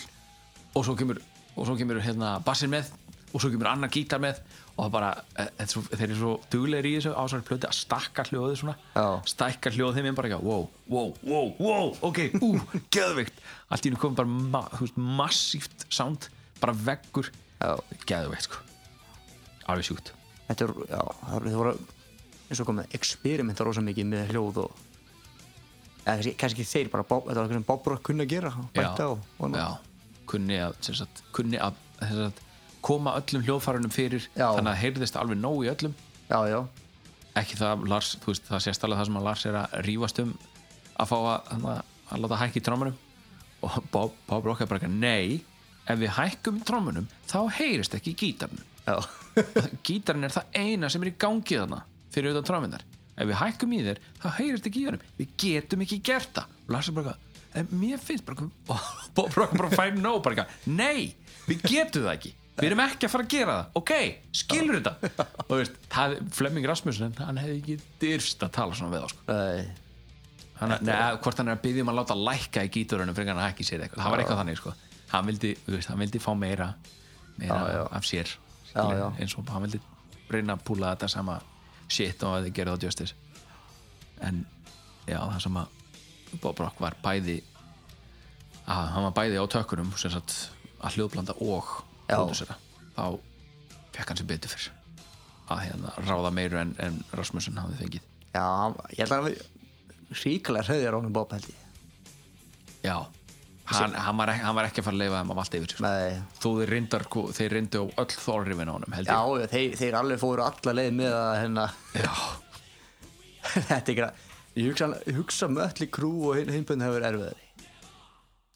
[SPEAKER 6] og svo kemur, og svo kemur hérna bassin með og svo kemur annar gítar með og það bara, e, þetta er svo, þeir eru svo duglegir í þessu ásværi plöti að stakka hljóðu svona
[SPEAKER 4] Já.
[SPEAKER 6] stækka hljóðu þeim en bara ekki wow, wow, wow, wow, ok, ú, geðveikt allt í hennu kom bara ma, þú veist, massíft sound, bara veggur
[SPEAKER 4] Já.
[SPEAKER 6] geðveikt sko alveg sjúkt
[SPEAKER 4] þetta er, já, það voru- það voru eins og komið experimenta rosa mikið með hljóð og eða kannski, kannski þeir bara, Bob, þetta var eitthvað sem Bob Rock kunni að gera og bæta og, og
[SPEAKER 6] já, kunni að, sem sagt, kunni að sem sagt, koma öllum hljóðfærunum fyrir
[SPEAKER 4] Já.
[SPEAKER 6] þannig að heyrðist alveg nóg í öllum
[SPEAKER 4] já, já,
[SPEAKER 6] ekki það að Lars, þú veist, það sést alveg það sem að Lars er að rífast um að fá að, að, að láta hækka í trómunum og Bob, Bob Rock er bara eitthvað nei, ef við hækkum í trómunum þá heyrist ekki í gítarnum
[SPEAKER 4] já
[SPEAKER 6] gítarinn er það eina sem er í gangi þarna fyrir auðvitað trámyndar ef við hækkum í þér, þá heyrist ekki í honum við getum ekki gert það og Lars er bara eitthvað, en mér finnst bara og Bob Rock bara fær nóg bara eitthvað nei, við getum það ekki við erum ekki að fara að gera það, ok, skilur þetta og þú veist, það, Flemming Rasmussen hann hefði ekki dyrst að tala svona við þá sko.
[SPEAKER 4] Æ,
[SPEAKER 6] hann, neð, hvort hann er að byggja um að láta lækka í gítarunum fyrir hann að hækki sér eitthvað, það var eitthvað þannig sko. hann, vildi, þú veist, hann vildi fá meira, meira
[SPEAKER 4] Já, já.
[SPEAKER 6] af sér
[SPEAKER 4] Já,
[SPEAKER 6] skilur,
[SPEAKER 4] já.
[SPEAKER 6] eins og hann vildi reyna að púla þetta sama shit og að þið gerðu á Justice en já, það sem að Bob Rock var bæði að hann var bæði á tökunum sem sagt að hljóðblanda og
[SPEAKER 4] Já.
[SPEAKER 6] pródusera, þá fekk hann sem betur fyrr að hérna ráða meiru en, en Rasmussen hafði fengið
[SPEAKER 4] já, hann- ég held að við ríkulega hraðir honum Bob held ég
[SPEAKER 6] Já Hann, hann, var ekki, hann var ekki að fara að leifa þeim að valda yfir sig, sko.
[SPEAKER 4] Nei.
[SPEAKER 6] Þó þeir rindar Þeir rindu á öll þorrifin á honum held
[SPEAKER 4] Já,
[SPEAKER 6] ég
[SPEAKER 4] já, þeir, þeir alveg fóru alla leið með að hérna,
[SPEAKER 6] Já,
[SPEAKER 4] þetta er ekki að ég hugsa, ég hugsa mötli krú og hin, hinbund hefur erfiðari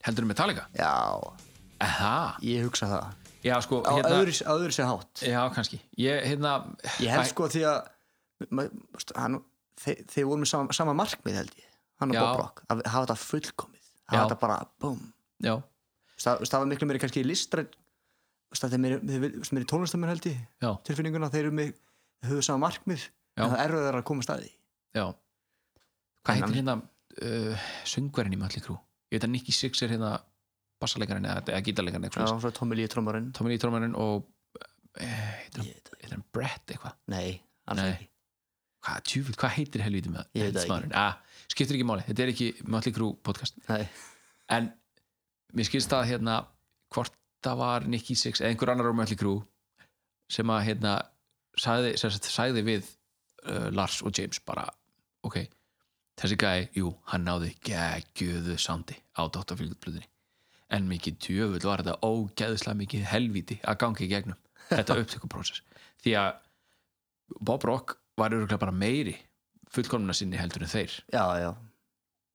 [SPEAKER 6] heldur Metallica
[SPEAKER 4] Já,
[SPEAKER 6] Aha.
[SPEAKER 4] ég hugsa það
[SPEAKER 6] Já, sko
[SPEAKER 4] á
[SPEAKER 6] hérna,
[SPEAKER 4] öðru, á öðru sér hátt
[SPEAKER 6] Já, kannski Ég, hérna,
[SPEAKER 4] Ég held sko því að ma- veist, hann, þeir, þeir voru með sama, sama markmið held ég hann og
[SPEAKER 6] Já.
[SPEAKER 4] Bob Rock, að hafa þetta fullkomið
[SPEAKER 6] Já.
[SPEAKER 4] hafa þetta bara, búm
[SPEAKER 6] Já,
[SPEAKER 4] það, það var miklu meiri kannski listræn það er meiri, meiri, meiri tónlistamenn held ég
[SPEAKER 6] já,
[SPEAKER 4] tilfinninguna, þeir eru með höfðu sama markmið,
[SPEAKER 6] Já.
[SPEAKER 4] en það er erfiðar að koma staði
[SPEAKER 6] já Hvað
[SPEAKER 4] Hann-
[SPEAKER 6] heitir hérna uh, Söngverinn í Mötli Krú Ég veit að Nicky Six er hérna Bassalegarinn eða, eða gítarleikarinn
[SPEAKER 4] Já,
[SPEAKER 6] eitthvað svoleiðis.
[SPEAKER 4] svo Tommy Lee trommarinn
[SPEAKER 6] Tommy Lee Trómarinn og eh, Heitir hann-
[SPEAKER 4] Ég veit
[SPEAKER 6] heitir hann Brett eitthvað
[SPEAKER 4] Nei, alls
[SPEAKER 6] Nei.
[SPEAKER 4] ekki
[SPEAKER 6] Hvað, tjúfil, hvað heitir helvítið með
[SPEAKER 4] Ég veit það ekki.
[SPEAKER 6] helvítismaðurinn? Ah, skiptir ekki máli, þetta er ekki Mötli Krú podcast
[SPEAKER 4] Nei.
[SPEAKER 6] en mér skilst það hérna hvort það var Nicky Six eða einhver annar á Mötli Krú sem að hérna sagði, sem sagt, sagði við uh, Lars og James bara ok, þessi gæi, jú, hann náði geggjöðu sandi á Dóttarfylgutblöðinni en mikið tjöfull var þetta ógeðslega mikið helvíti að gangi gegnum þetta upptökuprósess því að Bob Rock var örgulega bara meiri fullkomna sinni heldur en þeir
[SPEAKER 4] Já, já,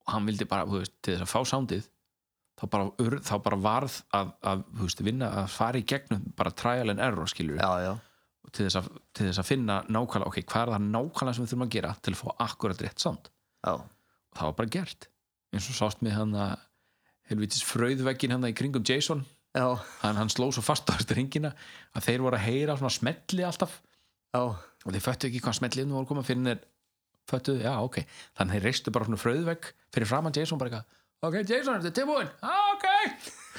[SPEAKER 6] og hann vildi bara, þú veist, til þess að fá sándið þá bara, ur, þá bara varð að, að, þú veist, vinna, að fara í gegnum bara trial and error, skilur
[SPEAKER 4] já, já
[SPEAKER 6] til þess, að, til þess að finna nákvæmlega, ok, hvað er það nákvæmlega sem við þurfum að gera til að fá akkurat rétt sánd
[SPEAKER 4] Já,
[SPEAKER 6] og það var bara gert eins og sást með hann að helvitis fröðveggin hann í kringum Jason
[SPEAKER 4] já,
[SPEAKER 6] hann, hann sló svo fast á stringina að þeir voru að heyra svona smelli alltaf
[SPEAKER 4] já,
[SPEAKER 6] og þeir föttu ekki hvað smellinu voru koma fyrir þeir föttu, já ok þannig þeir reistu bara svona fröðvegg fyrir framann Jason bara eitthvað, ok Jason, þetta er tilbúin ah, ok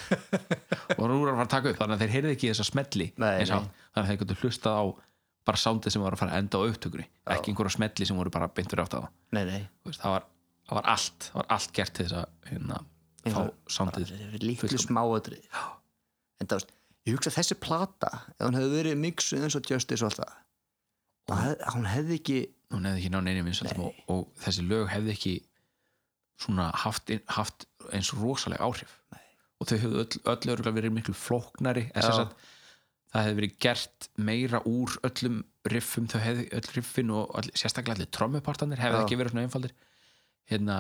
[SPEAKER 6] og nú er hann að fara að taka upp, þannig að þeir heyrðu ekki þessa smelli
[SPEAKER 4] Nei,
[SPEAKER 6] eins og
[SPEAKER 4] nei.
[SPEAKER 6] átt. þannig að þeir gætu hlustað á bara sándið sem var að fara að enda á upptökunni ekki einhverja smelli sem voru bara beint fyrir átt að
[SPEAKER 4] nei, nei
[SPEAKER 6] það það var, það var allt, það var allt gert til þess að hérna, fá
[SPEAKER 4] Einhver-
[SPEAKER 6] sándið
[SPEAKER 4] Þetta er Litlu
[SPEAKER 6] fullkomið.
[SPEAKER 4] smáötri En það veist, ég hugsa að þessi plata ef hún hefði verið mixuð eins og Justice og alltaf þá hef, hún hefði ekki
[SPEAKER 6] hún hefði ekki náð neinum vinsældum og, og þessi lög hefði ekki svona haft, inn- haft eins rosaleg áhrif Nei. og þau hefðu öll, öll örgulega verið miklu flóknari eða sem
[SPEAKER 4] Já.
[SPEAKER 6] sagt, það hefði verið gert meira úr öllum riffum þau hefði öll riffin og öll, sérstaklega allir trommupartanir hefði
[SPEAKER 4] Já.
[SPEAKER 6] ekki verið svona einfaldir hérna,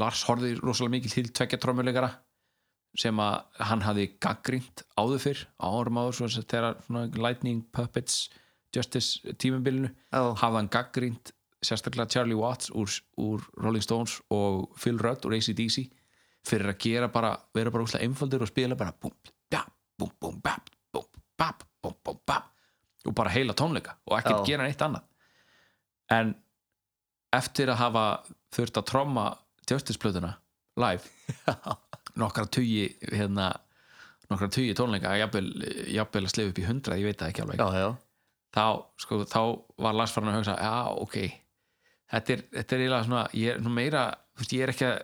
[SPEAKER 6] Lars horfði rosalega mikið til tvekja trommuleikara sem að hann hafði gaggrínt áður fyrr á árum áður svo þess að þegar svona Lightning Puppets Justice tímabilinu
[SPEAKER 4] Já.
[SPEAKER 6] hafði hann gaggrínt sérstaklega Charlie Watts úr, úr Rolling Stones og Phil Rudd úr ACDC fyrir að gera bara, vera bara úslega einfaldur og spila bara búm, bjá, búm, búm, bap, búm, bap, búm, búm, bap og bara heila tónleika og ekkert
[SPEAKER 4] Já.
[SPEAKER 6] gera neitt annað en eftir að hafa þurft að tromma Justice-plötuna live nokkra tugi hérna, nokkra tugi tónleika jafnvel, jafnvel að slefa upp í hundra, ég veit það ekki alveg
[SPEAKER 4] já,
[SPEAKER 6] þá, sko, þá var Lars farin að hugsa já, ok þetta er, þetta er eiginlega svona, ég er nú meira þú veist, ég er ekki að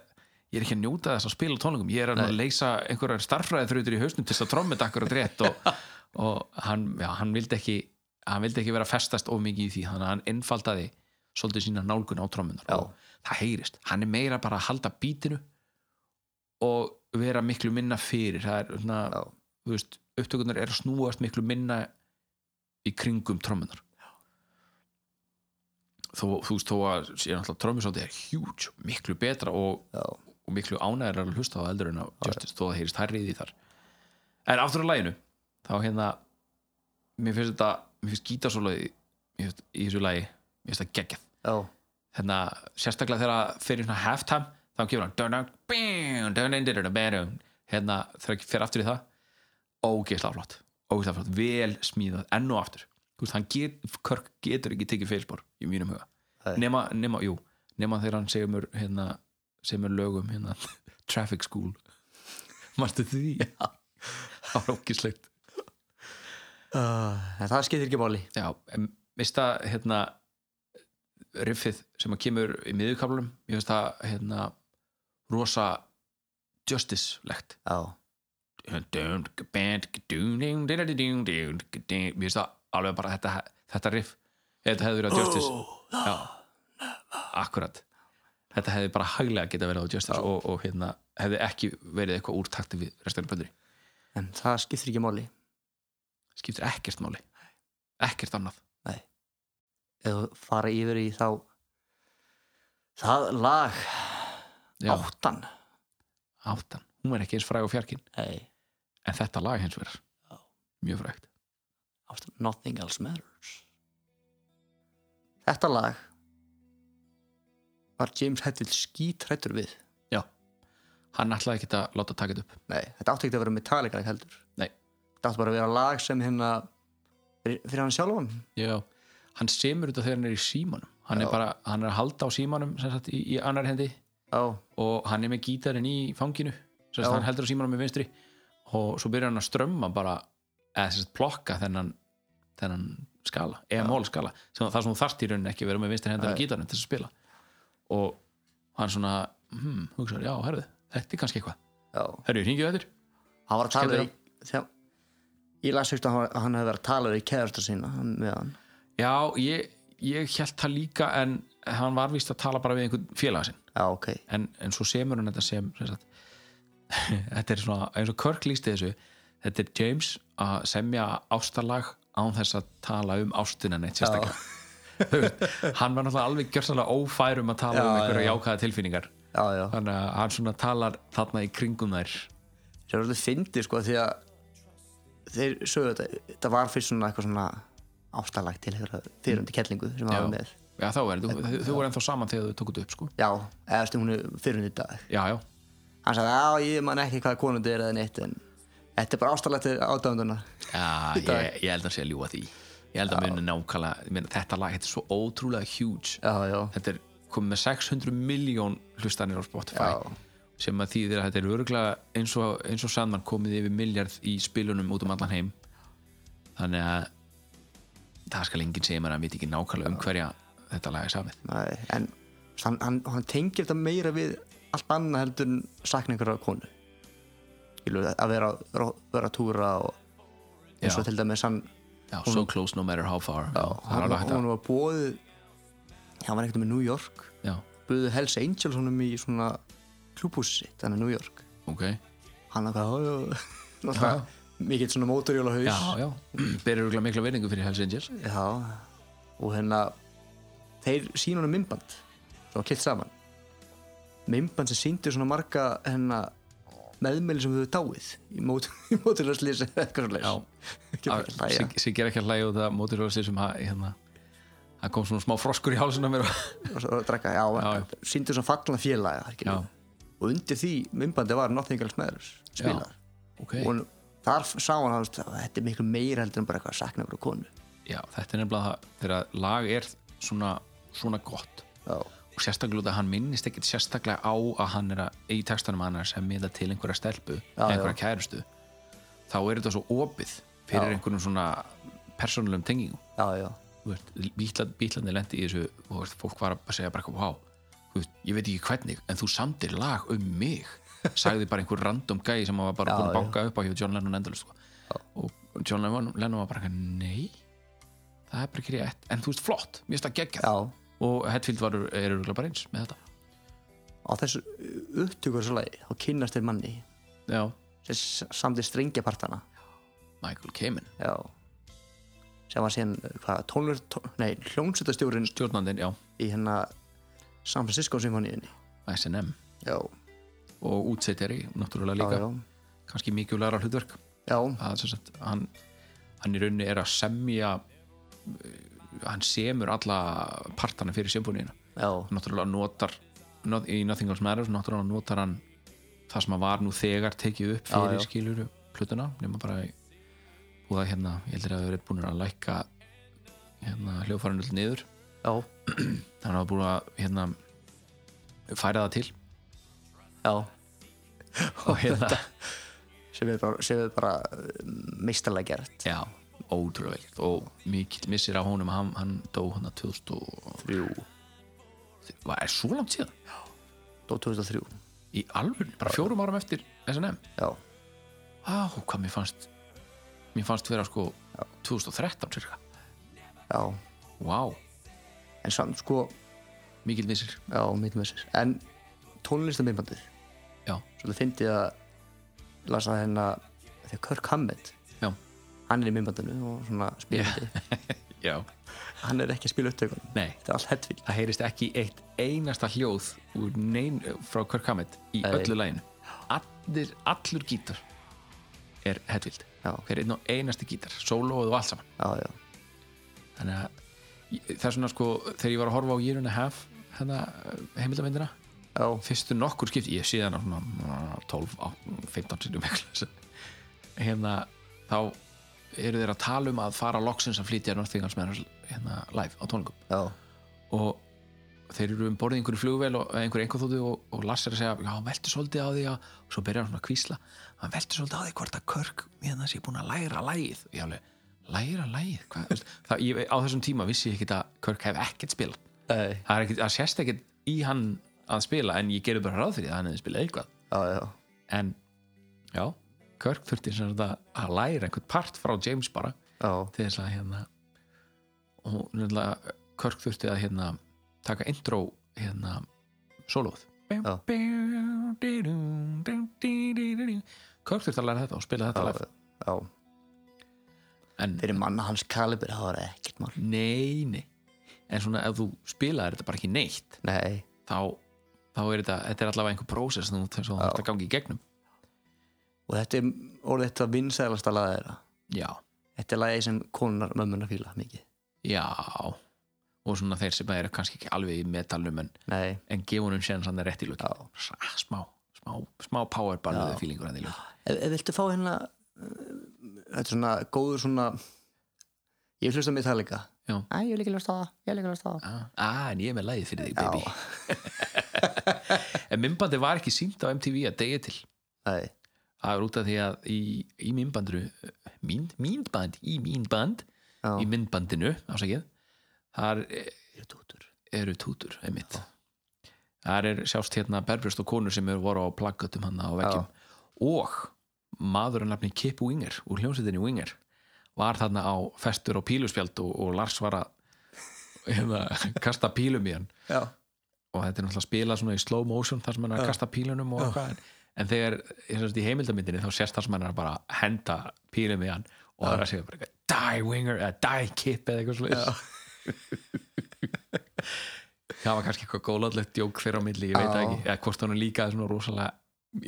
[SPEAKER 6] ég er ekki að njóta þess að spila á tónleikum, ég er að, að leysa einhverjar starffræði þrjóður í hausnum til þess að trommið akkurat rétt og, og hann, já, hann vildi ekki hann vildi ekki vera að festast of mikið í því þannig að hann einfaldaði svolítið sína nálgun á trommunar og það heyrist, hann er meira bara að halda bítinu og vera miklu minna fyrir það er svona,
[SPEAKER 4] Já.
[SPEAKER 6] þú veist, upptökunar er að snúast miklu minna í kringum trommunar þó, þú veist þó að síðan alltaf trommusóti er huge, miklu betra og,
[SPEAKER 4] Já.
[SPEAKER 6] og miklu ánægir að hlusta á eldur en á Justice, þó að heyrist hærrið í þar en aftur á læginu þá hérna mér finnst þetta, mér finnst gítarsólaði í þessu lægi, mér finnst það geggjað
[SPEAKER 4] já,
[SPEAKER 6] hérna, sérstaklega þegar fyrir svona halftime, þá kemur hann dun, dun, bing, dun, dun, dun, dun, dun, dun. hérna, þegar hann fyrir aftur í það ógeðslega flott, ógeðslega flott vel smíðað, enn og aftur Þú veist, hann get, Körk getur ekki tekið feilspor í mínum huga,
[SPEAKER 4] Nei.
[SPEAKER 6] nema, nema jú, nema þegar hann segir mér hérna, segir mér lögum hérna, Traffic School Marstu því? Já. Það var ógeðslegt
[SPEAKER 4] en það skiptir ekki máli
[SPEAKER 6] Já, em, veist það hérna riffið sem að kemur í miðurkaflunum, ég veist það hérna rosa justice-legt
[SPEAKER 4] já,
[SPEAKER 6] Dun, dun, dun, dun, dun, dun, dun, dun. Mér finnst það alveg bara þetta, þetta riff ef þetta hefði verið á Justice
[SPEAKER 4] Oh,
[SPEAKER 6] Já, akkurat Þetta hefði bara hæglega geta verið á Justice og, og hérna hefði ekki verið eitthvað úr takti við resturinn böndri
[SPEAKER 4] en það skiptir ekki máli
[SPEAKER 6] skiptir ekkert máli ekkert annað
[SPEAKER 4] ef þú fara yfir í þá það lag
[SPEAKER 6] Já,
[SPEAKER 4] áttan
[SPEAKER 6] áttan, hún er ekki eins fræg og fjarkin
[SPEAKER 4] Nei,
[SPEAKER 6] en þetta lag hins vegar mjög frægt
[SPEAKER 4] áttan, nothing else matters þetta lag var James Hetfield skítrættur við
[SPEAKER 6] já. hann ætlaði ekki að láta taka þetta upp
[SPEAKER 4] Nei, þetta átti ekki að vera Metallica lag heldur
[SPEAKER 6] Nei.
[SPEAKER 4] Þetta átti bara að vera lag sem hérna fyrir, fyrir hann sjálfan
[SPEAKER 6] já. hann semur þetta þegar hann er í símanum hann, er, bara, hann er að halda á símanum sem sagt, í, í annar hendi
[SPEAKER 4] Já,
[SPEAKER 6] og hann er með gítarinn í fanginu sem sagt,
[SPEAKER 4] Já.
[SPEAKER 6] hann heldur á símanum með vinstri og svo byrjar hann að strömma bara eða sem sagt, plokka þennan, þennan skala, E e-mól skala sem það sem þú þarft í rauninni ekki að vera með vinstri hendan í gítarinn til þess að spila og hann svona, hmm, hugsaður, já, herðu þetta er kannski eitthvað,
[SPEAKER 4] já
[SPEAKER 6] herðu, hringið þetta
[SPEAKER 4] Hann var að tala
[SPEAKER 6] Skellur
[SPEAKER 4] við þegar, Ég las hugst að hann, hann hefði verið að tala við kæðasta sína hann- með hann
[SPEAKER 6] Já, ég, ég held það líka en hann var vist að tala bara við einhvern félaga sinn
[SPEAKER 4] Já, ok
[SPEAKER 6] en, en svo semur hann þetta sem, sem sagt, þetta er svona eins og Kirk lísti þessu þetta er James að semja ástarlag án þess að tala um ástina neitt sérstaklega Þú veist, hann var náttúrulega alveg gjörsanlega ófærum að tala um
[SPEAKER 4] Já,
[SPEAKER 6] einhverja
[SPEAKER 4] já.
[SPEAKER 6] jákaða tilfinningar
[SPEAKER 4] Já, já
[SPEAKER 6] þannig að hann svona talar þarna í kringum þær
[SPEAKER 4] Þeir eru alltaf fyndi sko því að þeir sögðu þetta Þetta var fyrst svona eitthvað svona ástalag til einhverja fyrirhundi kellingu sem hann
[SPEAKER 6] Já,
[SPEAKER 4] var með
[SPEAKER 6] já þá er þú, þau, þau voru ennþá saman þegar þau tókuðu upp sko
[SPEAKER 4] Já, eða eftir hún er fyrirhundi dag
[SPEAKER 6] Já, já,
[SPEAKER 4] Hann sagði, já, ég man ekki hvað konundi er eða neitt en þetta er bara ástalag til átöfunduna
[SPEAKER 6] Já, ég, ég held að sé að ljúa því Ég held að muni nákvæmlega ég meina, Þetta lag, þetta er svo ótrúlega huge
[SPEAKER 4] Já, já
[SPEAKER 6] Þetta er komið með 600 miljón hlustanir á Spotify
[SPEAKER 4] Já.
[SPEAKER 6] sem að þýðir að þetta er örgulega eins og, eins og saman komið yfir miljard í spilunum út um allan heim Þannig að það skal enginn segja mér að hann veit ekki nákvæmlega um hverja þetta lag er samið
[SPEAKER 4] Nei, en hann, hann, hann tengir þetta meira við allt annað heldur en sakna einhverja konu Skilu, að vera, vera, vera að túra og eins og
[SPEAKER 6] Já.
[SPEAKER 4] til dæmis hann
[SPEAKER 6] Já, So Close No Matter How Far Já, það er
[SPEAKER 4] hann,
[SPEAKER 6] alveg hægt
[SPEAKER 4] hann
[SPEAKER 6] að
[SPEAKER 4] var bóðið hann var ekkert með New York
[SPEAKER 6] Já,
[SPEAKER 4] búðið Hells Angels honum í svona klúbhúsi sitt, hann er New York
[SPEAKER 6] ok
[SPEAKER 4] hann er hvað, já, já náttúrulega mikill svona mótorjóla haus
[SPEAKER 6] Já, já, berir örgulega mikla verðingu fyrir Hells Angels
[SPEAKER 4] já, og hérna þeir sín honum mymband það var kilt saman mymband sem sýndi svona marga hérna, meðmæli sem höfðu dáið í móturlarslýs eitthvað svo
[SPEAKER 6] Já.
[SPEAKER 4] leys
[SPEAKER 6] Sig er ekki að hlæja út að mótirjóðsir sem að, hérna, það kom svona smá froskur í hálsina mér og,
[SPEAKER 4] og drakka, já,
[SPEAKER 6] Já,
[SPEAKER 4] já. sýndi svona fallna félaga
[SPEAKER 6] Já.
[SPEAKER 4] skilurðu. og undir því mymbandi var Nothing Else Matters spilað
[SPEAKER 6] ok,
[SPEAKER 4] og hún- þar sá hann að þetta er miklu meira heldur en bara eitthvað að sakna fyrir konu
[SPEAKER 6] já, þetta er nefnilega það þegar lag er svona svona gott
[SPEAKER 4] já,
[SPEAKER 6] og sérstaklega út að hann minnist ekkit sérstaklega á að hann er að, í textanum hann er sem miða til einhverja stelpu,
[SPEAKER 4] Já,
[SPEAKER 6] einhverja kærustu þá er þetta svo opið fyrir
[SPEAKER 4] Já.
[SPEAKER 6] einhverjum svona persónulegum tengingum
[SPEAKER 4] já, já,
[SPEAKER 6] Þú veist, bítlan, bítlandi lendi í þessu og þú veist, fólk var að segja bara eitthvað wow, þú veist, ég veit ekki hvernig, en þú samtir lag um mig, sagði bara einhver random gæi sem var bara
[SPEAKER 4] Já,
[SPEAKER 6] búin að
[SPEAKER 4] já.
[SPEAKER 6] banka upp á hjá John Lennon endalist sko. og John Lennon, Lennon var bara eitthvað, nei það er bara ekki rétt, en þú veist flott mér finnst það geggjað
[SPEAKER 4] já
[SPEAKER 6] og Hetfield var, er örugglega bara eins með þetta
[SPEAKER 4] á þessu upptökur svo leið þá kynnast þeir manni
[SPEAKER 6] já,
[SPEAKER 4] sem s- samdi strengjapartana
[SPEAKER 6] Michael Kamen,
[SPEAKER 4] já sem var síðan, hvað, tónlur tón, nei, hljómsveitastjórin
[SPEAKER 6] stjórnandinn, já
[SPEAKER 4] í hérna San Francisco symfóníunni
[SPEAKER 6] SNM
[SPEAKER 4] já,
[SPEAKER 6] og útsetjari, náttúrulega
[SPEAKER 4] já,
[SPEAKER 6] líka
[SPEAKER 4] já,
[SPEAKER 6] kannski mikið læra hlutverk
[SPEAKER 4] já,
[SPEAKER 6] að, sem sagt, hann, hann í rauninni er að semja eh, hann semur alla partana fyrir symfóníuna
[SPEAKER 4] já,
[SPEAKER 6] náttúrulega notar not, í Nothing Else Matters, náttúrulega notar hann það sem að var nú þegar tekið upp
[SPEAKER 4] Já,
[SPEAKER 6] fyrir
[SPEAKER 4] já.
[SPEAKER 6] skilur plötuna nema bara í- og það hérna, ég heldur að þau eru búin að lækka hérna hljófarinu niður
[SPEAKER 4] já,
[SPEAKER 6] þannig að búin að hérna færa það til
[SPEAKER 4] já
[SPEAKER 6] og hérna,
[SPEAKER 4] sem er bara, sem er bara eh, meistarlega gert
[SPEAKER 6] já, ótrúlega vel gert. og mikill missir á honum hann, hann dó hérna hann að 2003 var er svo langt síðan
[SPEAKER 4] Dó 2003,
[SPEAKER 6] í alvörn, bara fjórum árum eftir SNM
[SPEAKER 4] já,
[SPEAKER 6] á, hvað mér fannst mér fannst vera sko 2013 cirka,
[SPEAKER 4] já
[SPEAKER 6] vá,
[SPEAKER 4] en samt sko,
[SPEAKER 6] mikill missir
[SPEAKER 4] já, mitt með sér en tónlistamindbandið
[SPEAKER 6] já,
[SPEAKER 4] svolítið fyndið að lasa hérna, þegar Kirk Hammett
[SPEAKER 6] já,
[SPEAKER 4] hann er í minnbandinu og svona spilandi
[SPEAKER 6] já
[SPEAKER 4] hann er ekki að spila upptökunum
[SPEAKER 6] nei,
[SPEAKER 4] þetta er allt hettfíl
[SPEAKER 6] það heyrist ekki eitt einasta hljóð úr neyn, frá Kirk Hammett í
[SPEAKER 4] Nei.
[SPEAKER 6] öllu læginu allir, allur gítar er hetvild
[SPEAKER 4] Já.
[SPEAKER 6] hver einn og einasti gítar, sólóð og allt saman
[SPEAKER 4] já, já,
[SPEAKER 6] þannig að ég- það er svona sko þegar ég var að horfa á Year and a Half hérna heimildamindina
[SPEAKER 4] já,
[SPEAKER 6] fyrstu nokkur skipt, ég sé það svona mm, 12, á- 15 sinni miklu hérna þá eru þeir að tala um að fara loksins að flytja Northingans með hérna live á tónlingum
[SPEAKER 4] já,
[SPEAKER 6] og þeir eru um borðið í einhverju flugvél og eða einhverju einhverju þóttu og, og Lars er að segja já, hann veldur svolítið á því að og svo byrjar hann svona að kvísla hann veldur svolítið á því hvort að Körk hérna sé búin að læra lægið ég alveg, læra lægið? Hvað? Þú veist, Það, ég, á þessum tíma vissi ég ekkit að Körk hef ekkert spilað
[SPEAKER 4] Nei.
[SPEAKER 6] það, er ekkit, það sést ekkit í hann að spila en ég gerði bara ráð fyrir því að hann hefði spilað eitthvað
[SPEAKER 4] já, já,
[SPEAKER 6] en já, Körk þurfti sem sagt að, að læra einhvern part frá James bara
[SPEAKER 4] já,
[SPEAKER 6] til þess að hérna og nefnilega Körk þurfti að hérna taka intro hérna sólóð
[SPEAKER 4] Já.
[SPEAKER 6] Körk þurfti að læra þetta og spila þetta
[SPEAKER 4] já, eh,
[SPEAKER 6] live
[SPEAKER 4] já.
[SPEAKER 6] en
[SPEAKER 4] fyrir manna hans kalibur það var ekkert mál
[SPEAKER 6] nei, nei en svona ef þú spilaðir þetta bara ekki neitt
[SPEAKER 4] nei,
[SPEAKER 6] þá, þá er þetta, þetta er allavega einhver prósess sem þú þess að þetta gangi í gegnum
[SPEAKER 4] og þetta er orðið þetta vinsælasta laga þeirra
[SPEAKER 6] já,
[SPEAKER 4] þetta er lagið sem konunar mömmuna fíla mikið
[SPEAKER 6] já og svona þeir sem eru kannski ekki alveg í metalnum en,
[SPEAKER 4] nei,
[SPEAKER 6] en gefa honum séðan sann rétt í lukki
[SPEAKER 4] Já.
[SPEAKER 6] smá, smá, smá power balluðu fílingur hann í lukki
[SPEAKER 4] ef, ef viltu fá hérna uh, þetta er svona góður svona ég hlusta mér það líka
[SPEAKER 6] Já.
[SPEAKER 4] Æ, ég líka hlusta á það, ég líka hlusta á það
[SPEAKER 6] ah, ah, en ég er með lagið fyrir þig, baby en mymbandi var ekki sínt á MTV að degi til
[SPEAKER 4] nei,
[SPEAKER 6] það er út af því að í, í mymbandru mín, mínband, í mínband
[SPEAKER 4] Já.
[SPEAKER 6] í myndbandinu, ásækið þar eh,
[SPEAKER 4] ég er tútur
[SPEAKER 6] eru tútur, einmitt þar er sjást hérna berbrjóst og konur sem eru voru á plaggatum hann á veggjum og maður að nafni Kip Winger úr hljómsveitinni Winger var þarna á festur og píluspjald og, og Lars var að hérna, kasta pílum í hann
[SPEAKER 4] já,
[SPEAKER 6] og þetta er náttúrulega spilað svona í slow motion þar sem hann er að kasta pílunum og eitthvað en, en þegar ég sérst í heimildamindinni þá sérst þar sem hann er að bara henda pílum í hann og það er að segja bara eitthvað, die winger eða die kip eða eitthvað sliðis það var kannski eitthvað góðlöðlegt djók þeirra á milli, ég veit það
[SPEAKER 4] Já.
[SPEAKER 6] ekki eða hvort hann líka svona rosalega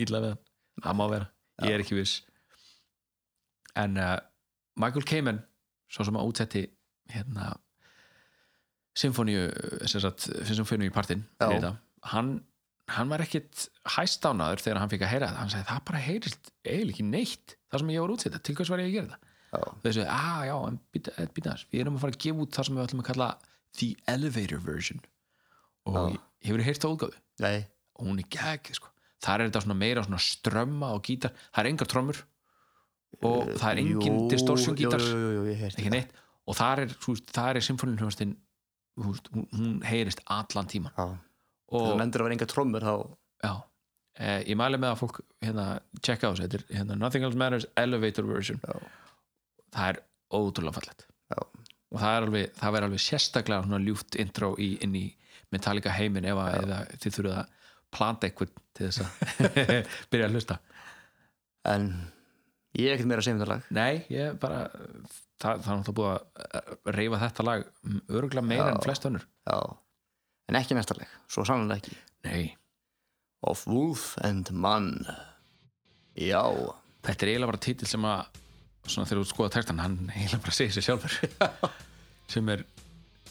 [SPEAKER 6] illa við hann það má vera, ég er ekki viss en uh, Michael Kamen svo sem að útsetti hérna symfóníu sem sagt, symfóníu í partinn
[SPEAKER 4] Já.
[SPEAKER 6] fyrir þetta. hann, hann var ekkit hæstánaður þegar hann fikk að heyra þetta hann sagði það bara heyrist eiginlega ekki neitt það sem ég var útsetta, til hvers var ég að gera þetta
[SPEAKER 4] já,
[SPEAKER 6] þessu, að já, en býta eh, býta aðeins við erum að fara að gefa út það sem við ætlum að kalla The Elevator Version og
[SPEAKER 4] Já.
[SPEAKER 6] hefur þið heyrt það útgáðu
[SPEAKER 4] nei,
[SPEAKER 6] og hún er gegg sko. þar er þetta svona meira svona strömma og gítar það er engar trommur og það er engin
[SPEAKER 4] Eh, Jú,
[SPEAKER 6] distortion gítar
[SPEAKER 4] jú, jú, jú, jú, ég heyrti
[SPEAKER 6] ekki
[SPEAKER 4] það.
[SPEAKER 6] neitt og þar er, þú veist, þar er symfóninhljóðastinn hún, hún heyrist allan tíman
[SPEAKER 4] já, og þú
[SPEAKER 6] og
[SPEAKER 4] nefndir að vera enga trommur þá,
[SPEAKER 6] já, e, ég mæli með að fólk hérna, checka á þessu, þetta er hérna, Nothing Else Matters Elevator Version
[SPEAKER 4] Já.
[SPEAKER 6] það er ótrúlega fallegt
[SPEAKER 4] Já.
[SPEAKER 6] og það er alveg, það verður alveg sérstaklega svona ljúft intro í, inn í Metallica heiminn ef að eða þið þurfið að planta eitthvað til þess að byrja að hlusta
[SPEAKER 4] en Ég er ekkert meira að segja um þetta lag
[SPEAKER 6] Nei, ég bara það, það er náttúrulega búið að eh, reyfa þetta lag öruglega meira en flest önnur
[SPEAKER 4] Já, en ekki næsta lag Svo sannlega ekki
[SPEAKER 6] Nei,
[SPEAKER 4] Of Wolf and Man Já,
[SPEAKER 6] þetta er eiginlega bara títil sem að svona þegar þú skoða textan, hann eiginlega bara segir sér sjálfur sem er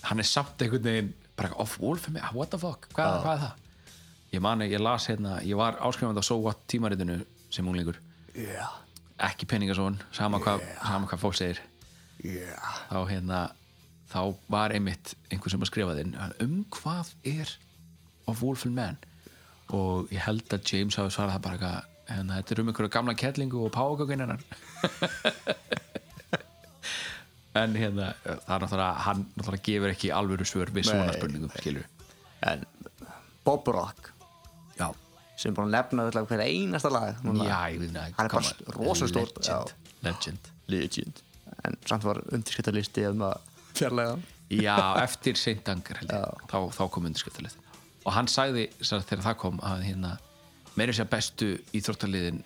[SPEAKER 6] hann er samt einhvern veginn bara off wall for me, Ah, what the fuck, hvað, hvað er það ég mani, ég las hérna, ég var áskrifandi á So What tímaritinu sem unglingur
[SPEAKER 4] yeah.
[SPEAKER 6] ekki peningasón, sama hvað sama hvað fólk segir
[SPEAKER 4] Yeah.
[SPEAKER 6] þá hérna þá var einmitt einhver sem að skrifa þinn um hvað er of Wolfen Man og ég held að James hafi svarað það bara eitthvað hérna, þetta er um einhverja gamla kettlingu og págökuninnar en hérna það er náttúrulega, hann náttúrulega gefur ekki alvöru svör við svona
[SPEAKER 4] Nei.
[SPEAKER 6] spurningum, skilur
[SPEAKER 4] En Bob Rock
[SPEAKER 6] já,
[SPEAKER 4] sem er búin að nefna öll hver einasta lag núna.
[SPEAKER 6] já, ég veit
[SPEAKER 4] Hann er bara rosa stór, já.
[SPEAKER 6] legend, legend.
[SPEAKER 4] Legend En samt var undirskiptalisti um að fjarlæga hann.
[SPEAKER 6] já, eftir Saint Anger held ég, þá, þá kom undirskriftalist og hann sagði sem sagt, þegar það kom að hérna, meira sér bestu íþróttaliðin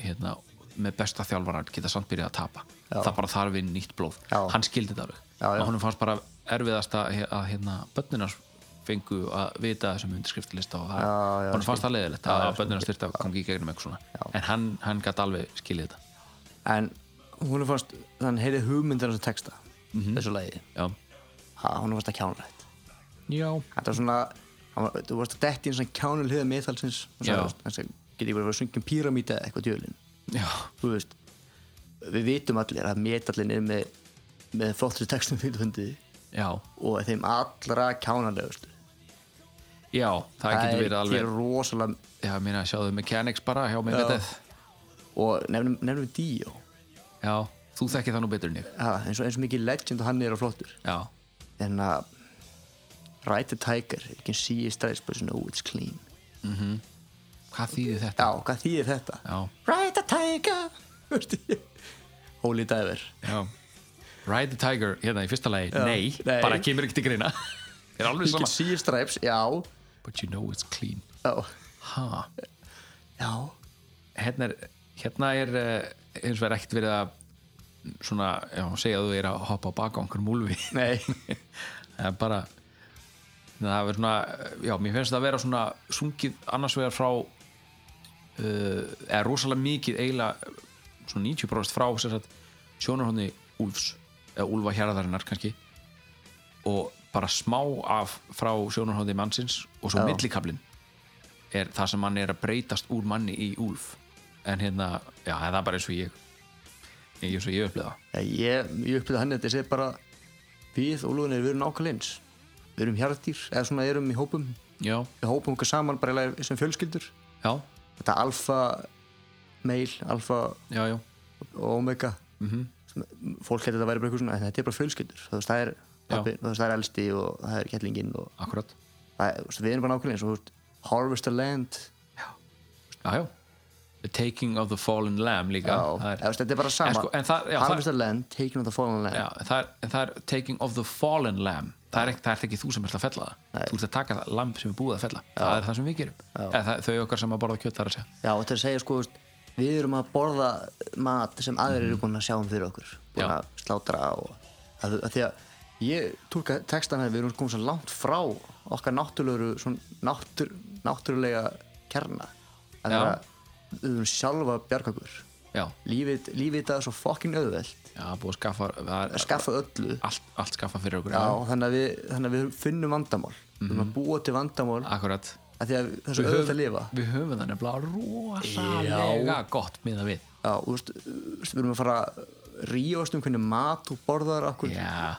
[SPEAKER 6] hérna, með besta þjálfarar geta samt byrjað að tapa það bara þarf inn nýtt blóð
[SPEAKER 4] Já.
[SPEAKER 6] hann skildi þetta alveg
[SPEAKER 4] Já, já.
[SPEAKER 6] og honum fannst bara erfiðast að, að hérna, bönninar fengu að vita þessum undirskriftalista og það,
[SPEAKER 4] Já, já,
[SPEAKER 6] honum fannst það leiðilegt að bönninar styrta kom ekki í gegnum eitthvað svona en hann, hann gæti alveg skilið þetta
[SPEAKER 4] En hún fannst hann heyrði hugmyndina sem texta þessu lagi
[SPEAKER 6] já,
[SPEAKER 4] ha, hún fannst það kjánulegt
[SPEAKER 6] já.
[SPEAKER 4] Þetta var svona hann var, þú varst að detti eins og kjánul hliða meðhalsins og
[SPEAKER 6] Já.
[SPEAKER 4] svo þess að geti ég bara að sungja um píramíta eða eitthvað djölin
[SPEAKER 6] já.
[SPEAKER 4] þú veist við vitum allir að metallin er með með flottur textum fyrir fundið
[SPEAKER 6] já.
[SPEAKER 4] og er þeim allra kjánalegust
[SPEAKER 6] já. það getur verið alveg
[SPEAKER 4] gerir rosalega
[SPEAKER 6] Já, mér að sjáðu mechanics bara hjá mér
[SPEAKER 4] Já.
[SPEAKER 6] þetta
[SPEAKER 4] og nefnum, nefnum við Dio
[SPEAKER 6] Já, þú þekkir það nú betur en ég
[SPEAKER 4] ha, eins, og, eins og mikið legend og hann er á flottur
[SPEAKER 6] Já,
[SPEAKER 4] en að Ride the Tiger, you can see his stripes but you know it's clean
[SPEAKER 6] hvað þýðir þetta?
[SPEAKER 4] já, hvað þýðir þetta?
[SPEAKER 6] Já,
[SPEAKER 4] Ride the Tiger Veistu, ég- Holy Diver
[SPEAKER 6] já Ride the Tiger, hérna í fyrsta lagi, nei,
[SPEAKER 4] nei.
[SPEAKER 6] bara kemur ekki til greina Er alveg
[SPEAKER 4] you can
[SPEAKER 6] sama
[SPEAKER 4] see his stripes, já
[SPEAKER 6] But you know it's clean
[SPEAKER 4] já,
[SPEAKER 6] ha.
[SPEAKER 4] já,
[SPEAKER 6] Hérna er, hérna er eh, hins vegar ekkert verið að mm, svona, já, segja að þú er að hoppa á baka á einhverjum úlfi
[SPEAKER 4] nei
[SPEAKER 6] Það er bara það er svona, já, mér finnst það að vera svona sungið annars vegar frá uh, eða rosalega mikið eiginlega svona 90% frá sem sagt, sjónarhóðni Úlfs eða Úlfa hérðarinnar kannski og bara smá af frá sjónarhóðni mannsins og svo
[SPEAKER 4] Já.
[SPEAKER 6] millikablin er það sem hann er að breytast úr manni í Úlf en hérna, já, það er bara eins og ég eins og ég upplega
[SPEAKER 4] Já, ég, ég uppbyrði hann þetta ég segi bara við og lúðinni við erum nákvæmlega eins við erum hjartýr eða svona erum í hópum
[SPEAKER 6] já,
[SPEAKER 4] við hópum okkur saman bara eiginlega sem fjölskyldur
[SPEAKER 6] já,
[SPEAKER 4] þetta alfa meil, alfa
[SPEAKER 6] já, já
[SPEAKER 4] og omega
[SPEAKER 6] Mhm.
[SPEAKER 4] -hmm. fólk hætti þetta að vera bara eitthvað svona en þetta er bara fjölskyldur þú veist það er pappi, þú veist það er elsti og það er kettlingin og
[SPEAKER 6] akkurat,
[SPEAKER 4] það er, þú veist, við erum bara nákvæmlega eins og þú veist harvest the land
[SPEAKER 6] já, já The Taking of the Fallen Lamb líka
[SPEAKER 4] já,
[SPEAKER 6] það
[SPEAKER 4] eða, þú
[SPEAKER 6] er,
[SPEAKER 4] veist, þetta er bara sama
[SPEAKER 6] En sko, en það- já, það-
[SPEAKER 4] harvest the land, taking of the fallen land
[SPEAKER 6] já, það, er, en það er Taking of the Fallen Lamb það er, ekki, það er ekki þú sem ert að fella það þú ert að taka það lamb sem er búið að fella það er það sem við gerum, Eða, það, þau okkar sem að borða kjöt þar að segja
[SPEAKER 4] Já, þetta er að segja sko, þú veist, við erum að borða mat sem aðrir eru búin að sjá um fyrir okkur búin
[SPEAKER 6] Já.
[SPEAKER 4] að slátra og að, að því að ég túlka textan að við erum komið svo langt frá okkar náttúrulega svona náttúr, náttúrulega kerna
[SPEAKER 6] Já.
[SPEAKER 4] að það að við erum sjálfa að bjarga okkur
[SPEAKER 6] já,
[SPEAKER 4] lífið, lífið það er svo fokkin auðvelt
[SPEAKER 6] já, búið að skaffa það
[SPEAKER 4] að
[SPEAKER 6] er,
[SPEAKER 4] skaffa öllu
[SPEAKER 6] allt, allt skaffa fyrir okkur
[SPEAKER 4] Já, þannig, að við, þannig að við finnum vandamál við erum að búa til vandamál
[SPEAKER 6] akkurat
[SPEAKER 4] að því að það er svo auðvelt að lifa
[SPEAKER 6] Mhm. við höfum það nefnilega rosalega gott miða við
[SPEAKER 4] Já, þú veist, þú veist, við erum að fara að ríast um hvernig mat þú borðar okkur
[SPEAKER 6] já,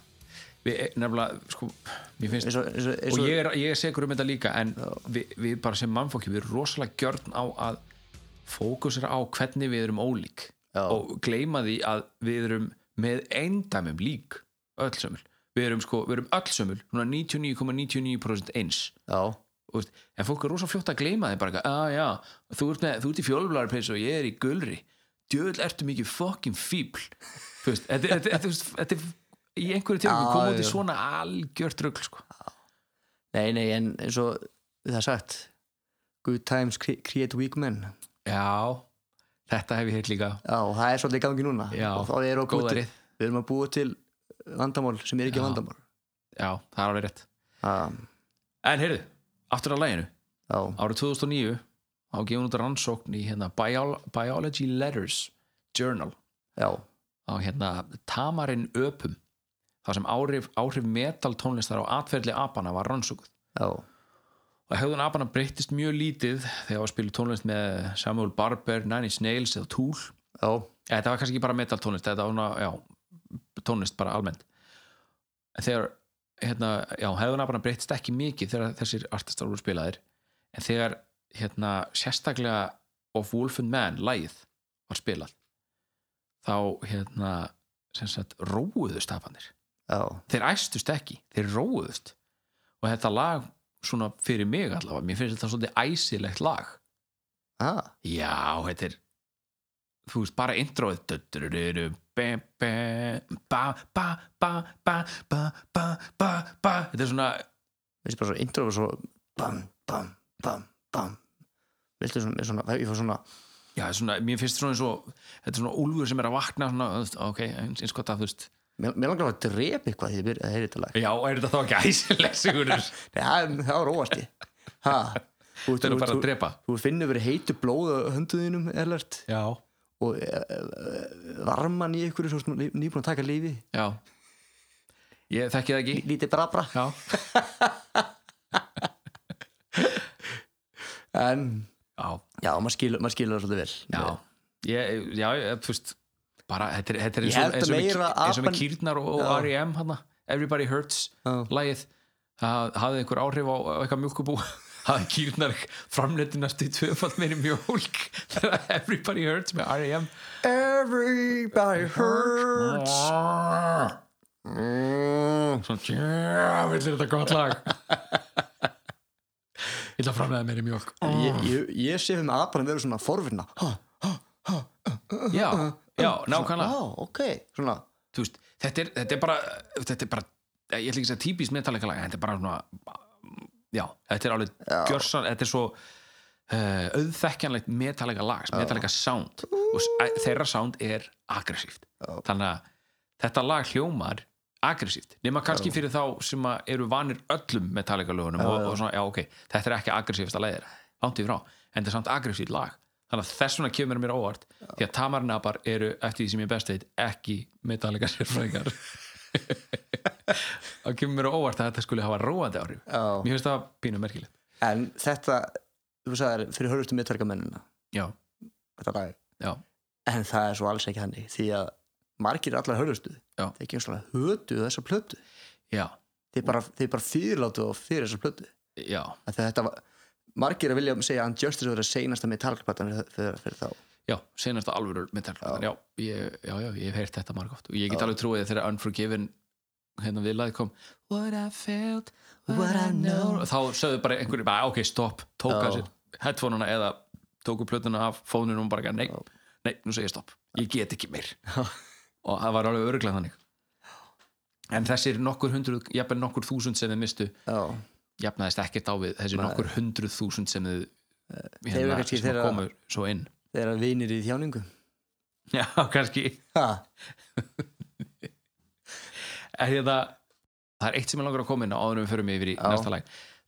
[SPEAKER 6] við nefnilega sko, mér finnst
[SPEAKER 4] eins og, eins og, eins
[SPEAKER 6] og
[SPEAKER 4] og
[SPEAKER 6] ég er, ég er segur um þetta líka en við, við bara sem mannfólki við erum rosalega gjörn á að fókusera á hvernig við erum ólík
[SPEAKER 4] Já.
[SPEAKER 6] og gleyma því að við erum með eindæmum lík öll sömul, við erum sko, við erum öll sömul núna 99,99% eins
[SPEAKER 4] Já,
[SPEAKER 6] og veist, en fólk er rosa fljótt að gleyma þeim bara, að já, þú ert, með, þú ert í fjólublarpeis og ég er í gulri djöðl ertu mikið fokkin fíbl þú veist, þetta, þetta, þetta, þetta, þetta er í einhverju tilfæðu
[SPEAKER 4] Já,
[SPEAKER 6] koma út í
[SPEAKER 4] já.
[SPEAKER 6] svona algjört rugl sko.
[SPEAKER 4] nei, nei, en eins og það er sagt Good times cre- create weak men
[SPEAKER 6] Já, þetta hef ég heilt líka
[SPEAKER 4] Já, og það er svolítið í gangi núna
[SPEAKER 6] Já,
[SPEAKER 4] og þá er að búa til,
[SPEAKER 6] góðærið.
[SPEAKER 4] við erum að búa til vandamál sem er ekki
[SPEAKER 6] Já.
[SPEAKER 4] vandamál
[SPEAKER 6] já, það er alveg rétt
[SPEAKER 4] um,
[SPEAKER 6] en heyrðu, aftur að læginu
[SPEAKER 4] Já,
[SPEAKER 6] árið 2009 á gefin út rannsókn í hérna Bio Biology Letters Journal
[SPEAKER 4] já,
[SPEAKER 6] á hérna Tamarin Öpum þar sem áhrif, áhrif metaltónlistar á atferðli apana var rannsókuð
[SPEAKER 4] já,
[SPEAKER 6] og hegðun apana breyttist mjög lítið þegar var spilu tónlist með Samuel Barber, Nine Inch Nails eða Tool
[SPEAKER 4] já,
[SPEAKER 6] ja, þetta var kannski ekki bara metal tónlist þetta var svona, já, tónlist bara almennt en þegar hérna, já, hegðun apana breyttist ekki mikið þegar þessir artistar voru spilaðir en þegar hérna, sérstaklega Of Wolf and Man, lagið var spilað þá hérna sem sagt róuðust afanir
[SPEAKER 4] já,
[SPEAKER 6] þeir æstust ekki, þeir róðust og þetta lag svona fyrir mig allavega, mér finnst þetta svolítið æsilegt lag
[SPEAKER 4] ah,
[SPEAKER 6] já, þetta er þú veist, bara introið Du-du-du-du, bam, bam, ba, ba, ba, ba, ba, ba, ba, ba. þetta er svona
[SPEAKER 4] veist bara svo intro og svo bam, bam, bam, bam Viltu svona, mér svona, ég fór svona
[SPEAKER 6] Já, svona, mér finnst svona eins og þetta er svona úlfur sem er að vakna svona, þú veist, ok, eins, eins gott að þú veist
[SPEAKER 4] Mér, mér langar að drepa eitthvað því ég byrja að heyra þetta lag
[SPEAKER 6] Já, er þetta þá ekki æsileg sigurður
[SPEAKER 4] Nei, Það er- það var óvarti Ha, þú,
[SPEAKER 6] Þetta er nú bara að
[SPEAKER 4] þú,
[SPEAKER 6] drepa
[SPEAKER 4] þú finnur verið heitu blóð á hönduðinum, erlert
[SPEAKER 6] Já,
[SPEAKER 4] og e, e, varman í einhverju svo ný, nýbúin að taka lífi
[SPEAKER 6] já Ég þekki það ekki
[SPEAKER 4] lítið brabra
[SPEAKER 6] Já,
[SPEAKER 4] en
[SPEAKER 6] já
[SPEAKER 4] já, maður skilur, maður skilur það svolítið vel
[SPEAKER 6] já, ég, já, ég, þú veist bara, þetta er, þetta er
[SPEAKER 4] Ég
[SPEAKER 6] eins og,
[SPEAKER 4] held að
[SPEAKER 6] eins og, með,
[SPEAKER 4] meira
[SPEAKER 6] eins og með
[SPEAKER 4] apan-
[SPEAKER 6] kýrnar og, og
[SPEAKER 4] Já.
[SPEAKER 6] R.E.M. hana, Everybody Hurts
[SPEAKER 4] Já.
[SPEAKER 6] lagið, það hafði einhver áhrif á, á eitthvað mjólkubú hafði kýrnar framleiti næstu í tvöfald meiri mjólk þegar Everybody Hurts með E R.E.M.
[SPEAKER 4] Everybody hurts
[SPEAKER 6] Mm, svona djöfull er þetta gott lag ég ætla að framlega meiri mjólk
[SPEAKER 4] Ég, ég, ég sé fyrir mig aðbæðan verið svona forvinna Ha,
[SPEAKER 6] já, já, nákvæmlega
[SPEAKER 4] Já, ok Svona,
[SPEAKER 6] þú veist, þetta er, þetta er bara þetta er bara, ég ætla ekki að segja típist metallega lag, en þetta er bara svona já, þetta er alveg gjörsan þetta er svo uh, auðþekkjanlegt metallega lag, metallega sound og s- æ- þeirra sound er aggressíft, þannig að þetta lag hljómar aggressíft nema kannski fyrir þá sem að eru vanir öllum metallega lögunum og, og svona, já ok þetta er ekki aggressífasta lagið langt í frá, en þetta er samt aggressíft lag þannig að þess vegna kemur mér á óvart því að tamarnabar eru, eftir því sem ég best veit ekki metallega sérfræðingar það kemur mér á óvart að þetta skuli hafa róandi áhrif
[SPEAKER 4] Já.
[SPEAKER 6] mér finnst það pínu merkilegt
[SPEAKER 4] en þetta Þú sagðir fyrir hörlustu mittverkamennina
[SPEAKER 6] já,
[SPEAKER 4] Þetta lag
[SPEAKER 6] já,
[SPEAKER 4] En það er svo alls ekki hannig Því að margir allar hörlustu
[SPEAKER 6] Já.
[SPEAKER 4] Þeir ekki svona hötu þessa plötu
[SPEAKER 6] já,
[SPEAKER 4] Þeir bara, þeir bara fyrirlátu og fyrir þessa plötu
[SPEAKER 6] já
[SPEAKER 4] Af því að Þetta var Margir að vilja segja að Unjustice verið að seinasta metalplatan fyrir, fyrir, fyrir þá
[SPEAKER 6] Já, senast alvöru metalplatan já. ég, já, já, ég hef heyrt þetta margóft og ég get alveg trúið þegar Unforgiven hérna viðlaði kom What I felt, what I know og þá sögðu bara einhverju, bara, "Ah, ok, stopp tóka
[SPEAKER 4] Já.
[SPEAKER 6] sér headphoneuna eða tóku plötuna af fónunum og bara, nei, nei, nú segi ég stopp ég get ekki meir og það var alveg öruglega þannig en þessir nokkur hundruð, jafnvel nokkur þúsund sem þið mistu,
[SPEAKER 4] Já,
[SPEAKER 6] jafnaðist ekkert á við þessir nokkur hundruð þúsund sem þið
[SPEAKER 4] eru
[SPEAKER 6] hérna,
[SPEAKER 4] kannski
[SPEAKER 6] sem
[SPEAKER 4] þeirra-
[SPEAKER 6] komu svo inn
[SPEAKER 4] þeir eru vinir í þjáningu
[SPEAKER 6] Já, kannski
[SPEAKER 4] Ha,
[SPEAKER 6] er hérna það er eitt sem ég langar að koma inn á áður en við förum yfir í næsta lag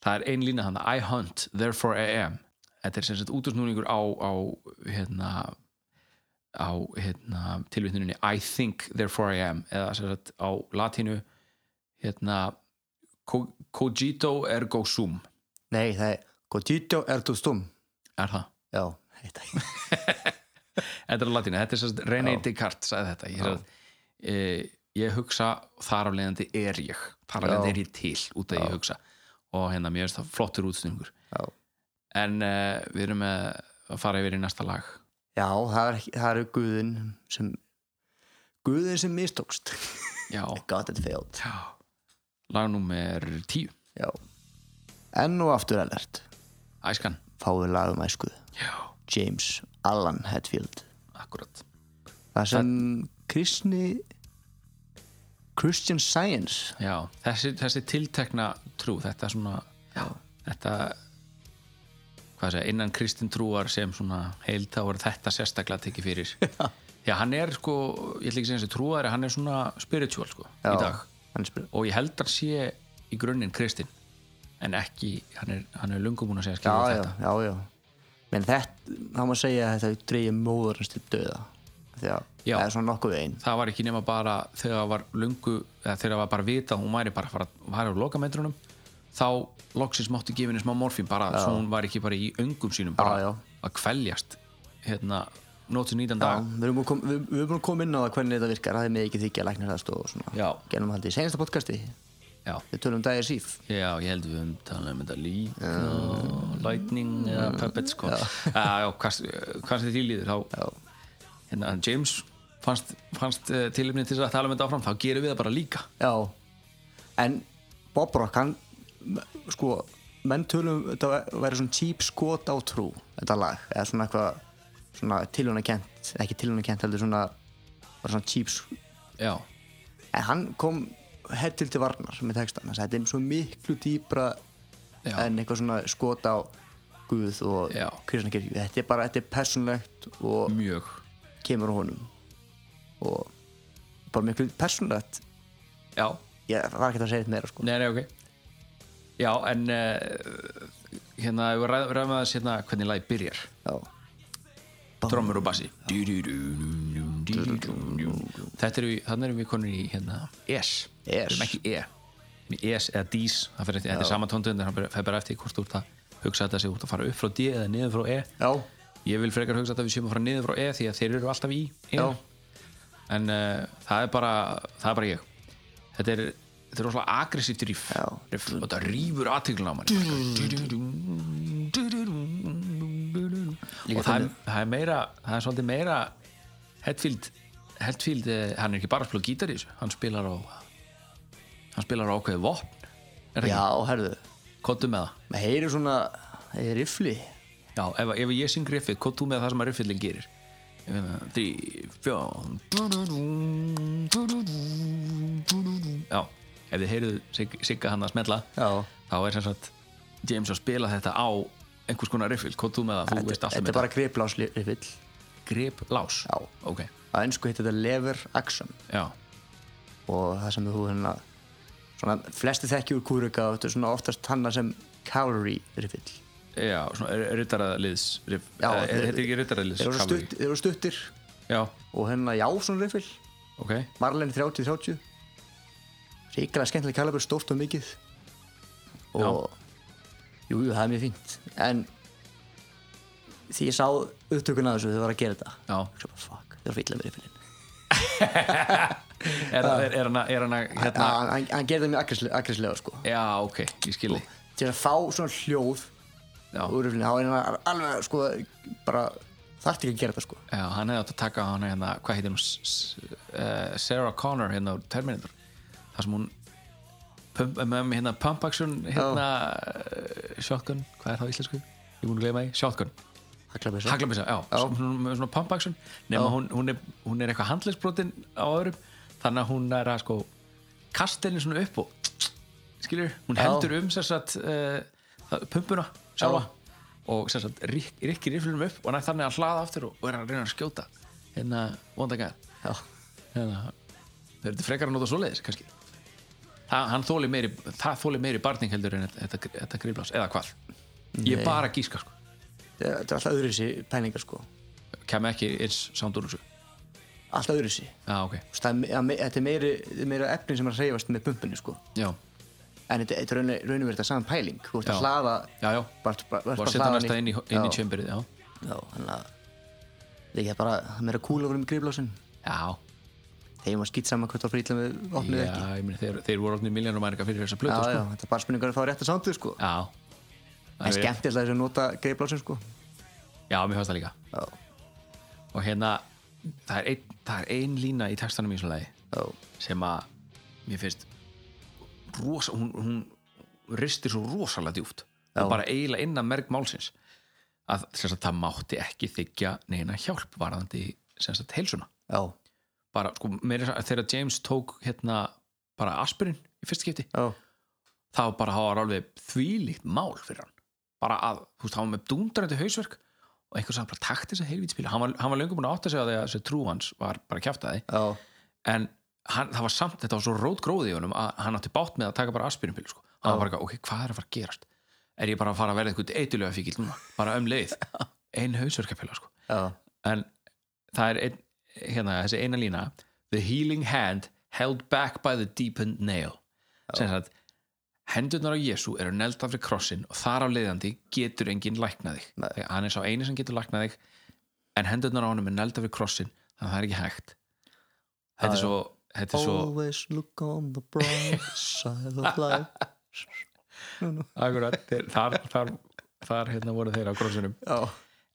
[SPEAKER 6] það er ein lína hann, I hunt, therefore I am þetta er sem sagt útusnúningur á, á hérna á hérna tilvitnuninni I think, therefore I am eða sem sagt á latínu hérna co- cogito ergo sum
[SPEAKER 4] Nei, það er Godito er þú stum
[SPEAKER 6] er það?
[SPEAKER 4] Já, heita ég
[SPEAKER 6] Þetta er á latínu, þetta er sem sagt René Descartes sagði þetta ég, sagði, e, ég hugsa þar af leiðandi er ég þar af leiðandi er ég til út af ég hugsa og hérna mér finnst það flottur útsningur
[SPEAKER 4] Já.
[SPEAKER 6] en e, við erum með að fara yfir í næsta lag
[SPEAKER 4] Já, það er, það er guðin sem guðin sem mistókst
[SPEAKER 6] Já,
[SPEAKER 4] God it failed
[SPEAKER 6] Já. lag númer 10
[SPEAKER 4] Já. Enn og aftur alert
[SPEAKER 6] Æskan
[SPEAKER 4] fáið lagum æsku
[SPEAKER 6] Já,
[SPEAKER 4] James Allan Hetfield
[SPEAKER 6] akkurat
[SPEAKER 4] Það sem kristni Christian Science
[SPEAKER 6] Já, þessi, þessi tiltekna trú þetta er svona
[SPEAKER 4] Já.
[SPEAKER 6] þetta hvað segja, innan kristin trúar sem svona heild þá er þetta sérstaklega tekið fyrir já, hann er sko, ég ætla ekki að segja þessi trúar hann er svona spiritual sko í dag
[SPEAKER 4] hann spyr,
[SPEAKER 6] og ég held hann sé í grunninn kristin en ekki, hann er, hann er lungum búin að segja
[SPEAKER 4] já,
[SPEAKER 6] skilja
[SPEAKER 4] já,
[SPEAKER 6] þetta
[SPEAKER 4] já, já. menn þetta, þá má segja að þetta dreigir móður hans til döða þegar
[SPEAKER 6] Já.
[SPEAKER 4] það er svona nokkuð veginn
[SPEAKER 6] það var ekki nema bara þegar það var lungu eða þegar það var bara vita að hún væri bara að fara að væri á lokametrunum þá loksins mátti gefinni smá morfín bara svo hún var ekki bara í öngum sínum bara
[SPEAKER 4] Já, já.
[SPEAKER 6] að kveljast hérna nóttu nýtan
[SPEAKER 4] Já,
[SPEAKER 6] dag
[SPEAKER 4] við erum búin að kom- við- við erum búin að koma inn á það hvernig þetta virkar það er með ekki þykja læknarast og svona
[SPEAKER 6] Já.
[SPEAKER 4] genum haldið í senasta podcasti
[SPEAKER 6] já.
[SPEAKER 4] við tölum um dagir síf
[SPEAKER 6] já, ég held við um talaðum um þetta líka lightning eða puppets sko. já, já, hvað hvað sem því líður þá, hérna, en James fannst, fannst uh, tilefni til þess að tala um þetta áfram þá gerum við það bara líka
[SPEAKER 4] Já En Bob Rock hann sko, menn tölum þetta verið svona típ skot á trú þetta lag, eða svona eitthvað svona tilhjónakent, ekki tilhjónakent heldur svona, bara svona típ
[SPEAKER 6] já,
[SPEAKER 4] en hann kom hettil til varnar með textan, þess að þetta er svo miklu dýpra
[SPEAKER 6] Já.
[SPEAKER 4] en eitthvað svona skot á Guð og
[SPEAKER 6] Já. Mm.
[SPEAKER 4] kristnakirkju, þetta er bara, þetta er persónlegt og
[SPEAKER 6] mjög
[SPEAKER 4] kemur á honum og bara miklu persónlegt
[SPEAKER 6] já,
[SPEAKER 4] ég var ekki að segja þetta meira sko
[SPEAKER 6] Nei, nei, ok Já, en uh, hérna, ef við ræð- ræðum að þess hérna hvernig lagið byrjar
[SPEAKER 4] Já.
[SPEAKER 6] Trommur og bassi Þetta eru, þannig erum við konur í hérna ES Við
[SPEAKER 4] Yes.
[SPEAKER 6] erum ekki E Við ES eða DIS, það fyrir eftir, þetta er sama tóndönd það fer bara eftir hvort þú ert að hugsa þetta sig út að fara upp frá D eða niður frá E
[SPEAKER 4] Já,
[SPEAKER 6] Ég vil frekar hugsa þetta við séum að fara niður frá E því að þeir eru alltaf í E
[SPEAKER 4] Já.
[SPEAKER 6] En uh, það, er bara, það er bara ég Þetta er, þetta er rosalega aggressíft ríf,
[SPEAKER 4] Já.
[SPEAKER 6] ríf og þetta rýfur aðtíklun á manni og það er, það er meira það er svolítið meira Hetfield, Hetfield eh, hann er ekki bara að spila á gítar í þessu hann spilar á hann spilar á ákveðið vopn er það
[SPEAKER 4] já,
[SPEAKER 6] ekki?
[SPEAKER 4] herðu
[SPEAKER 6] Kottu með það
[SPEAKER 4] maður heyrir svona eh, riffli
[SPEAKER 6] Já, ef, ef ég syng riffið, hvað þú með það sem að riffillin gerir? Því, fjón Já, ef þið heyrðu Sig- Sigga hann að smetla
[SPEAKER 4] Já.
[SPEAKER 6] þá er sem sagt James að spila þetta á einhvers konar riffill, hvað þú með það, þú veist allt um
[SPEAKER 4] þetta er bara griplás riffill
[SPEAKER 6] grip lás
[SPEAKER 4] Já.
[SPEAKER 6] Ok,
[SPEAKER 4] á ennsku heitir þetta lever action
[SPEAKER 6] já,
[SPEAKER 4] og það sem þú hérna svona, flesti þekki úr kúrika og þetta er svona oftast hanna sem cavalry riffill
[SPEAKER 6] já, svona ryttaraðliðs riff,
[SPEAKER 4] Já,
[SPEAKER 6] Eh,
[SPEAKER 4] þeir-
[SPEAKER 6] þetta er ekki ryttaraðliðs
[SPEAKER 4] þeir eru
[SPEAKER 6] cavalry.
[SPEAKER 4] stutt, þeir eru stuttir
[SPEAKER 6] Já,
[SPEAKER 4] og hérna já, svona riffill
[SPEAKER 6] ok,
[SPEAKER 4] Marlin 30-30 ríkilega skemmtileg kalabur, stórt og mikið og jú, jú, það er mjög fínt en því ég sá upptökun að þessu þegar það var að gera þetta
[SPEAKER 6] já
[SPEAKER 4] Svo bara, fuck, það er fyrir illa með riffilinn
[SPEAKER 6] Er,
[SPEAKER 4] Ah.
[SPEAKER 6] er, er hann að, er hann að, hérna
[SPEAKER 4] hann, hann, hann gerði það mjög aggresslega sko.
[SPEAKER 6] Já, ok, ég skilji
[SPEAKER 4] til að fá svona hljóð
[SPEAKER 6] Já.
[SPEAKER 4] úr riffilinn, þá er hann alveg sko, bara, þarfti ekki að gera þetta sko.
[SPEAKER 6] Já, hann hefði átt að taka hann hérna, hvað heitir hún, S- S- eh, Sarah Connor hérna úr Terminator þar sem hún pump, eh, með hérna pump action hérna oh. shotgun, hvað er það á íslensku? Ég búin að gleyma því, shotgun
[SPEAKER 4] Haglabissa.
[SPEAKER 6] Haglabissa, já,
[SPEAKER 4] Já.
[SPEAKER 6] Svona, með svona pump action nema hún, hún, er, hún er eitthvað handlegsbrotin á öðrum þannig að hún er að sko kasta henni svona upp og skilur, hún
[SPEAKER 4] Já.
[SPEAKER 6] heldur um sér satt uh, pumpuna sjálfa og sér satt rikkir yfirlunum upp og nær þannig að hlaða aftur og, og er að reyna að skjóta hérna vondagan
[SPEAKER 4] Já.
[SPEAKER 6] hérna, þeir eru frekar að nota svoleiðis kannski Þa, hann þóli meiri, það þóli meiri barning heldur en þetta, þetta, þetta griflás, eða hvað ég er bara að gíska sko
[SPEAKER 4] þetta er alltaf öðruvísi pælingar sko.
[SPEAKER 6] kem ekki eins samt úr þessu
[SPEAKER 4] alltaf öðruvísi
[SPEAKER 6] já, ok,
[SPEAKER 4] Þú veist, það er me- að me- þetta er meiri, meira efni sem er að reyfast með bumbunni sko.
[SPEAKER 6] já,
[SPEAKER 4] en þetta þetta er raunir, raunir verið þetta saman pæling þú ert
[SPEAKER 6] Já.
[SPEAKER 4] að hlaða
[SPEAKER 6] já, já
[SPEAKER 4] bara, bara, bara,
[SPEAKER 6] var að setja næsta inn í, inn í tjömberið já.
[SPEAKER 4] já, þannig að það er ekki bara það er meira kúl over um griflásin
[SPEAKER 6] já,
[SPEAKER 4] þegar maður skýt saman hvort það fyrir illa með opnið
[SPEAKER 6] já,
[SPEAKER 4] eða ekki
[SPEAKER 6] ég meni þeir, þeir voru orðnir miljónum mæringa fyrir þessa plötu
[SPEAKER 4] já, já,
[SPEAKER 6] sko.
[SPEAKER 4] þetta er bara spurningar að fá rétt að sándið sko
[SPEAKER 6] já, Það
[SPEAKER 4] en
[SPEAKER 6] er-
[SPEAKER 4] skemmtilega þess að nota griflásin sko
[SPEAKER 6] já, mér fannst það líka
[SPEAKER 4] já,
[SPEAKER 6] og hérna, það er ein, það er ein lína í textanum í þessu lagi
[SPEAKER 4] já,
[SPEAKER 6] sem að mér finnst rosa, hún, hún ristir svo rosalega djúft og bara eiginlega innan merg málsins að sem sagt, það mátti ekki þykja neina hjálp varðandi sem sagt heilsuna
[SPEAKER 4] já,
[SPEAKER 6] bara sko meira þess að þegar James tók hérna bara aspirin í fyrsta skipti
[SPEAKER 4] já,
[SPEAKER 6] þá bara hafa alveg þvílíkt mál fyrir hann bara að, þú veist, hann var með dúndrandi hausverk og einhvers hann bara takti þess að heilvítspílu hann var, hann var löngu búin að átta sig á því að þessi trú hans var bara kjaftaði,
[SPEAKER 4] Já,
[SPEAKER 6] en hann, það var samt, þetta var svo rótgróði í honum að hann átti bátt með að taka bara aspirinpílu sko. hann var bara, eitthvað, ok, hvað er að fara að gerast er ég bara að fara að verða eitthvað eitulega fíkil núna bara um leið, ein hausverkapilla sko.
[SPEAKER 4] já,
[SPEAKER 6] en það er ein, hérna, þessi eina lína the healing hand held back by the deepened nail sem sagt, hendurnar á Jésu eru neldar fyrir krossin og þar á leiðandi getur enginn læknað þig
[SPEAKER 4] Nei.
[SPEAKER 6] þegar hann er sá eini sem getur læknað þig en hendurnar á honum er neldar fyrir krossin þannig að það er ekki hægt þetta er svo, þetta er svo
[SPEAKER 4] Always look on the bright side of life
[SPEAKER 6] Akkurat, þeir, þar, þar, þar hérna voru þeir á krossinum
[SPEAKER 4] Já.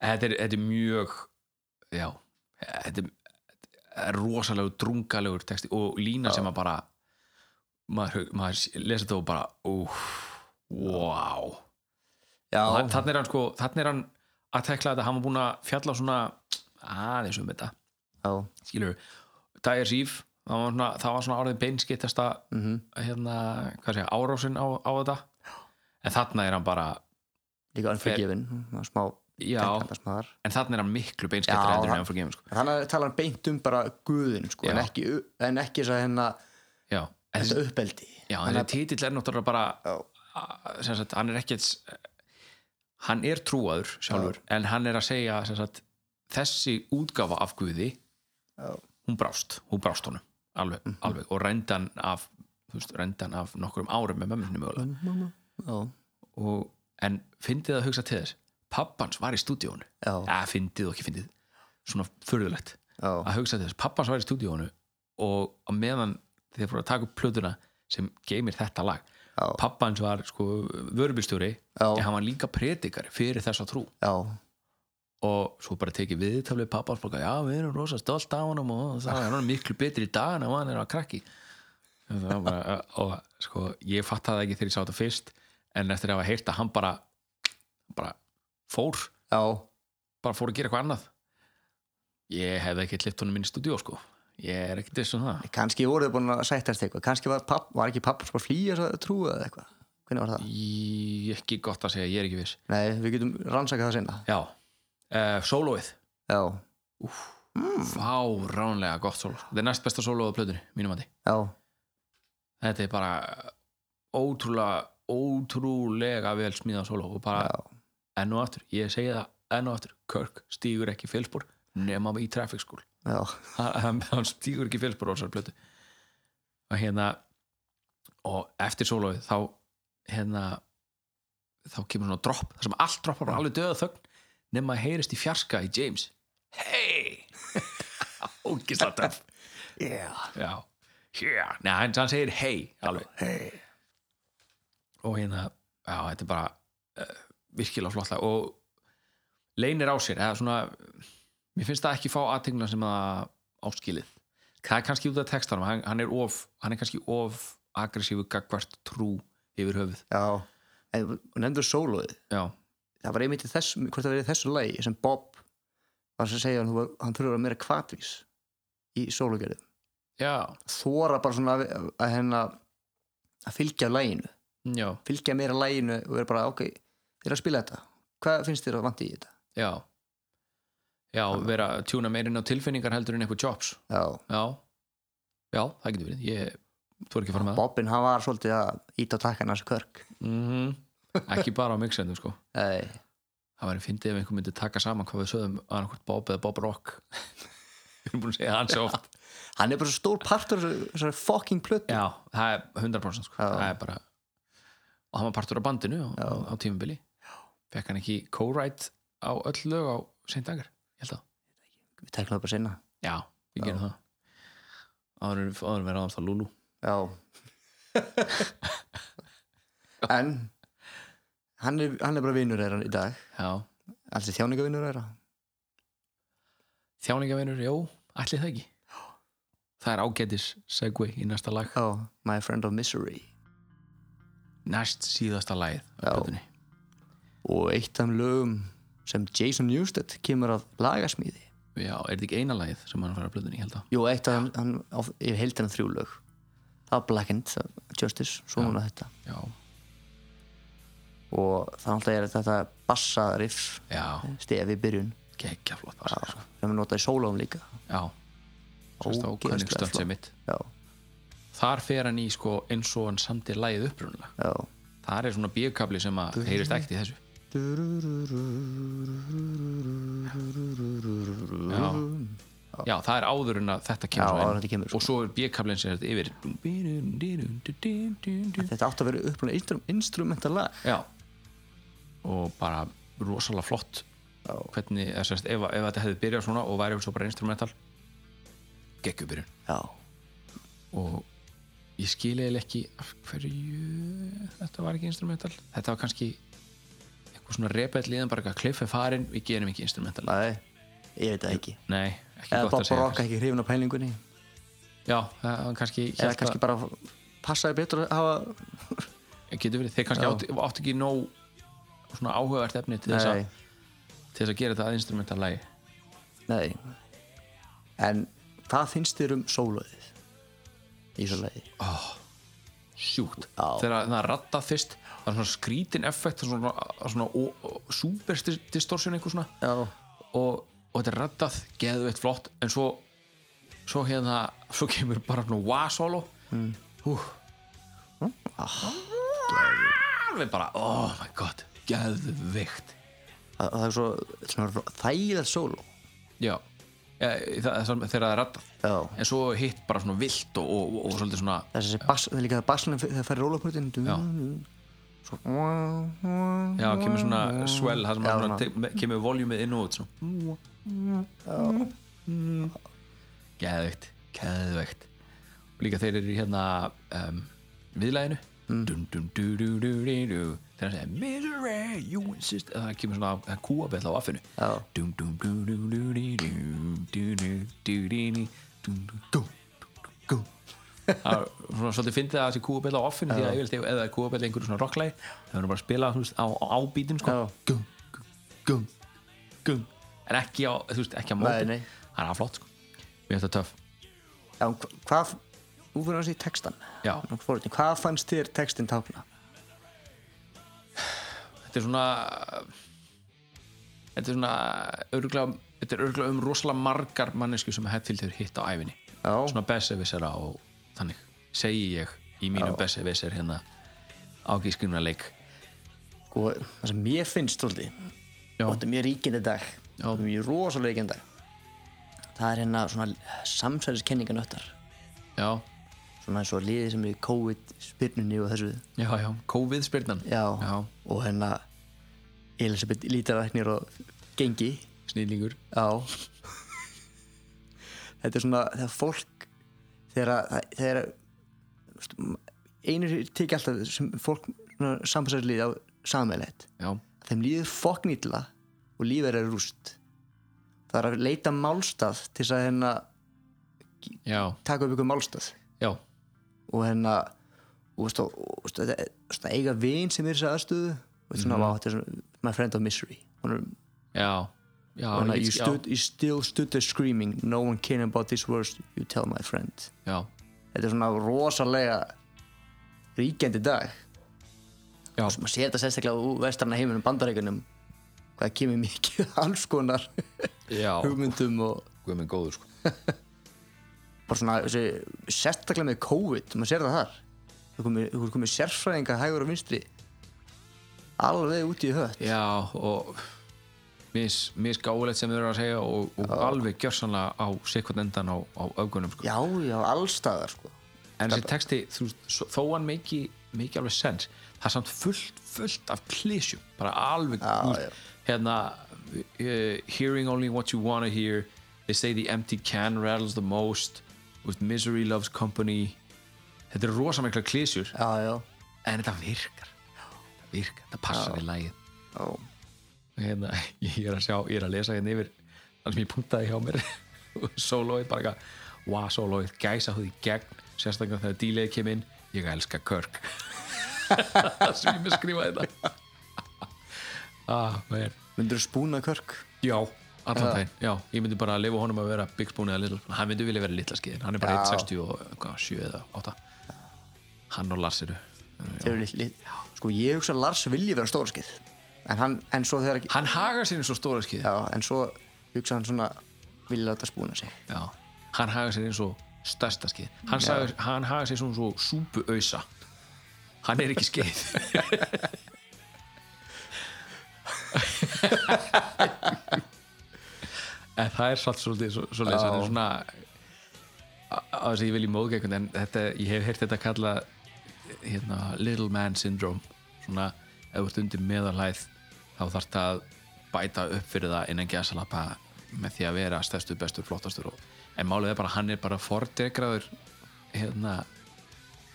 [SPEAKER 6] þetta er, þetta er mjög já, þetta er- þetta er rosalegu drungalegur texti og lína sem að bara maður, hug- maður lesa þetta og bara úf, wow
[SPEAKER 4] Já,
[SPEAKER 6] Og hann- þannig er hann sko, þannig er hann að tekla þetta, hann var búin að fjalla svona aðeins um þetta,
[SPEAKER 4] já,
[SPEAKER 6] skilur Dagers Eve, það var svona, það var svona orðin beinskittasta
[SPEAKER 4] Mhm.
[SPEAKER 6] hérna, hvað segja, árásin á, á þetta en þarna er hann bara
[SPEAKER 4] líka unforgiven það var smá
[SPEAKER 6] Já.
[SPEAKER 4] tekkandarsmaðar.
[SPEAKER 6] en þarna er hann miklu
[SPEAKER 4] sko. Já,
[SPEAKER 6] beinskiptur heldur
[SPEAKER 4] það-
[SPEAKER 6] en Unforgiven sko.
[SPEAKER 4] Þannig að tala hann beint um bara guðin sko, en
[SPEAKER 6] Já.
[SPEAKER 4] ekki, en ekki hérna, þess að hennar
[SPEAKER 6] já, en þessi-
[SPEAKER 4] þetta uppeldi
[SPEAKER 6] já, þessi titill er náttúrulega bara a- sem sagt, hann er ekkert hann er trúaður sjálfur en hann er að segja sem sagt, þessi útgáfa af Guði hún brást, hún brást honum alveg,
[SPEAKER 4] Mhm.
[SPEAKER 6] alveg og rendan af þú veist, rendan af nokkrum árum með mömmunni mögulega
[SPEAKER 4] Mhm. Já,
[SPEAKER 6] og, en fyndið að hugsa til þess pappans var í stúdíónu
[SPEAKER 4] Já.
[SPEAKER 6] ja, fyndið og ekki fyndið svona furðulegt
[SPEAKER 4] Já.
[SPEAKER 6] að hugsa til þess, pappans var í stúdíónu og á meðan þeir fóru að taka upp plötuna sem geymir þetta lag
[SPEAKER 4] Já.
[SPEAKER 6] pappans var sko vörubistjóri
[SPEAKER 4] Já.
[SPEAKER 6] en hann var líka predikari fyrir þessa trú
[SPEAKER 4] já,
[SPEAKER 6] og svo bara tekið viðtaflið pappans bara, já við erum rosa stolt á honum og það hann er miklu betri í dag en hann var hann er að krakki Það var bara, og sko ég fattaði það ekki þegar ég sá þetta fyrst en eftir að hafa heyrt að hann bara bara fór
[SPEAKER 4] já,
[SPEAKER 6] bara fór að gera eitthvað annað ég hefði ekki klift honum inn í stúdíó sko ég er ekki diss um það
[SPEAKER 4] kannski voru þau búin að sættast eitthvað kannski var, papp, var ekki pappan sko að flýja þess að trúa eða eitthvað, hvernig var það?
[SPEAKER 6] ég ekki gott að segja, ég er ekki viss
[SPEAKER 4] Nei, við getum rannsakað það sinna
[SPEAKER 6] já, uh, sólóið
[SPEAKER 4] Já,
[SPEAKER 6] fá ránlega gott sóló þetta er næst besta sólóið á plötunni, mínum andi
[SPEAKER 4] já,
[SPEAKER 6] þetta er bara ótrúlega, ótrúlega vel smíðan sóló og bara enn og aftur, ég segi það enn og aftur Kirk stígur ekki félspor nema í traffic school
[SPEAKER 4] já,
[SPEAKER 6] hann, hann- hann stígur ekki félspor á þessar plötu og hérna og eftir sólóið þá hérna þá kemur svona dropp, þar sem allt droppar bara alveg döða þögn nema að heyrist í fjarska í James Hey! Ógislega töff
[SPEAKER 4] yeah.
[SPEAKER 6] Já, yeah. Nei, hann, hann segir hei alveg hey. og hérna, já, þetta er bara uh, virkilega flott lag og leynir á sér eða svona, mér finnst það ekki fá aðtegna sem það áskilið það er kannski út af textanum, hann, hann er of hann er kannski of aggressífu gagvart trú yfir höfuð
[SPEAKER 4] já En nefndur sólóið
[SPEAKER 6] já,
[SPEAKER 4] það var einmitt í þessu, hvort það verið í þessu lagi sem Bob var að segja hann, þú- hann þurfa að vera meira kvatvís í sólugerðum,
[SPEAKER 6] já,
[SPEAKER 4] þóra bara svona að, að hérna að fylgja læginu,
[SPEAKER 6] já,
[SPEAKER 4] fylgja meira læginu og vera bara ok, þið er að spila þetta hvað finnst þér að vanti í þetta?
[SPEAKER 6] já já, vera að tjúna meirinn á tilfinningar heldur en eitthvað jobs
[SPEAKER 4] Já,
[SPEAKER 6] já, já, það getur verið ég, þú er ekki að fara með það
[SPEAKER 4] Bobbin hann var svolítið að íta á takkan hans körk
[SPEAKER 6] mm ekki bara á mixendum sko
[SPEAKER 4] Ei,
[SPEAKER 6] það væri fyndið ef einhver myndi taka saman hvað við sögum annarkvort Bob eða Bob Rock við erum búin að segja það svo oft
[SPEAKER 4] hann er bara svo stór partur af þessu- þessari fucking plötu
[SPEAKER 6] já, það er 100% sko
[SPEAKER 4] Já.
[SPEAKER 6] það er bara og hann var partur á bandinu á, á tímabili fekk hann ekki co-write á öll lög á seint dagar, ég held að
[SPEAKER 4] við tekum það bara sinna
[SPEAKER 6] já, við gerum það áður áður verða aðast á Lulu
[SPEAKER 4] Já En hann er, hann er bara vinur þeirra í dag
[SPEAKER 6] já,
[SPEAKER 4] alls í þjáningavinnur þeirra
[SPEAKER 6] þjáningavinur, jú, ætli það ekki það er ágætis segway í næsta lag
[SPEAKER 4] Já, My Friend of Misery
[SPEAKER 6] næst síðasta lagið
[SPEAKER 4] Já.
[SPEAKER 6] á plötunni
[SPEAKER 4] og eitt af lögum sem Jason Newsted kemur af lagasmíði
[SPEAKER 6] Já, er þetta ekki eina lagið sem hann fær að blöðunni, ég held að
[SPEAKER 4] Jú, eitt af hann, hann á- ég held hann þrjú lög það var Blackened, það var Justice, svo núna þetta
[SPEAKER 6] Já
[SPEAKER 4] og það alltaf er þetta bassariff
[SPEAKER 6] já,
[SPEAKER 4] stefi í byrjun
[SPEAKER 6] geggja flott bara, sko.
[SPEAKER 4] sem er notað í sólóum líka
[SPEAKER 6] já, sérst
[SPEAKER 4] Ógeðslega
[SPEAKER 6] ákvæmningstönd
[SPEAKER 4] flott.
[SPEAKER 6] sem mitt
[SPEAKER 4] já,
[SPEAKER 6] þar fer hann í sko eins og hann samdi lægið upprunlega
[SPEAKER 4] já
[SPEAKER 6] þar er svona bíokabli sem að heyrist ekkert í þessu já já, það er áður en að þetta kemur,
[SPEAKER 4] Já,
[SPEAKER 6] svona
[SPEAKER 4] áður
[SPEAKER 6] inn.
[SPEAKER 4] en þetta kemur, sko.
[SPEAKER 6] og svo er bíokablin sem er þetta yfir
[SPEAKER 4] þetta átti að vera upplæðið instrum, instrumental lag
[SPEAKER 6] Já og bara rosalega flott hvernig, eða sérst, ef, ef þetta hefði byrjað svona og væri svo bara instrumental geggjubyrjun
[SPEAKER 4] já,
[SPEAKER 6] og ég skil eða ekki af hverju þetta var ekki instrumental þetta var kannski eitthvað svona repell liðan bara eitthvað kliff er farin, við gerum ekki instrumental
[SPEAKER 4] nei, ég veit það ekki
[SPEAKER 6] Nei, ekki gott
[SPEAKER 4] eða
[SPEAKER 6] að
[SPEAKER 4] bara
[SPEAKER 6] segja
[SPEAKER 4] broka ekki hrifin á pælingunni
[SPEAKER 6] Já, það var kannski,
[SPEAKER 4] eða
[SPEAKER 6] hélt
[SPEAKER 4] kannski
[SPEAKER 6] að-
[SPEAKER 4] bara passaði betur að hafa
[SPEAKER 6] getur verið, þeir kannski
[SPEAKER 4] Já.
[SPEAKER 6] áttu átt ekki nóg svona áhugavert efni til þess,
[SPEAKER 4] nei,
[SPEAKER 6] að, til þess að gera þetta að instrumental lagi
[SPEAKER 4] nei en hvað finnst þér um sólóið í svo leiði
[SPEAKER 6] sjúkt
[SPEAKER 4] Já.
[SPEAKER 6] þegar það er rattað fyrst það er svona skrítin effekt svona, svona ó- ó- superdistortion eitthvað svona
[SPEAKER 4] já,
[SPEAKER 6] og, og þetta er rattað, geðveitt flott en svo svo hérna, svo kemur bara svona wah-solo mm. hú alveg bara, oh my god geðveikt
[SPEAKER 4] það, það er svo svona þægilegt sóló
[SPEAKER 6] já, ja, það, það, þegar það er rattað
[SPEAKER 4] Já.
[SPEAKER 6] en svo hitt bara svona vilt og, og, og, og svolítið svona
[SPEAKER 4] þessi bass, það er líka það basslunum þegar það færi rólaputin
[SPEAKER 6] Já.
[SPEAKER 4] svo já,
[SPEAKER 6] já, kemur svona swell það sem
[SPEAKER 4] Já,
[SPEAKER 6] já, svona,
[SPEAKER 4] svona.
[SPEAKER 6] te- kemur voljumið inn og út svona geðveikt geðveikt og líka þeir eru í hérna um, viðlæðinu
[SPEAKER 4] Mm.
[SPEAKER 6] dun, dun, du, du, du, du, du. þegar hann segir misery, you insist það kemur svona það kúabell á affinu
[SPEAKER 4] Já.
[SPEAKER 6] dun, dun, du, du, du, du, du, du, du, du, du, dun, dun, dun, dun, dun. Það er svona svolítið fyndið að þessi kúabell á offinu því að yfirleitt ef ef það er kúabell í einhverju svona rocklægi það verður bara að spila þú veist, á, á ábítum sko.
[SPEAKER 4] Já.
[SPEAKER 6] Gung, gung, gung, gung. en ekki á, þú veist, ekki á
[SPEAKER 4] Nei,
[SPEAKER 6] móti
[SPEAKER 4] nei.
[SPEAKER 6] það er að flott sko. við erum þetta töff
[SPEAKER 4] Já, en hva- hvað, nú fyrir að segja textan
[SPEAKER 6] Já.
[SPEAKER 4] Nú fórutin, hvað fannst þér textin tákna?
[SPEAKER 6] þetta er svona þetta er svona örgulega, þetta er örgulega um rosalega margar mannesku sem Hetfield hefur hitt á æfinni
[SPEAKER 4] Já.
[SPEAKER 6] svona besservissera og þannig segi ég í mínum besservisser hérna á gískunarleik
[SPEAKER 4] Sko, það sem mér finnst svolítið
[SPEAKER 6] Já.
[SPEAKER 4] og þetta er mjög ríkindi dag
[SPEAKER 6] Já.
[SPEAKER 4] þetta er mjög rosalega ríkindi dag það er hérna svona samsæðiskenninganöttar
[SPEAKER 6] já,
[SPEAKER 4] svona eins og liðið sem er í COVID spyrnunni og þessu
[SPEAKER 6] já, já, COVID spyrnan
[SPEAKER 4] já,
[SPEAKER 6] já
[SPEAKER 4] og hérna Elisabeth lítaræknir og gengi
[SPEAKER 6] snillingur
[SPEAKER 4] já þetta er svona þegar fólk þegar, að- þegar einur tekið alltaf sem fólk samsæðislið á sammeilegt
[SPEAKER 6] já,
[SPEAKER 4] þeim líður fokk nýtla og lífið er rúst það er að leita málstað til þess að hérna
[SPEAKER 6] já,
[SPEAKER 4] taka upp ykkur málstað
[SPEAKER 6] já,
[SPEAKER 4] og hérna og veist, og, og, veist, þetta er svona eiga vin sem er í þess aðstöðu og þetta er svona, mm þetta er svona my friend of misery hún er
[SPEAKER 6] já já,
[SPEAKER 4] When
[SPEAKER 6] ég
[SPEAKER 4] you,
[SPEAKER 6] get- já,
[SPEAKER 4] stood, you still stood there screaming No one cared about this words You tell my friend
[SPEAKER 6] já,
[SPEAKER 4] Þetta er svona rosalega ríkjandi dag
[SPEAKER 6] já,
[SPEAKER 4] og maður sér þetta sérstaklega úr vestrarna heiminum bandaríkunum hvað kemur mikið alls konar
[SPEAKER 6] já
[SPEAKER 4] hugmyndum og
[SPEAKER 6] guð minn góður sko
[SPEAKER 4] bara svona þessi, sérstaklega með COVID maður sér það þar þú komið, þú komið sérfræðingar hægur og vinstri alveg út í hött
[SPEAKER 6] Já, og mis, misgáulegt sem þau eru að segja og, og alveg gjörsanlega á sikkvart endan á, á öfgunum sko.
[SPEAKER 4] já, já, allstaðar sko
[SPEAKER 6] en þessi texti, þú, veist, svo- þó hann meiki, meiki alveg sens, það er samt fullt, fullt af klísjum, bara alveg
[SPEAKER 4] Já,
[SPEAKER 6] þú veist, hérna uh, hearing only what you wanna hear they say the empty can rattles the most with misery loves company þetta er rosamikla klísjur
[SPEAKER 4] já, já,
[SPEAKER 6] en þetta virkar þetta virkar, þetta passar í lagið
[SPEAKER 4] já.
[SPEAKER 6] hérna, ég er að sjá, ég er að lesa hérna yfir þannig sem ég punktaði hjá mér sólóið, bara eitthvað wow, sólóið, gæsa húð í gegn sérstaklega þegar díleið kem inn, ég elska Kirk það sem ég með skrifa þetta ah, man.
[SPEAKER 4] myndur spúna körk
[SPEAKER 6] já, allan daginn já, ég myndi bara að lifa honum að vera Big Spoon eða Little Spoon, hann myndi vilja vera Little Skeiðin, hann er bara 1.60 og hvað, 7 eða 8 hann og Lars eru
[SPEAKER 4] þeir eru litli sko ég hugsa að Lars vilji vera stórskið en, hann, en svo þegar
[SPEAKER 6] Hann hagar sér eins og stóra skið
[SPEAKER 4] já, en svo hugsa hann svona vilja láta spúna sig
[SPEAKER 6] Já. Hann hagar sér eins og stærsta skið Hann, sagar, hann hagar sér svona svo súpuausa Hann er ekki skeið En það er satt svolítið svo, svolítið Þetta er svona á- á þess að ég vil í móðgekund en þetta, ég hef heyrt þetta kalla hérna, little man syndrome svona ef þú ert undir meðalæð þá þarf það að bæta upp fyrir það innan gæsalappa með því að vera stærstur, bestur, flottastur og, en málið er bara, hann er bara fordegraður hérna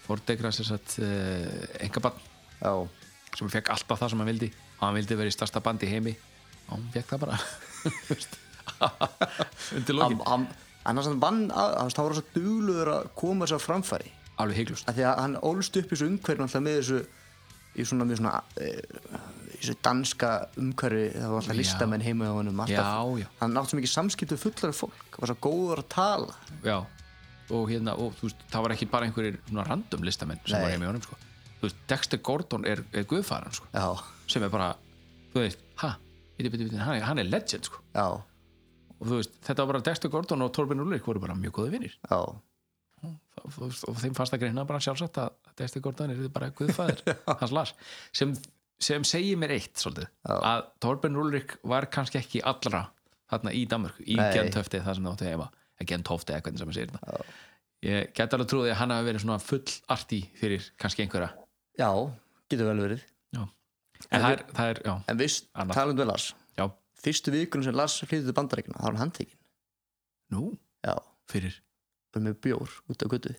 [SPEAKER 6] fordegraður sér satt uh, engabann
[SPEAKER 4] já,
[SPEAKER 6] sem fekk alltaf það sem hann vildi og hann vildi vera í starsta bandi í heimi og hann fekk það bara þú veist. undir
[SPEAKER 4] am,
[SPEAKER 6] lokin,
[SPEAKER 4] am, annars hann vann að, hann stáður svo dugluður að koma þess að framfæri
[SPEAKER 6] alveg heiklust
[SPEAKER 4] að því að hann ólst upp í þessu umhverfum alltaf með þessu í svona mjög svona eh, í þessu danska umhverfi það var alltaf
[SPEAKER 6] Já.
[SPEAKER 4] listamenn heima hjá honum alltaf,
[SPEAKER 6] Já, já.
[SPEAKER 4] hann átti svo mikið samskiptu fullar af fólk var svo góður að tala
[SPEAKER 6] já og hérna, og þú veist, það var ekki bara einhverjir svona random listamenn sem
[SPEAKER 4] Nei.
[SPEAKER 6] var heima í honum sko. þú veist, Dexter Gordon er, er guðfæran sko.
[SPEAKER 4] já,
[SPEAKER 6] sem er bara, þú veist, ha biti, biti, biti, hann, er- hann er legend sko.
[SPEAKER 4] já,
[SPEAKER 6] og þú veist, þetta var bara Dexter Gordon og Torben Ulrik voru bara mjög góði vinnir
[SPEAKER 4] já
[SPEAKER 6] og, og þeim fannst að greina bara sjálfsagt að Dexter Gordon er bara guðfæðir hans Lars, sem, sem segir mér eitt svolítið, að Torben Ulrik var kannski ekki allra þarna í Danmörku, í
[SPEAKER 4] Nei.
[SPEAKER 6] Gentöfti það sem það átti heima, að Gentofti eða hvernig sem maður segir þetta ég gæti alveg trúið að hann hafi verið svona full arti fyrir kannski einhverja
[SPEAKER 4] já, getur vel verið
[SPEAKER 6] já. en það er, það er, já,
[SPEAKER 4] en viss,
[SPEAKER 6] Annað.
[SPEAKER 4] talandum við Lars
[SPEAKER 6] já
[SPEAKER 4] fyrstu vikunum sem Lars flyttu til bandaríkina þá var hann handtekinn
[SPEAKER 6] nú,
[SPEAKER 4] já,
[SPEAKER 6] fyrir
[SPEAKER 4] fyrir með bjór út á götu
[SPEAKER 6] já.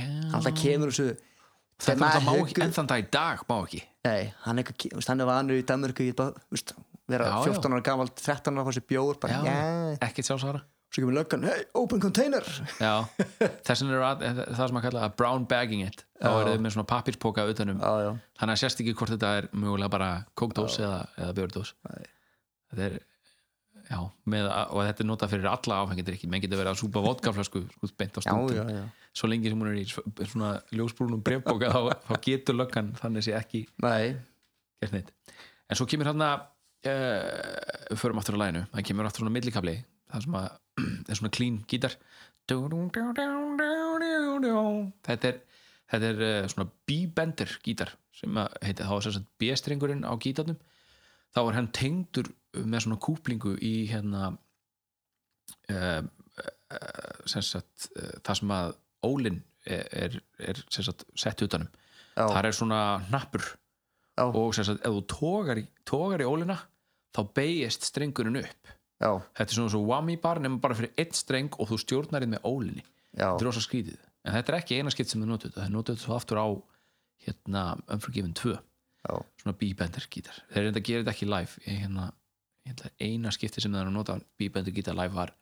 [SPEAKER 4] hann alltaf kemur þessu
[SPEAKER 6] Ah. þetta
[SPEAKER 4] Þegar
[SPEAKER 6] náttúrulega má
[SPEAKER 4] maður
[SPEAKER 6] ekki,
[SPEAKER 4] huggur-
[SPEAKER 6] en þann dag í dag má ekki
[SPEAKER 4] Nei, hann er ekki, veist, hann er vanur í Danmörku ég bara, veist, vera
[SPEAKER 6] Já, já.
[SPEAKER 4] 14 ára gammal 13 ára á þessi bjór, bara,
[SPEAKER 6] Já.
[SPEAKER 4] já,
[SPEAKER 6] ekki sjálfsvara
[SPEAKER 4] svo kemur löggan, hey, open container
[SPEAKER 6] Já, þessin er að, það sem að kalla að brown bagging it þá eru þau með svona um- pappirspoka utanum
[SPEAKER 4] já, já,
[SPEAKER 6] þannig að sérst ekki hvort þetta er mjögulega bara kókdós eða, eða björdós þetta er já, með, að- og þetta er notað fyrir alla áfengendir ekki, menn getur verið að súpa vodkaflösku sko, beint á
[SPEAKER 4] já,
[SPEAKER 6] stundum,
[SPEAKER 4] já, já.
[SPEAKER 6] svo lengi sem hún er í sv- svona ljósbrúnum brefbóka þá, þá getur löggan þannig sé ekki
[SPEAKER 4] Nei,
[SPEAKER 6] gert neitt en svo kemur hann að uh, við förum aftur á læginu, það kemur aftur svona millikafli það sem að er svona clean gítar þetta er þetta er uh, svona b-bender gítar sem að heiti, þá er sem sagt b-strengurinn á gítarnum þá er hann tengdur með svona kúplingu í hérna uh, sem sagt uh, það sem að ólinn er, er, er sem sagt sett um. utanum
[SPEAKER 4] Já.
[SPEAKER 6] þar er svona hnappur
[SPEAKER 4] já,
[SPEAKER 6] og sem sagt, ef þú tógar í, tógar í ólina þá beigist strengurinn upp
[SPEAKER 4] já,
[SPEAKER 6] þetta er svona svo whammy bar nema bara fyrir einn streng og þú stjórnar þið með ólinni
[SPEAKER 4] já
[SPEAKER 6] þetta er rosa skrítið, en þetta er ekki eina skipt sem þau notuð það er notuð svo aftur á hérna, Unforgiven 2
[SPEAKER 4] Já.
[SPEAKER 6] svona b-bender gítar, þeir reynda að gera þetta ekki live ég, hérna, ég held að eina skipti sem þeir eru að nota b-bender gítar live var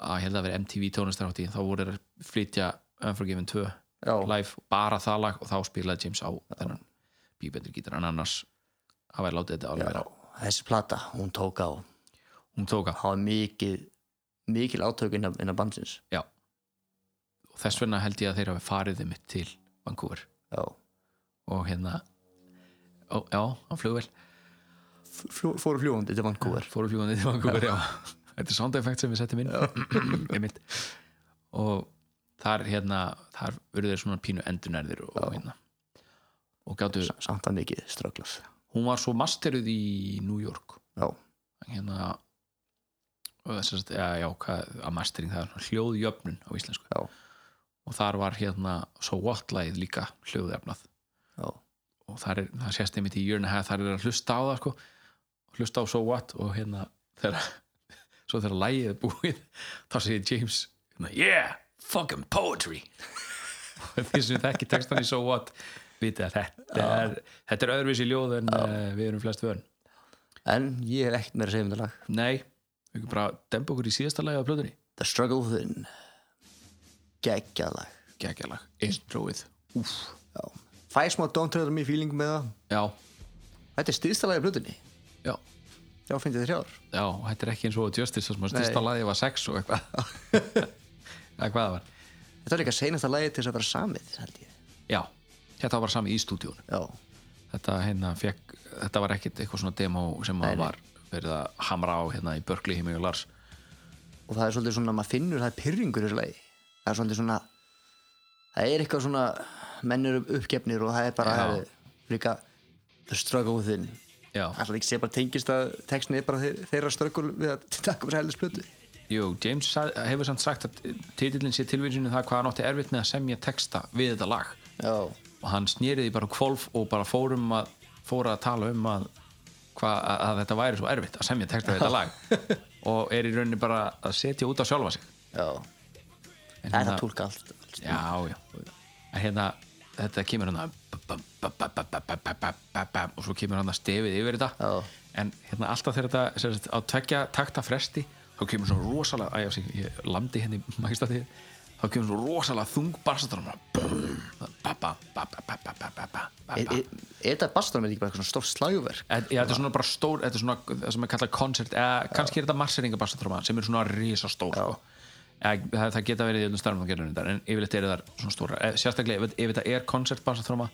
[SPEAKER 6] að ég held að vera MTV tónlistarhátti þá voru þeir að flytja Unforgiven 2
[SPEAKER 4] Já.
[SPEAKER 6] live, bara það lag og þá spilaði James á þennan b-bender gítar en annars hafa ég látið þetta alveg vera
[SPEAKER 4] Þessi plata, hún tók á
[SPEAKER 6] hún tók að,
[SPEAKER 4] það var mikið, mikil átök innan, innan bandsins
[SPEAKER 6] já og þess vegna held ég að þeir hafi farið þeim til Vancouver
[SPEAKER 4] Já,
[SPEAKER 6] og hérna ó, já, hann flög vel
[SPEAKER 4] Fljú, fóru fljúandi til Vancouver
[SPEAKER 6] fóru fljúandi til Vancouver, já þetta er sound effect sem við settum inn einmitt og þar hérna, þar verður þeir svona pínu endurnærðir og hérna og gætu,
[SPEAKER 4] Samt að mikið ströglað
[SPEAKER 6] hún var svo masteruð í New York
[SPEAKER 4] Já,
[SPEAKER 6] hérna og þess að, já, já, hvað, að mastering það er svona hljóðjöfnun á íslensku
[SPEAKER 4] já,
[SPEAKER 6] og þar var hérna So What lagið líka hljóðjöfnað
[SPEAKER 4] já,
[SPEAKER 6] og þar er, það sést einmitt í jörna hæð þar er að hlusta á það sko hlusta á So What og hérna þegar, svo þegar lægið er búið þá segir James hérna, Yeah, fucking poetry og því sem þekki textan í So What vita að þetta er þetta er öðruvísi ljóð en uh, við erum flest vörn
[SPEAKER 4] En ég hef ekkert meira að segja um þetta lag
[SPEAKER 6] Nei, við erum bara að dempa okkur í síðasta lagi á plötunni
[SPEAKER 4] The Struggle Within Geggjað lag
[SPEAKER 6] Gækjalag, introið Úf,
[SPEAKER 4] Já Fæ smá Don't Tread on Me feeling með það
[SPEAKER 6] já,
[SPEAKER 4] Þetta er stýðsta lagi af blutunni
[SPEAKER 6] já
[SPEAKER 4] Já, finnst þið þrjár
[SPEAKER 6] Já, og þetta er ekki eins og Justice sem að styrsta
[SPEAKER 4] Nei.
[SPEAKER 6] lagi var sex og eitthvað eða hvað það var
[SPEAKER 4] Þetta er líka seinasta lagi til þess að vera samið, held ég
[SPEAKER 6] Já, já, þetta var bara sami í stúdíun
[SPEAKER 4] já,
[SPEAKER 6] þetta, hérna, fekk, þetta var ekkit eitthvað svona demo sem að var verið að hamra á hérna í Börgli heimi og Lars
[SPEAKER 4] og það er svolítið svona, maður finnur það er pyrringur í þessu lagi, það er svolítið svona það er eitthvað svona menn eru uppgefnir og það er bara
[SPEAKER 6] Já.
[SPEAKER 4] það er líka the struggle within
[SPEAKER 6] Já.
[SPEAKER 4] alltaf ekki sé bara tengist að textin er bara þeir, þeirra struggle við að taka mér heilis plötu
[SPEAKER 6] Jú, James sa- hefur samt sagt að titillin sé tilvísinu það hvað hann átti erfitt með að semja texta við þetta lag
[SPEAKER 4] já,
[SPEAKER 6] og hann snýriði bara kvolf og bara fórum að fóra að tala um að, hva, að, að þetta væri svo erfitt að semja texta við þetta lag og er í rauninni bara að setja út á sjálfa sig
[SPEAKER 4] já,
[SPEAKER 6] En
[SPEAKER 4] það er
[SPEAKER 6] hérna-
[SPEAKER 4] að tólka allt, allt.
[SPEAKER 6] já, já en hérna, þetta kemur hann og svo kemur hann að stefið yfir þetta
[SPEAKER 4] Já.
[SPEAKER 6] en hérna alltaf þegar þetta sem sagt, á tveggja takta fresti þá kemur svona rosalega, æjá, sig, ég landi henni mækstatíð, þá kemur svona rosalega þung barstadrömmar
[SPEAKER 4] Er-
[SPEAKER 6] þetta
[SPEAKER 4] er er þetta bastarmið ekki bara eitthvað svona stórt slagverk
[SPEAKER 6] er svona bara stór þetta er svona það sem er kallað koncert eða kannski er þetta marseringa barstadrömmar sem er svona risastór sko. Eða, það, það geta verið í öllum starfum að gera þetta en yfirleitt eru þar svona stóra Eh, sérstaklega ef, ef þetta er koncertbansatróma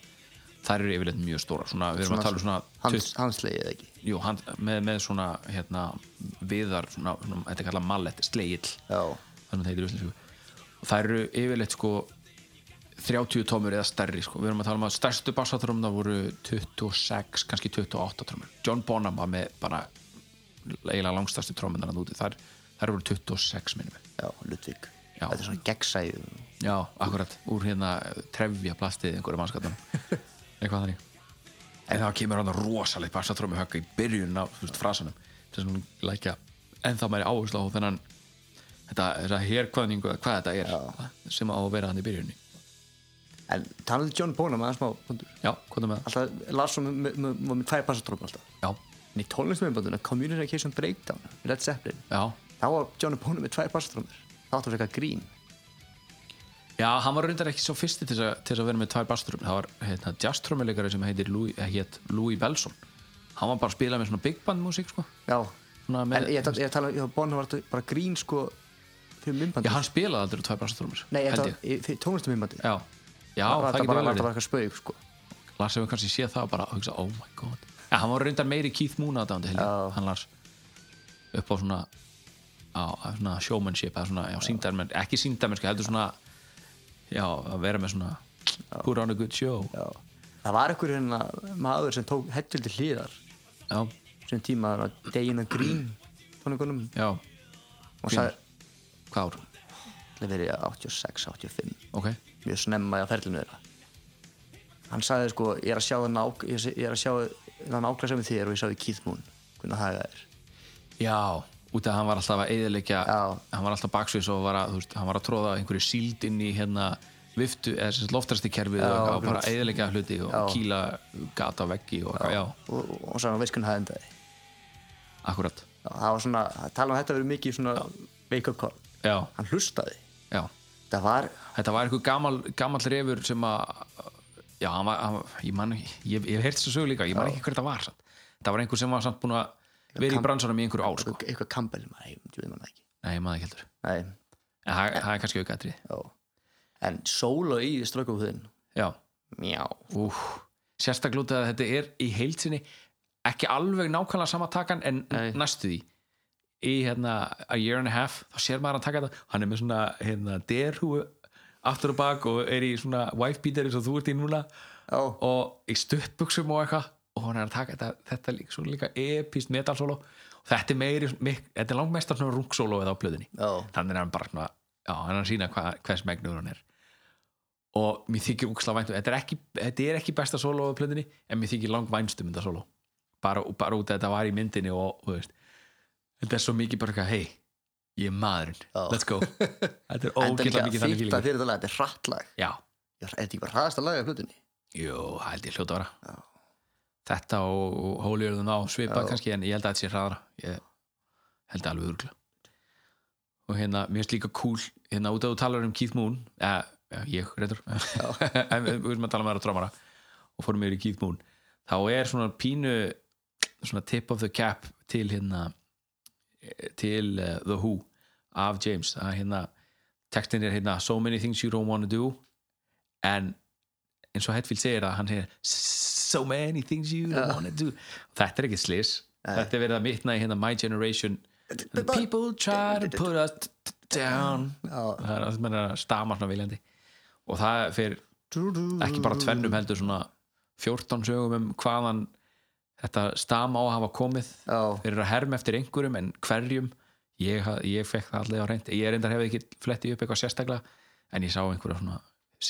[SPEAKER 6] þær eru yfirleitt mjög stóra svona, við erum að tala um svona
[SPEAKER 4] hans,
[SPEAKER 6] 20
[SPEAKER 4] hanslegið eða ekki
[SPEAKER 6] jú, hand, með, með svona hérna, viðar, svona, svona, þetta er kallað mallet slegill,
[SPEAKER 4] Já.
[SPEAKER 6] þannig það heitir í íslensku. og þær eru yfirleitt sko 30 tómur eða stærri sko. við erum að tala um að stærstu bassatrómna voru 26, kannski 28 trómur John Bonham var með bara eiginlega langstærstu trómurnar að úti þær, þær voru 26 minnum við
[SPEAKER 4] já, Ludvig,
[SPEAKER 6] Já.
[SPEAKER 4] þetta er svona gegnsæð
[SPEAKER 6] Já, akkurat, úr hérna trefja plastið einhverju mannskattan eitthvað þannig en þá kemur hann rosalegt bassatrömmu högg í byrjun á þú veist, frasanum til þess að hún lækja en þá mæri áherslu á þennan þetta, þessa herkvæðningu eða hvað þetta er sem á að vera hann í byrjunni
[SPEAKER 4] en talaðu John Bonham aðeins smá punktur.
[SPEAKER 6] Já, hvað er með það?
[SPEAKER 4] alltaf, Larsson var með, með, með, með tvær bassatrókum alltaf
[SPEAKER 6] Já,
[SPEAKER 4] en í tónlistumöndbanduna, Communication Breakdown Led Zeppelin,
[SPEAKER 6] já
[SPEAKER 4] þá var John Bonham með tvær bassatrómur, þá áttu fyrir eitthvað grín
[SPEAKER 6] Já, hann var reyndar ekki svo fyrsti til þess að, til þess að vera með tvær basströmmur það var hérna, jazztrömmuleikari sem heitir Louis, eh, hét Louis Belson hann var bara að spila með svona big band músík sko.
[SPEAKER 4] já,
[SPEAKER 6] Svona með-
[SPEAKER 4] en ég, ég, ég tala um Bonham var þetta bara grín sko fyrir
[SPEAKER 6] Já,
[SPEAKER 4] myndbandi
[SPEAKER 6] hann spilaði aldrei tvær bassatrúmur
[SPEAKER 4] nei, þetta var í- fyrir tónlistumöndbandi
[SPEAKER 6] Já, já
[SPEAKER 4] var
[SPEAKER 6] það
[SPEAKER 4] þetta
[SPEAKER 6] getur
[SPEAKER 4] bara,
[SPEAKER 6] vel
[SPEAKER 4] var
[SPEAKER 6] verið
[SPEAKER 4] þetta bara eitthvað spauk sko
[SPEAKER 6] Lars hefur kannski séð það og bara hugsa, oh my god ja, Hann var reyndar meiri Keith Moon aðdándi
[SPEAKER 4] Já.
[SPEAKER 6] Hann Lars upp á svona, á, á svona showmanship eða svona, já, síndarmenn, ekki síndarmenn heldur svona, já, að vera með svona put on a good show
[SPEAKER 4] já. það var einhver hérna maður sem tók hettildi hliðar
[SPEAKER 6] Já,
[SPEAKER 4] sem tíma að degina grín tónleikunum
[SPEAKER 6] já,
[SPEAKER 4] og sagði
[SPEAKER 6] hvað ár,
[SPEAKER 4] Það verið 86, 85
[SPEAKER 6] ok
[SPEAKER 4] mjög snemma á ferlinu þeirra hann sagði sko ég er að sjá það nák ég sé- ég er að sjá það nákvæmlega sem þér og ég sá því Keith Moon hvernig það er
[SPEAKER 6] Já, út af að hann var alltaf að eyðileggja
[SPEAKER 4] Já.
[SPEAKER 6] hann var alltaf baksvís og var að, þú veist, hann var að tróða einhverju síld inn í hérna viftu, eða loftrasti kerfið og, eitthvað og bara eyðileggja hluti og
[SPEAKER 4] Já.
[SPEAKER 6] kýla gata á veggi og eitthvað, já,
[SPEAKER 4] og, og, og sagði hann veist hvernig það endaði
[SPEAKER 6] akkurat
[SPEAKER 4] Já, það var svona að tala um að þetta verið mikið svona wake up call
[SPEAKER 6] Já,
[SPEAKER 4] hann hlustaði
[SPEAKER 6] já,
[SPEAKER 4] það var
[SPEAKER 6] þetta var einhver gamal, gamal refur sem að já, hann var, hann, ég man ekki ég, ég hef heyrt þessu sögu líka, ég man ekki hver þetta var samt. það var einhver sem var samt búin að vera í bransanum í einhverju ár, sko,
[SPEAKER 4] eitthvað, eitthvað Campbell nei, ég veit maður það ekki
[SPEAKER 6] nei, ég maður ekki heldur
[SPEAKER 4] nei,
[SPEAKER 6] en það, það er kannski aukaðri,
[SPEAKER 4] já. en solo í strökkuhúðin
[SPEAKER 6] já
[SPEAKER 4] mjá
[SPEAKER 6] Úf, sérstaklega út af að þetta er í heilsinni ekki alveg nákvæmlega sama takan en
[SPEAKER 4] Nei.
[SPEAKER 6] næstu því í hérna a year and a half þá sér maður að taka þetta, hann er með svona hérna derhúu aftur og bak og er í svona wife beater eins og þú ert í núna
[SPEAKER 4] Já.
[SPEAKER 6] og í stuttbuxum og eitthvað og hann er að taka þetta, þetta er líka, svona líka epist metal solo og þetta er meiri, mik, þetta er langmestar svona rung solo eða á blöðinni
[SPEAKER 4] Já.
[SPEAKER 6] þannig er hann bara svona, já, hann er að sína hva, hvers megnuður hann er og mér þykir úksla væntum þetta er ekki, þetta er ekki besta solo á plöndinni en mér þykir lang vænstum þetta solo bara, bara út að þetta var í myndinni og, og veist, þetta er svo mikið bara eitthvað hei, ég er maðurinn,
[SPEAKER 4] Já.
[SPEAKER 6] let's go þetta er
[SPEAKER 4] en það er
[SPEAKER 6] ógætla
[SPEAKER 4] líka
[SPEAKER 6] mikið þannig
[SPEAKER 4] fýta
[SPEAKER 6] fílingur
[SPEAKER 4] fyrir þetta lag þetta er hrattlag
[SPEAKER 6] já,
[SPEAKER 4] er þetta ekki bara hraðasta lag af hlutinni
[SPEAKER 6] jú, það held ég hljóta að vera þetta og, og hóliurðun á svipa kannski en ég held að þetta sé hraðara ég held að alveg örgla og hérna, mér finnst líka cool hérna út að þú talar um Keith Moon eða, já, ég reyndar en við við erum að tala með aðra drámara og fórum yfir í Keith Moon þá er svona pínu svona tip of the cap til hérna eh, til uh, The Who af James að hérna textin er hérna so many things you don't want to do and eins og Hetfield segir að hann segir so many things you don't wanna do þetta er ekki slis þetta er verið að mitna í hérna My Generation The people try to put us down það er að menna stama svona viljandi og það fyrir ekki bara tvennum heldur svona 14 sögum um hvaðan þetta stama á að hafa komið
[SPEAKER 4] Já.
[SPEAKER 6] þeir eru að herma eftir einhverjum en hverjum ég, ha- ég fekk það allir á reynd ég reyndar hefði ekki flettið upp eitthvað sérstaklega en ég sá einhverja svona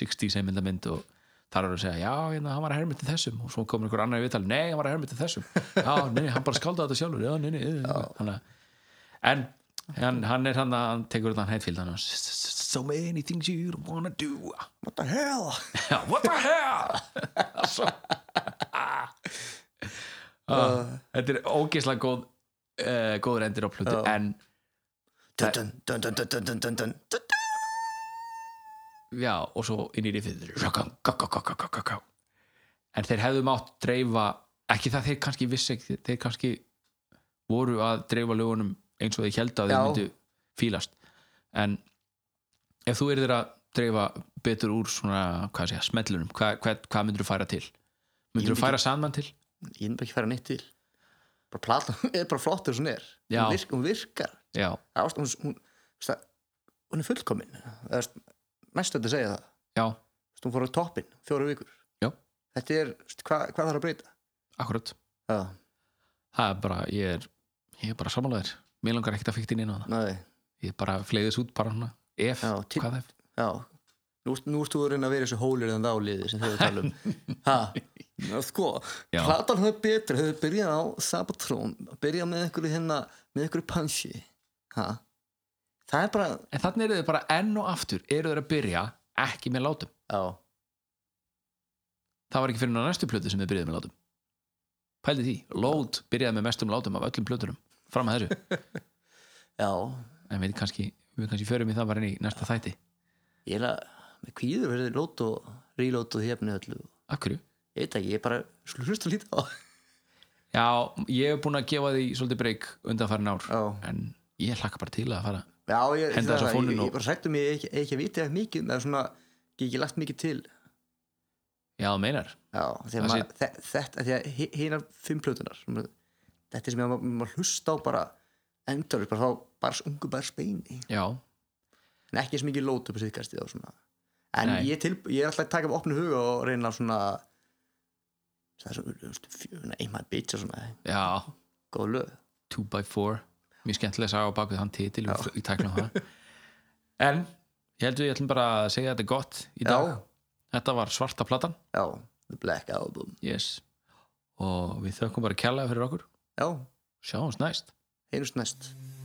[SPEAKER 6] 60 seminda mynd og þar eru að segja já, hérna, hann var að herma til þessum og svo komur einhver annar í viðtal, nei, hann var að herma til þessum já, nei, nei, hann bara skáldaði þetta sjálfur já, nei, nei, já. Þannig, að- en hann, hann er hann að hann tekur þetta hann heitfíld hann, so many things you wanna do
[SPEAKER 4] What the hell?
[SPEAKER 6] Já, what the hell Svo ah, Þetta er ógeðslega góð uh, góður endir á plötu en
[SPEAKER 4] Dun, dun, dun, dun, dun, dun, dun, dun, dun, dun.
[SPEAKER 6] já, og svo inn í rifið en þeir hefðu mátt dreifa ekki það þeir kannski vissi ekki þeir kannski voru að dreifa lögunum eins og þeir held að þeir
[SPEAKER 4] Já.
[SPEAKER 6] myndu fílast en ef þú yrðir að dreifa betur úr svona, hvað segja, smellunum hvað, hvað, hvað myndur þú færa til? myndur
[SPEAKER 4] myndi
[SPEAKER 6] þú færa Sandman til?
[SPEAKER 4] Ég er bara ekki að færa neitt til Bara platan er bara flottur svona er
[SPEAKER 6] Já.
[SPEAKER 4] Hún, virk, hún virkar
[SPEAKER 6] Já,
[SPEAKER 4] Það varst- hún, hún, veist það, hún er fullkomin Það er næstu að segja það
[SPEAKER 6] já,
[SPEAKER 4] Veist, Hún fór á toppin, fjóra vikur
[SPEAKER 6] Já.
[SPEAKER 4] Þetta er, veist, hvað, hvað þarf að breyta?
[SPEAKER 6] akkurat
[SPEAKER 4] Já,
[SPEAKER 6] það er bara, ég er, ég er bara samanlegaður mér langar ekkert að fikta inn inn á það
[SPEAKER 4] næði
[SPEAKER 6] ég er bara fleiðis út bara hana ef,
[SPEAKER 4] Já, til-
[SPEAKER 6] hvað ef,
[SPEAKER 4] Já, nú, ert- nú ert þú að reyna að vera í þessu hólur en þáliði sem þau tala um Ha, Ná, sko
[SPEAKER 6] Já.
[SPEAKER 4] Platan höfðu betur, höfðu byrjað á Sabatrón, byrjað með einhverju hérna með einhverju punchi ha. Það er bara
[SPEAKER 6] en þannig eru þau bara enn og aftur eru þau að byrja ekki með látum
[SPEAKER 4] Já,
[SPEAKER 6] það var ekki fyrir ná næstu plötu sem þau byrjaði með látum pældi því, Load byrjaði með mestum látum af öllum plötunum, fram að þessu
[SPEAKER 4] já
[SPEAKER 6] en við kannski, við kannski förum í það bara inn í næsta þætti
[SPEAKER 4] Ég er að með kvíður verið lót og rílót og hefni öllu
[SPEAKER 6] akkurju,
[SPEAKER 4] Ég veit ekki, ég er bara slurust að líta á
[SPEAKER 6] já, ég hef búin að gefa því svolítið breyk undanfærin ár
[SPEAKER 4] Já.
[SPEAKER 6] en ég hlakka bara til að fara
[SPEAKER 4] Já, ég,
[SPEAKER 6] Henda þessu á
[SPEAKER 4] það-
[SPEAKER 6] fóninn
[SPEAKER 4] ég,
[SPEAKER 6] og-
[SPEAKER 4] ég bara sættum ég ekki, ekki að viti ekki mikið með svona, ég hef ekki lagt mikið til
[SPEAKER 6] já, þú meinar,
[SPEAKER 4] Já, því
[SPEAKER 6] Það
[SPEAKER 4] að
[SPEAKER 6] sé-
[SPEAKER 4] maður, þe- þetta, því að hinar fimm plötunar, maður- þetta er sem maður, maður hlusta á bara endur, bara þá bars ungu bars beini,
[SPEAKER 6] já,
[SPEAKER 4] en ekki sem ekki lót upp síðkastið og svona. En
[SPEAKER 6] Nei.
[SPEAKER 4] ég, til, ég er alltaf að taka upp opnu huga og reyna svona, það er svona, einmað bitch og svona,
[SPEAKER 6] já
[SPEAKER 4] góð lög.
[SPEAKER 6] 2x4 mjög skemmtilega að sagja á bakvið hann titil við við tæknum það en ég held við ég ætlum bara að segja að þetta er gott í dag
[SPEAKER 4] Já.
[SPEAKER 6] þetta var svarta platan
[SPEAKER 4] Já, The Black Album.
[SPEAKER 6] yes. og við þökkum bara kjallaði fyrir okkur
[SPEAKER 4] Já,
[SPEAKER 6] sjáumst næst
[SPEAKER 4] heyrjumst næst.